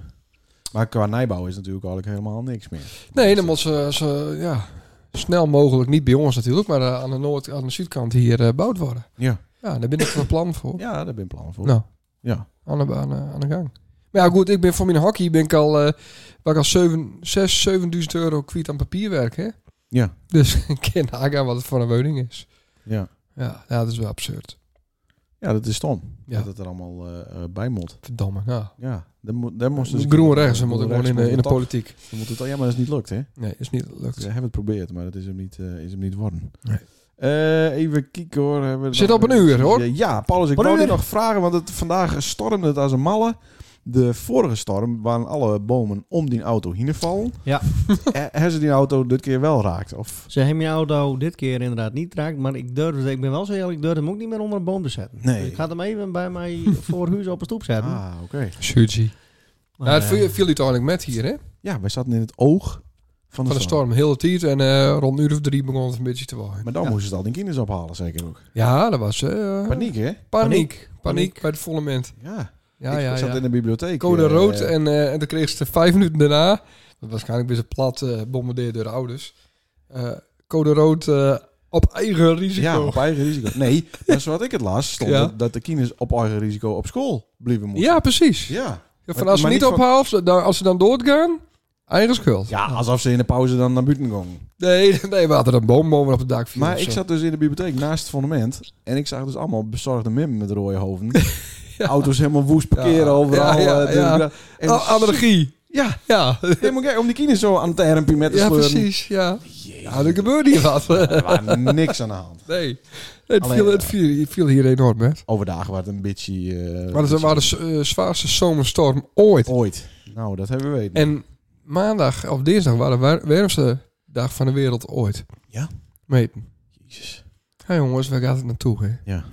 Speaker 2: maar qua nijbouw is natuurlijk eigenlijk helemaal niks meer. Dus
Speaker 1: Nee, dan moet ze, ze, ja, snel mogelijk, niet bij ons natuurlijk, maar eh, aan de noord- aan de zuidkant hier eh bouwd worden.
Speaker 2: Ja,
Speaker 1: Ja, daar ben ik van plan voor.
Speaker 2: ja daar ben ik plannen voor.
Speaker 1: Nou,
Speaker 2: Ja.
Speaker 1: aan de, aan, de- aan de gang. Maar ja, goed, ik ben voor mijn hockey ben ik al, eh waar ik al 7, 6, 7000 euro kwijt aan papierwerk, hè?
Speaker 2: Ja.
Speaker 1: Dus ik ken nagaan wat het voor een woning is.
Speaker 2: ja.
Speaker 1: Ja, ja, dat is wel absurd.
Speaker 2: Ja, dat is stom.
Speaker 1: Ja.
Speaker 2: Dat het er allemaal eh, eh, bij moet.
Speaker 1: Verdamme, ja.
Speaker 2: Ja, daar moet- daar moesten
Speaker 1: Dus
Speaker 2: ze-
Speaker 1: groen rechts, dan moet ik
Speaker 2: groen
Speaker 1: gewoon in
Speaker 2: rechts
Speaker 1: de, in de
Speaker 2: moet het
Speaker 1: politiek.
Speaker 2: af. Dan moet het, ja, maar dat is niet lukt, hè?
Speaker 1: Nee, is niet gelukt.
Speaker 2: Ze hebben het geprobeerd, maar dat is hem niet, eh, is hem niet worden.
Speaker 1: Nee.
Speaker 2: Eh, even kijken hoor. Hebben we
Speaker 1: Zit
Speaker 2: nog-
Speaker 1: op een uur, hoor.
Speaker 2: Ja, Paulus, ik
Speaker 3: Op een
Speaker 2: wou je
Speaker 3: uur.
Speaker 2: nog vragen, want het, vandaag stormde het als een malle. De vorige storm waren alle bomen om die auto heen gevallen.
Speaker 3: Ja.
Speaker 2: Hebben ze die auto dit keer wel raakt? Of
Speaker 3: Ze hebben mijn auto dit keer inderdaad niet raakt, maar ik durf, ik ben wel zo eerlijk, ik durf hem ook niet meer onder een boom te zetten.
Speaker 2: Nee.
Speaker 3: Dus ik ga hem even bij mij voor huis op een stoep zetten.
Speaker 2: Ah, oké.
Speaker 1: Suji.
Speaker 3: Maar,
Speaker 1: nou, het
Speaker 3: eh,
Speaker 1: viel, viel uiteindelijk met hier, hè?
Speaker 2: Ja, wij zaten in het oog van de,
Speaker 1: Van de storm, heel de tijd. En eh, rond een uur of drie begon het een beetje te waaien.
Speaker 2: Maar dan
Speaker 3: Ja.
Speaker 2: moesten ze al die kinderen ophalen, zeker ook.
Speaker 1: Ja, dat was... eh, paniek.
Speaker 2: Paniek, hè?
Speaker 1: Paniek.
Speaker 3: Paniek.
Speaker 1: bij het volle moment.
Speaker 2: Ja.
Speaker 1: Ja,
Speaker 2: ik
Speaker 1: ja,
Speaker 2: zat
Speaker 1: ja.
Speaker 2: in de bibliotheek.
Speaker 1: Code
Speaker 2: eh,
Speaker 1: rood
Speaker 2: eh,
Speaker 1: en, eh, en dan kreeg ze vijf minuten daarna... Dat waarschijnlijk weer ze plat eh bombardeerd door de ouders. eh, code rood eh, op eigen risico.
Speaker 2: Ja, op eigen risico. Nee, maar zoals ik het las, stond
Speaker 1: Ja.
Speaker 2: dat, dat de kinderen op eigen risico op school blijven moeten.
Speaker 1: Ja, precies.
Speaker 2: Ja.
Speaker 1: Van
Speaker 2: Maar-
Speaker 1: als ze
Speaker 2: maar
Speaker 1: niet
Speaker 2: niet van-
Speaker 1: ophaalt, dan- als ze dan doorgaan, eigen schuld.
Speaker 2: Ja, alsof ze in de pauze dan naar buiten gingen.
Speaker 1: Nee, nee, we hadden een boom boven op het dak viel.
Speaker 2: Maar
Speaker 1: of
Speaker 2: ik
Speaker 1: zo.
Speaker 2: zat dus in de bibliotheek naast het fundament. En ik zag dus allemaal bezorgde mimmen met rode hoofden. Auto's helemaal woest parkeren
Speaker 1: Ja.
Speaker 2: overal.
Speaker 1: Ja, ja,
Speaker 2: eh, de-
Speaker 1: ja.
Speaker 2: En
Speaker 1: Oh, allergie.
Speaker 2: Ja,
Speaker 1: Ja,
Speaker 2: helemaal gek. Om die kinderen zo aan het termpje met te
Speaker 1: ja
Speaker 2: sleuren.
Speaker 1: precies. Ja. ja, er gebeurde hier wat.
Speaker 2: Er waren niks aan de hand.
Speaker 1: nee, het,
Speaker 2: Alleen, eh,
Speaker 1: viel,
Speaker 2: ja.
Speaker 1: het, viel, het viel hier enorm, hè.
Speaker 2: Overdag was het een beetje... eh,
Speaker 1: Maar het
Speaker 2: beetje-
Speaker 1: was de z- eh, zwaarste zomerstorm ooit.
Speaker 2: Ooit. Nou, dat hebben we weten.
Speaker 1: En maandag of dinsdag waren de wa- warmste dag van de wereld ooit.
Speaker 2: Ja.
Speaker 1: Meten.
Speaker 2: Jezus.
Speaker 1: Hé jongens, waar gaat het naartoe, hè?
Speaker 2: Ja.
Speaker 1: Ja,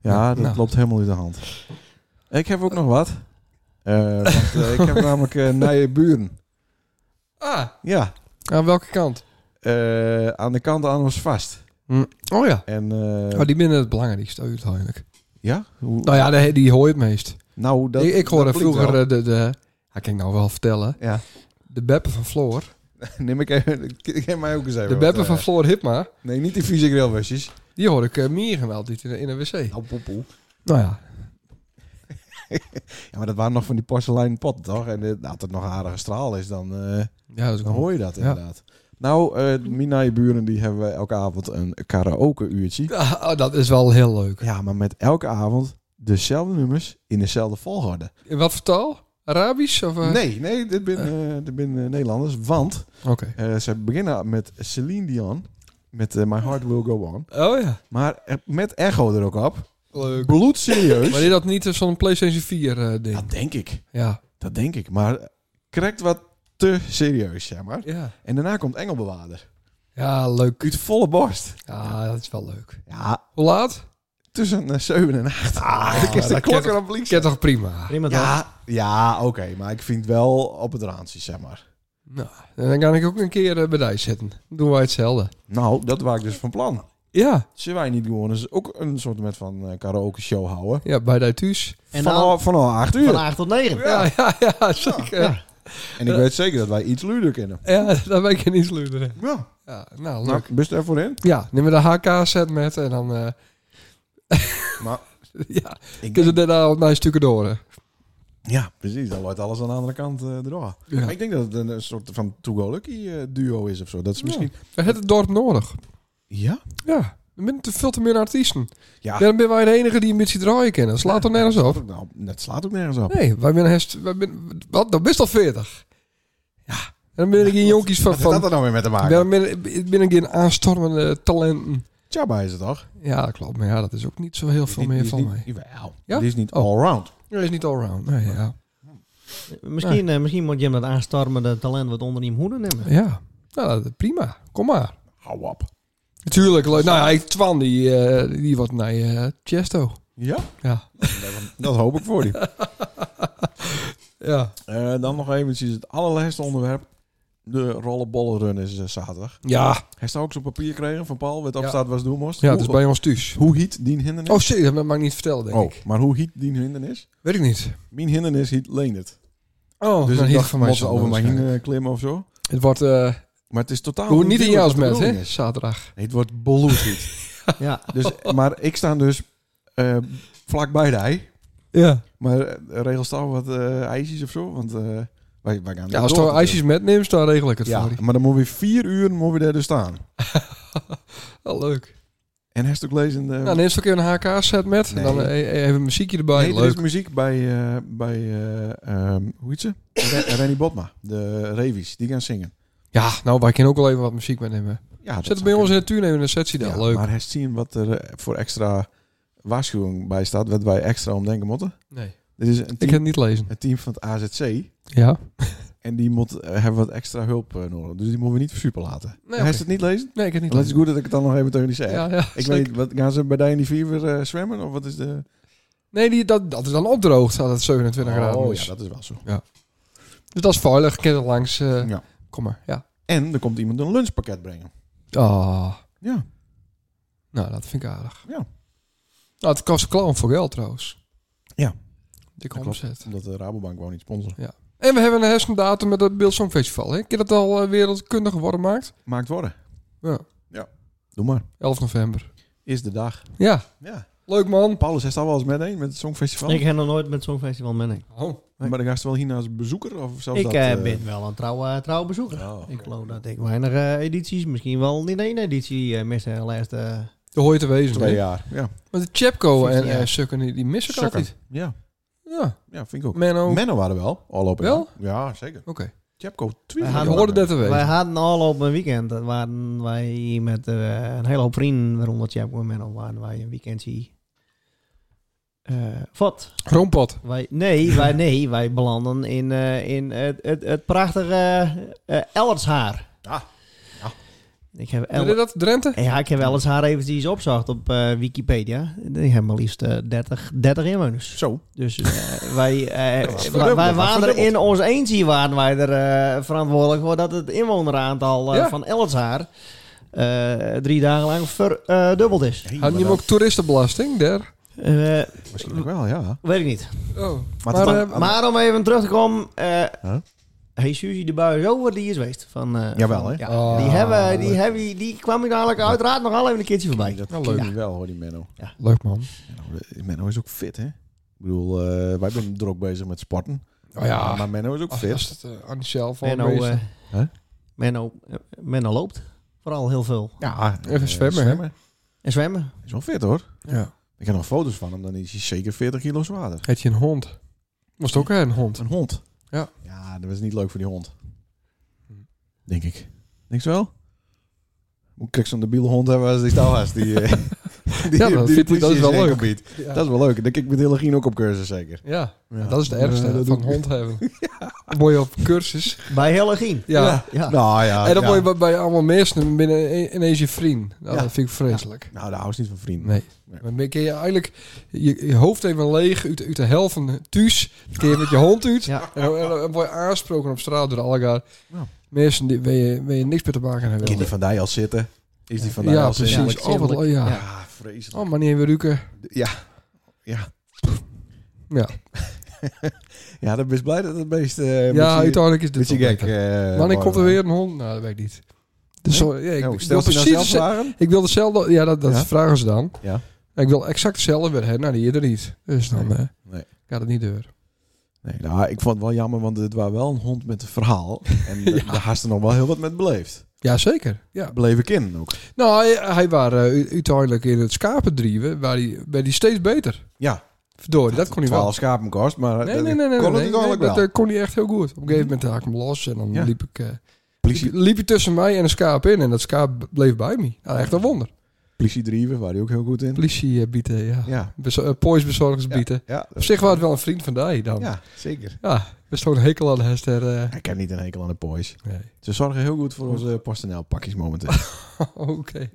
Speaker 2: Ja, dat
Speaker 1: nou.
Speaker 2: loopt helemaal uit de hand. Ik heb ook nog wat. Eh, want, eh, ik heb namelijk eh nije buren.
Speaker 1: Ah,
Speaker 2: Ja,
Speaker 1: aan welke kant?
Speaker 2: eh, aan de kant aan ons vast.
Speaker 1: Oh ja.
Speaker 2: En eh,
Speaker 1: Oh, die binnen het belangrijkste uiteindelijk.
Speaker 2: ja, hoe,
Speaker 1: Nou ja, die, die hoor je het meest.
Speaker 2: nou dat.
Speaker 1: ik, ik hoorde
Speaker 2: dat klinkt
Speaker 1: vroeger
Speaker 2: wel.
Speaker 1: eh, de, de... Ja, kan ik nou wel vertellen.
Speaker 2: Ja,
Speaker 1: De beppen van Floor.
Speaker 2: neem ik even. Ik ik heb mij ook eens even.
Speaker 1: De
Speaker 2: wat,
Speaker 1: beppen
Speaker 2: eh,
Speaker 1: van Floor Hipma.
Speaker 2: Nee, niet die vieze grillwesjes.
Speaker 1: Die hoor ik eh, meer geweld dit in, de- in een wc.
Speaker 2: Nou, poepoe.
Speaker 1: Nou ja.
Speaker 2: Ja, maar dat waren nog van die porselein pot, toch? En eh, dat het nog een aardige straal is, dan, eh,
Speaker 1: Ja, dat is
Speaker 2: dan
Speaker 1: gewoon...
Speaker 2: hoor je dat
Speaker 1: Ja.
Speaker 2: inderdaad. Nou, eh mijn nije buren die hebben elke avond een karaoke-uurtje.
Speaker 1: Ah, oh, dat is wel heel leuk.
Speaker 2: Ja, maar met elke avond dezelfde nummers in dezelfde volgorde.
Speaker 1: In wat voor taal? Arabisch? Of, eh?
Speaker 2: Nee, nee, dit ben, eh, dit ben eh, Nederlanders. Want
Speaker 1: Oké.
Speaker 2: eh, ze beginnen met Celine Dion. Met eh, My Heart Will Go On.
Speaker 1: Oh ja.
Speaker 2: Maar eh, met echo er ook op.
Speaker 1: Leuk. Maar
Speaker 2: Bloedserieus.
Speaker 1: is dat niet eh, zo'n PlayStation 4 eh, ding?
Speaker 2: Dat denk ik.
Speaker 1: Ja.
Speaker 2: Dat denk ik. Maar krijgt wat te serieus, zeg maar.
Speaker 1: Ja.
Speaker 2: En daarna komt Engelbewaarder.
Speaker 1: Ja, leuk.
Speaker 2: Uit volle borst.
Speaker 1: Ja, dat is wel leuk.
Speaker 2: Ja,
Speaker 1: Hoe laat?
Speaker 2: tussen eh, 7 en 8. Ah, ik is
Speaker 1: dat
Speaker 2: de klok
Speaker 1: ken-
Speaker 2: erop links.
Speaker 1: Ik heb toch prima.
Speaker 3: prima toch?
Speaker 2: Ja, ja oké. maar ik vind wel op het randje, zeg maar.
Speaker 1: Nou, en dan kan ik ook een keer eh, bij Dijs zitten. Doen wij hetzelfde.
Speaker 2: Nou, dat was ik dus van plan.
Speaker 1: Ja.
Speaker 2: Zullen wij niet gewoon eens ook een soort met van eh, karaoke show houden?
Speaker 1: Ja, bij Dijs thuis.
Speaker 3: En
Speaker 2: van,
Speaker 3: dan-
Speaker 2: al, van al acht uur.
Speaker 3: Van 8 tot 9.
Speaker 1: Ja, ja, ja, zeker. Ja,
Speaker 2: En ik weet zeker dat wij iets luider kennen.
Speaker 1: daar ben ik in iets luideren.
Speaker 2: Ja,
Speaker 1: Ja, nou, leuk.
Speaker 2: nou, best ervoor in.
Speaker 1: Ja, neem we de HK-set met en dan... eh
Speaker 2: Maar
Speaker 1: ja,
Speaker 2: ik
Speaker 1: kunnen
Speaker 2: denk,
Speaker 1: ze daarna op naar stukken door.
Speaker 2: ja, Dus precies. Dan wordt alles aan de andere kant eh erdoor.
Speaker 1: Ja.
Speaker 2: Maar ik denk dat het een, een soort van To Go Lucky eh, duo is of zo. Dat is misschien...
Speaker 1: We hebben het dorp nodig.
Speaker 2: Ja?
Speaker 1: Ja, er zijn te veel te meer artiesten.
Speaker 2: Ja.
Speaker 1: Daarom ben wij de enige die een beetje draaien kennen. Slaat toch nergens
Speaker 2: dat
Speaker 1: op?
Speaker 2: slaat ook nou- Dat slaat ook nergens op.
Speaker 1: Nee, wij zijn hest... Wij zijn, wat? Dan best al 40. Ja. En dan ben ik in jonkies van...
Speaker 2: Wat heeft dat
Speaker 1: van
Speaker 2: er nou weer mee te maken?
Speaker 1: dan ben, ik- ben ik in aanstormende talenten.
Speaker 2: Tjabba is het toch?
Speaker 1: Ja, dat klopt. Maar ja, dat is ook niet zo heel veel
Speaker 2: Die- die
Speaker 1: meer
Speaker 2: is
Speaker 1: van
Speaker 2: niet-
Speaker 1: mij.
Speaker 2: Jawel.
Speaker 1: Ja?
Speaker 2: Die is niet
Speaker 1: Oh.
Speaker 2: allround.
Speaker 1: Dat is niet allround. Nee, ja.
Speaker 3: Misschien, eh, misschien moet je hem dat aanstormende talent wat onder hem hoeden nemen.
Speaker 1: Ja. Nou, dat- prima. Kom maar.
Speaker 2: Hou op.
Speaker 1: Natuurlijk, leuk. Nou ja, ik- Twan, die, eh, die wordt naar eh Chesto.
Speaker 2: Ja?
Speaker 1: Ja.
Speaker 2: Dat hoop ik voor die.
Speaker 1: Ja.
Speaker 2: Eh, dan nog eventjes het allerlaatste onderwerp. De rollenbollenrun is eh, zaterdag.
Speaker 1: Ja.
Speaker 2: Hij staat ook zo'n papier gekregen van Paul, wat
Speaker 1: Ja.
Speaker 2: opstaat was doen moest.
Speaker 1: Ja, het
Speaker 2: hoe,
Speaker 1: is bij ons thuis.
Speaker 2: hoe hiet dien hindernis?
Speaker 1: Oh, serieus, dat mag ik niet vertellen, denk
Speaker 2: Oh,
Speaker 1: ik.
Speaker 2: maar hoe hiet dien hindernis?
Speaker 1: Weet ik niet.
Speaker 2: Mijn hindernis hiet Leendert.
Speaker 1: Oh,
Speaker 2: dus
Speaker 1: dan
Speaker 2: ik
Speaker 1: hield
Speaker 2: dacht,
Speaker 1: van mij
Speaker 2: moet ze
Speaker 1: zo
Speaker 2: over Oh, mij heen
Speaker 1: waarschijnlijk.
Speaker 2: eh, klimmen of zo.
Speaker 1: Het wordt, eh
Speaker 2: Maar het is totaal
Speaker 1: hoe niet in jouw
Speaker 2: duidelijk
Speaker 1: met,
Speaker 2: wat de
Speaker 1: hè,
Speaker 2: bedoeling is.
Speaker 1: zaterdag.
Speaker 2: Nee, het wordt bloedheet.
Speaker 3: Ja.
Speaker 2: dus, maar ik sta dus eh, vlakbij de ei.
Speaker 1: Ja.
Speaker 2: Maar eh, regel staan wat eh, ijsjes of zo, want eh, wij, wij gaan
Speaker 1: Ja,
Speaker 2: er
Speaker 1: als
Speaker 2: door
Speaker 1: je
Speaker 2: natuurlijk.
Speaker 1: ijsjes metneemt, dan regel ik het
Speaker 2: Ja,
Speaker 1: voor je.
Speaker 2: maar dan moet je vier uur moet je daar dus staan.
Speaker 1: Wel Oh, leuk.
Speaker 2: En hij is ook lezen... eh,
Speaker 1: Nou, neem eens een keer een HK-set met. En
Speaker 2: Nee.
Speaker 1: dan eh, eh, even een muziekje erbij.
Speaker 2: Nee, er is
Speaker 1: leuk.
Speaker 2: muziek bij, eh, bij eh, ehm, hoe heet ze? Re- Rennie Botma, de Revies, die gaan zingen.
Speaker 1: Ja, nou, wij kunnen ook wel even wat muziek meenemen.
Speaker 2: Ja, dat
Speaker 1: Zet
Speaker 2: zou
Speaker 1: het bij ons in
Speaker 2: kunnen.
Speaker 1: de tuin even een setje daar.
Speaker 2: Ja,
Speaker 1: leuk.
Speaker 2: Maar hij zien wat er eh, voor extra waarschuwing bij staat, wat wij extra om denken moeten.
Speaker 1: Nee.
Speaker 2: Dit is een
Speaker 1: Ik
Speaker 2: team,
Speaker 1: kan het niet lezen.
Speaker 2: een team van het AZC.
Speaker 1: Ja.
Speaker 2: En die moet, eh, hebben wat extra hulp eh, nodig. Dus die moeten we niet versuper laten. Hij
Speaker 1: Nee,
Speaker 2: Hij
Speaker 1: oké.
Speaker 2: is het niet lezen?
Speaker 1: Nee, ik kan het
Speaker 2: Het
Speaker 1: niet
Speaker 2: is
Speaker 1: lezen.
Speaker 2: goed dat ik het dan nog even tegen die zeg.
Speaker 1: Ja, ja,
Speaker 2: ik
Speaker 1: zeker.
Speaker 2: weet, wat, gaan ze bij die in die vier weer eh, zwemmen? Of wat is de...
Speaker 1: Nee, die, dat, dat is dan opdroogd als het 27 graden
Speaker 2: oh,
Speaker 1: is.
Speaker 2: ja, dat is wel zo.
Speaker 1: Dus dat is veilig. Ken er langs. eh,
Speaker 2: Ja.
Speaker 1: Kom maar. Ja.
Speaker 2: En er komt iemand een lunchpakket brengen.
Speaker 1: Ah,
Speaker 2: Ja.
Speaker 1: nou, dat vind ik aardig.
Speaker 2: Ja.
Speaker 1: Nou, het kost clown voor geld trouwens.
Speaker 2: Ja.
Speaker 1: Dikke
Speaker 2: Dat klopt.
Speaker 1: omzet.
Speaker 2: Omdat de Rabobank gewoon niet sponsoren.
Speaker 1: En we hebben een hersendatum met het Beeld Songfestival. Hè? Kun je dat al eh, wereldkundig worden maakt?
Speaker 2: Maakt worden.
Speaker 1: Ja.
Speaker 2: Doe maar.
Speaker 1: 11 november.
Speaker 2: Is de dag.
Speaker 1: Ja,
Speaker 2: Ja.
Speaker 1: leuk man.
Speaker 2: Paulus heeft al wel eens met een met het Songfestival.
Speaker 3: Ik heb nog nooit met zo'n festival mee.
Speaker 1: Oh.
Speaker 2: Maar dan ga je wel hier als bezoeker? Of zelfs
Speaker 3: Ik
Speaker 2: dat,
Speaker 3: eh,
Speaker 2: eh,
Speaker 3: ben wel een trouwe, trouwe bezoeker.
Speaker 2: Oh, oké.
Speaker 3: Ik geloof dat ik weinig eh, edities, misschien wel niet één editie eh miste de laatste...
Speaker 1: De hoor je te wezen.
Speaker 2: Twee
Speaker 1: hè?
Speaker 2: jaar. Ja.
Speaker 1: Want de Chepco en
Speaker 3: 15 jaar.
Speaker 1: eh Sukken, die, die mis ik
Speaker 2: Sukken.
Speaker 1: altijd.
Speaker 2: Ja.
Speaker 1: Ja, oh.
Speaker 2: ja, vind ik ook.
Speaker 1: Menno. Oké.
Speaker 2: Mennen waren wel. Al op
Speaker 1: Nou. Wel?
Speaker 2: Ja, zeker. Chapco
Speaker 3: Wij
Speaker 2: 20.
Speaker 1: Je
Speaker 3: hadden-
Speaker 1: hoorde dat te
Speaker 3: Wij
Speaker 1: wezen.
Speaker 3: hadden al op een weekend, dat waren wij met eh, een hele hoop vrienden, waaronder Chapco en Menno, waren wij een weekendje... eh wat?
Speaker 1: Groompot.
Speaker 3: Wij, nee, wij, nee, wij belanden in, eh, in het, het, het prachtige eh, eh, Ellershaar.
Speaker 2: Ah, ja.
Speaker 3: Ik heb
Speaker 1: Weet je
Speaker 3: El
Speaker 1: dat, Drenthe?
Speaker 3: ja, ik heb Ellershaar eventjes opzocht op eh, Wikipedia. Die hebben maar liefst eh, 30, 30 inwoners.
Speaker 2: Zo.
Speaker 3: Dus eh, wij, eh,
Speaker 2: dat is
Speaker 3: wij-
Speaker 2: verdubbeld,
Speaker 3: wij
Speaker 2: dat is
Speaker 3: waren er in
Speaker 2: verdubbeld.
Speaker 3: ons eentje waren wij er eh, verantwoordelijk voor dat het inwoneraantal eh,
Speaker 1: Ja.
Speaker 3: van Ellershaar eh, drie dagen lang verdubbeld is.
Speaker 2: Hey,
Speaker 1: Hadden
Speaker 2: maar
Speaker 1: je ook toeristenbelasting daar?
Speaker 3: Eh,
Speaker 2: dat- Misschien ook wel, ja.
Speaker 3: weet ik niet.
Speaker 1: Oh.
Speaker 2: Maar,
Speaker 1: Maar,
Speaker 2: het-
Speaker 1: eh,
Speaker 2: aan-
Speaker 3: Maar om even terug te komen. eh
Speaker 2: Huh?
Speaker 3: Hey Suzy de Buis over, die is geweest. Van, eh,
Speaker 2: Jawel,
Speaker 3: van-
Speaker 2: hè?
Speaker 3: Ja,
Speaker 1: Ah,
Speaker 3: die, hebben, die, hebben, die kwam hier dadelijk uiteraard nog al even een keertje voorbij.
Speaker 2: dat
Speaker 1: Nou,
Speaker 2: ken
Speaker 1: leuk.
Speaker 2: ik wel, hoor, die Menno.
Speaker 1: Leuk man. Oh
Speaker 2: Menno, eh, Menno is ook fit, hè? Ik bedoel, eh, wij zijn er ook bezig met sporten.
Speaker 1: Oh ja.
Speaker 2: Maar Menno is ook nou,
Speaker 1: Ach,
Speaker 2: fit.
Speaker 1: dat is het eh, aan zelf al
Speaker 3: Menno,
Speaker 1: geweest.
Speaker 3: eh,
Speaker 2: Huh?
Speaker 3: Menno, eh, Menno loopt. Vooral heel veel.
Speaker 2: Ja, eh,
Speaker 1: Even zwemmen, hè?
Speaker 3: En zwemmen.
Speaker 2: Is wel fit, hoor.
Speaker 1: ja.
Speaker 2: Ik heb nog foto's van hem, dan is hij zeker 40 kilo zwaarder.
Speaker 1: Heet je een hond? Was het ook een hond?
Speaker 2: Een hond.
Speaker 1: Ja.
Speaker 2: Ja, dat was niet leuk voor die hond.
Speaker 1: Hm.
Speaker 2: Denk ik. Denk je wel? Hoe krijg ik zo'n debiele hond hebben als die stalhaas die... eh, die
Speaker 1: Ja, dat
Speaker 2: die
Speaker 1: vindt hij- dat is
Speaker 2: politie
Speaker 1: wel
Speaker 2: in zijn
Speaker 1: leuk.
Speaker 2: gebied.
Speaker 1: Ja.
Speaker 2: Dat is wel leuk. Denk ik met hele Gien ook op cursus zeker.
Speaker 1: ja. Eh,
Speaker 2: Ja.
Speaker 1: dat is het ergste.
Speaker 2: Ja, dat
Speaker 1: van
Speaker 2: doe
Speaker 1: een
Speaker 2: ik.
Speaker 1: hond hebben. Mooi op cursus.
Speaker 3: Bij Hellegien.
Speaker 1: Ja.
Speaker 3: Ja.
Speaker 2: Nou ja.
Speaker 1: en dan
Speaker 2: ja.
Speaker 1: word je bij, bij allemaal mensen binnen i- ineens je vriend. Nou,
Speaker 2: Ja.
Speaker 1: Dat vind ik vreselijk.
Speaker 2: Nou, daar hou ik niet van vrienden.
Speaker 1: Nee.
Speaker 2: Nee.
Speaker 1: Dan ben je eigenlijk je, je hoofd even leeg uit, uit de helft van thuis. Dan kun je met je hond uit.
Speaker 3: Ja.
Speaker 1: En, dan, en dan word je aansproken op straat door Algar.
Speaker 2: Ja.
Speaker 1: Mensen die waar je, waar je niks meer te maken hebben.
Speaker 2: Kan die van daar al zitten? Is die van daar
Speaker 1: ja,
Speaker 2: al zitten?
Speaker 1: precies. Oh, wat, oh, ja.
Speaker 3: Ja.
Speaker 2: Ja, vreselijk.
Speaker 1: Oh, maar niet even ruiken.
Speaker 2: Ja. Ja.
Speaker 1: Ja,
Speaker 2: Ja, dan ben je blij dat het beest... eh
Speaker 1: ja
Speaker 2: beetje,
Speaker 1: uiteindelijk is dit
Speaker 2: beetje
Speaker 1: wel
Speaker 2: gek.
Speaker 1: lekker.
Speaker 2: eh,
Speaker 1: Wanneer komt er
Speaker 2: wordt.
Speaker 1: weer een hond? Nou, dat weet ik niet. Dus zo- ja, ik,
Speaker 2: Nou,
Speaker 1: ik wil
Speaker 2: Stelt hij nou
Speaker 1: precies
Speaker 2: zelf
Speaker 1: hetzelfde-
Speaker 2: vragen?
Speaker 1: ik wil hetzelfde... Ja, dat, dat
Speaker 2: Ja.
Speaker 1: vragen ze dan.
Speaker 2: Ja.
Speaker 1: En ik wil exact hetzelfde weer hebben. Nou, die eerder niet. Dus dan
Speaker 2: Nee.
Speaker 1: eh,
Speaker 2: Nee.
Speaker 1: gaat het niet door.
Speaker 2: Nee, nou, ik vond het wel jammer, want het was wel een hond met een verhaal. En da- daar haast er nog wel heel wat met beleefd.
Speaker 1: Jazeker. Ja.
Speaker 2: Beleef ik in ook.
Speaker 1: Nou, hij, hij was uiteindelijk in het skapendrieven. Waar hij, werd hij steeds beter.
Speaker 2: Ja,
Speaker 1: Verdorie, dat kon hij wel.
Speaker 2: twaalf schapen kost, maar eh,
Speaker 1: Nee,
Speaker 2: dat-
Speaker 1: nee, nee. nee,
Speaker 2: kon
Speaker 1: nee,
Speaker 2: het
Speaker 1: nee,
Speaker 2: eigenlijk
Speaker 1: dat
Speaker 2: wel. Mhm.
Speaker 1: eh, kon hij echt heel goed. Op een gegeven moment haak ik hem los. En dan
Speaker 2: Ja.
Speaker 1: liep ik... eh,
Speaker 2: politie,
Speaker 1: liep, liep hij tussen mij en een schaap in. En dat schaap bleef bij me. Nou, echt een wonder.
Speaker 2: politie drieven, waar hij ook heel goed in.
Speaker 1: Politie eh, bieden, ja.
Speaker 2: Ja,
Speaker 1: Bezo- eh, Poisbezorgers
Speaker 2: Ja.
Speaker 1: bieden.
Speaker 2: ja,
Speaker 1: Op zich was het wel een vriend van die dan. Ja,
Speaker 2: ja, zeker.
Speaker 1: best wel een hekel aan de Hester. eh.
Speaker 2: Ik heb niet een hekel aan de boys.
Speaker 1: Nee.
Speaker 2: Ze zorgen heel goed voor onze PostNL pakjes momenteel.
Speaker 1: Oh, Oké.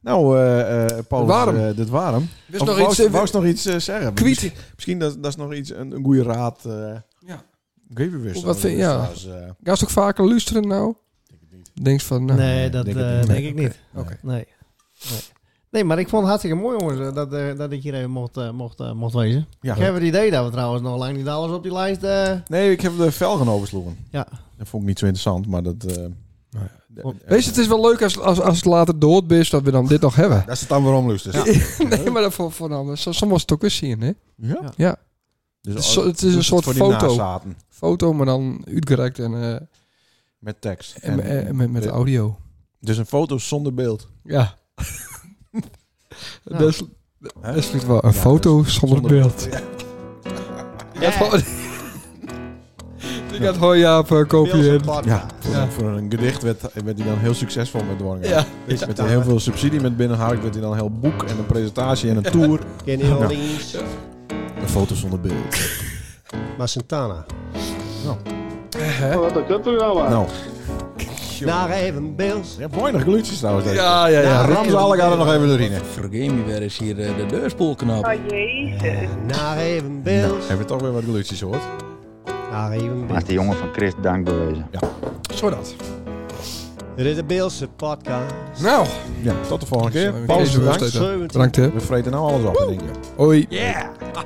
Speaker 2: nou, eh eh Paulus,
Speaker 1: Warm.
Speaker 2: eh, dit warm.
Speaker 1: Dus
Speaker 2: Of
Speaker 1: nog
Speaker 2: wou-
Speaker 1: iets... eh,
Speaker 2: Wou ze nog iets eh, zeggen?
Speaker 1: Kwiet.
Speaker 2: Misschien, misschien dat, dat is nog iets, een, een goede raad. eh
Speaker 1: Ja.
Speaker 2: Geef je weer zo.
Speaker 1: Wat vind- ja.
Speaker 2: trouwens, eh,
Speaker 1: Ga je ook vaker luisteren nou?
Speaker 2: denk het niet.
Speaker 1: Denk je van... nou,
Speaker 3: nee, dat
Speaker 2: denk
Speaker 3: denk,
Speaker 2: het
Speaker 3: ik,
Speaker 2: niet.
Speaker 3: denk ik niet.
Speaker 1: Oké.
Speaker 3: Nee. nee. Nee, maar ik vond het hartstikke mooi, jongens, eh, dat, eh, dat ik hier even mocht, eh, mocht, eh, mocht wezen.
Speaker 2: Ja.
Speaker 3: Ik heb het idee dat we trouwens nog lang niet alles op die lijst... eh,
Speaker 2: Nee, ik heb de velgen oversloegen.
Speaker 3: Ja.
Speaker 2: Dat vond ik niet zo interessant, maar dat... eh
Speaker 1: ja.
Speaker 2: de-
Speaker 3: Op-
Speaker 2: eh,
Speaker 1: Weet je, het is wel leuk als, als, als het later dood is dat we dan dit nog hebben.
Speaker 2: Dat is het dan weer omlust. Dus.
Speaker 1: nee, maar dat voor, voor dan, zo, soms was het ook eens zien, hè?
Speaker 2: Ja.
Speaker 1: Ja.
Speaker 2: Dus
Speaker 1: Het is
Speaker 2: al-
Speaker 1: zo- het is een
Speaker 2: dus
Speaker 1: soort
Speaker 2: voor die
Speaker 1: foto.
Speaker 2: nazaten.
Speaker 1: Foto, maar dan uitgereikt en, eh, en,
Speaker 2: Met tekst.
Speaker 1: eh, met, met
Speaker 2: de-
Speaker 1: audio.
Speaker 2: Dus een foto zonder beeld.
Speaker 1: Ja.
Speaker 3: Nou.
Speaker 1: Dat is,
Speaker 2: Hè?
Speaker 1: dat is niet waar. Een
Speaker 2: Ja, dus-
Speaker 1: foto zonder, beeld.
Speaker 2: Ja.
Speaker 1: Ja, gewoon- Die gaat hoor Jaap eh, kopiëren.
Speaker 2: Ja, voor,
Speaker 1: Ja.
Speaker 2: voor een gedicht werd, werd hij dan heel succesvol met Dwargen.
Speaker 1: Ja.
Speaker 2: Met heel veel subsidie met binnenhaak werd hij dan een heel boek en een presentatie en een tour.
Speaker 3: Kenny
Speaker 2: Ja.
Speaker 3: Rollins.
Speaker 2: Een foto zonder beeld.
Speaker 3: Maar Santana.
Speaker 5: Wat een kutter nou maar.
Speaker 2: Nou,
Speaker 3: Daar even beeld.
Speaker 2: je hebt weinig glutjes trouwens. deze.
Speaker 1: Ja, ja, ja.
Speaker 2: Ja, Ramzalig gaat er nog even doorheen. hè.
Speaker 6: Vergeet me weer eens hier eh, de deurspoel knap.
Speaker 7: Oh jee.
Speaker 3: Naar even
Speaker 2: Nou,
Speaker 3: beeld.
Speaker 2: hebben we toch weer wat glutjes gehoord.
Speaker 3: Naar even
Speaker 4: Maar is
Speaker 3: beeld.
Speaker 4: die jongen van Christ dank bewezen.
Speaker 1: Zo dat.
Speaker 3: Dit Er is de Beelse podcast.
Speaker 1: Nou,
Speaker 2: Ja, tot de volgende
Speaker 1: Zo,
Speaker 2: keer.
Speaker 1: even
Speaker 2: Pauze
Speaker 1: deze
Speaker 2: bedankt.
Speaker 1: rust even.
Speaker 3: 17.
Speaker 1: bedankt hè.
Speaker 2: We vreten nou alles op, denk ik.
Speaker 1: Hoi.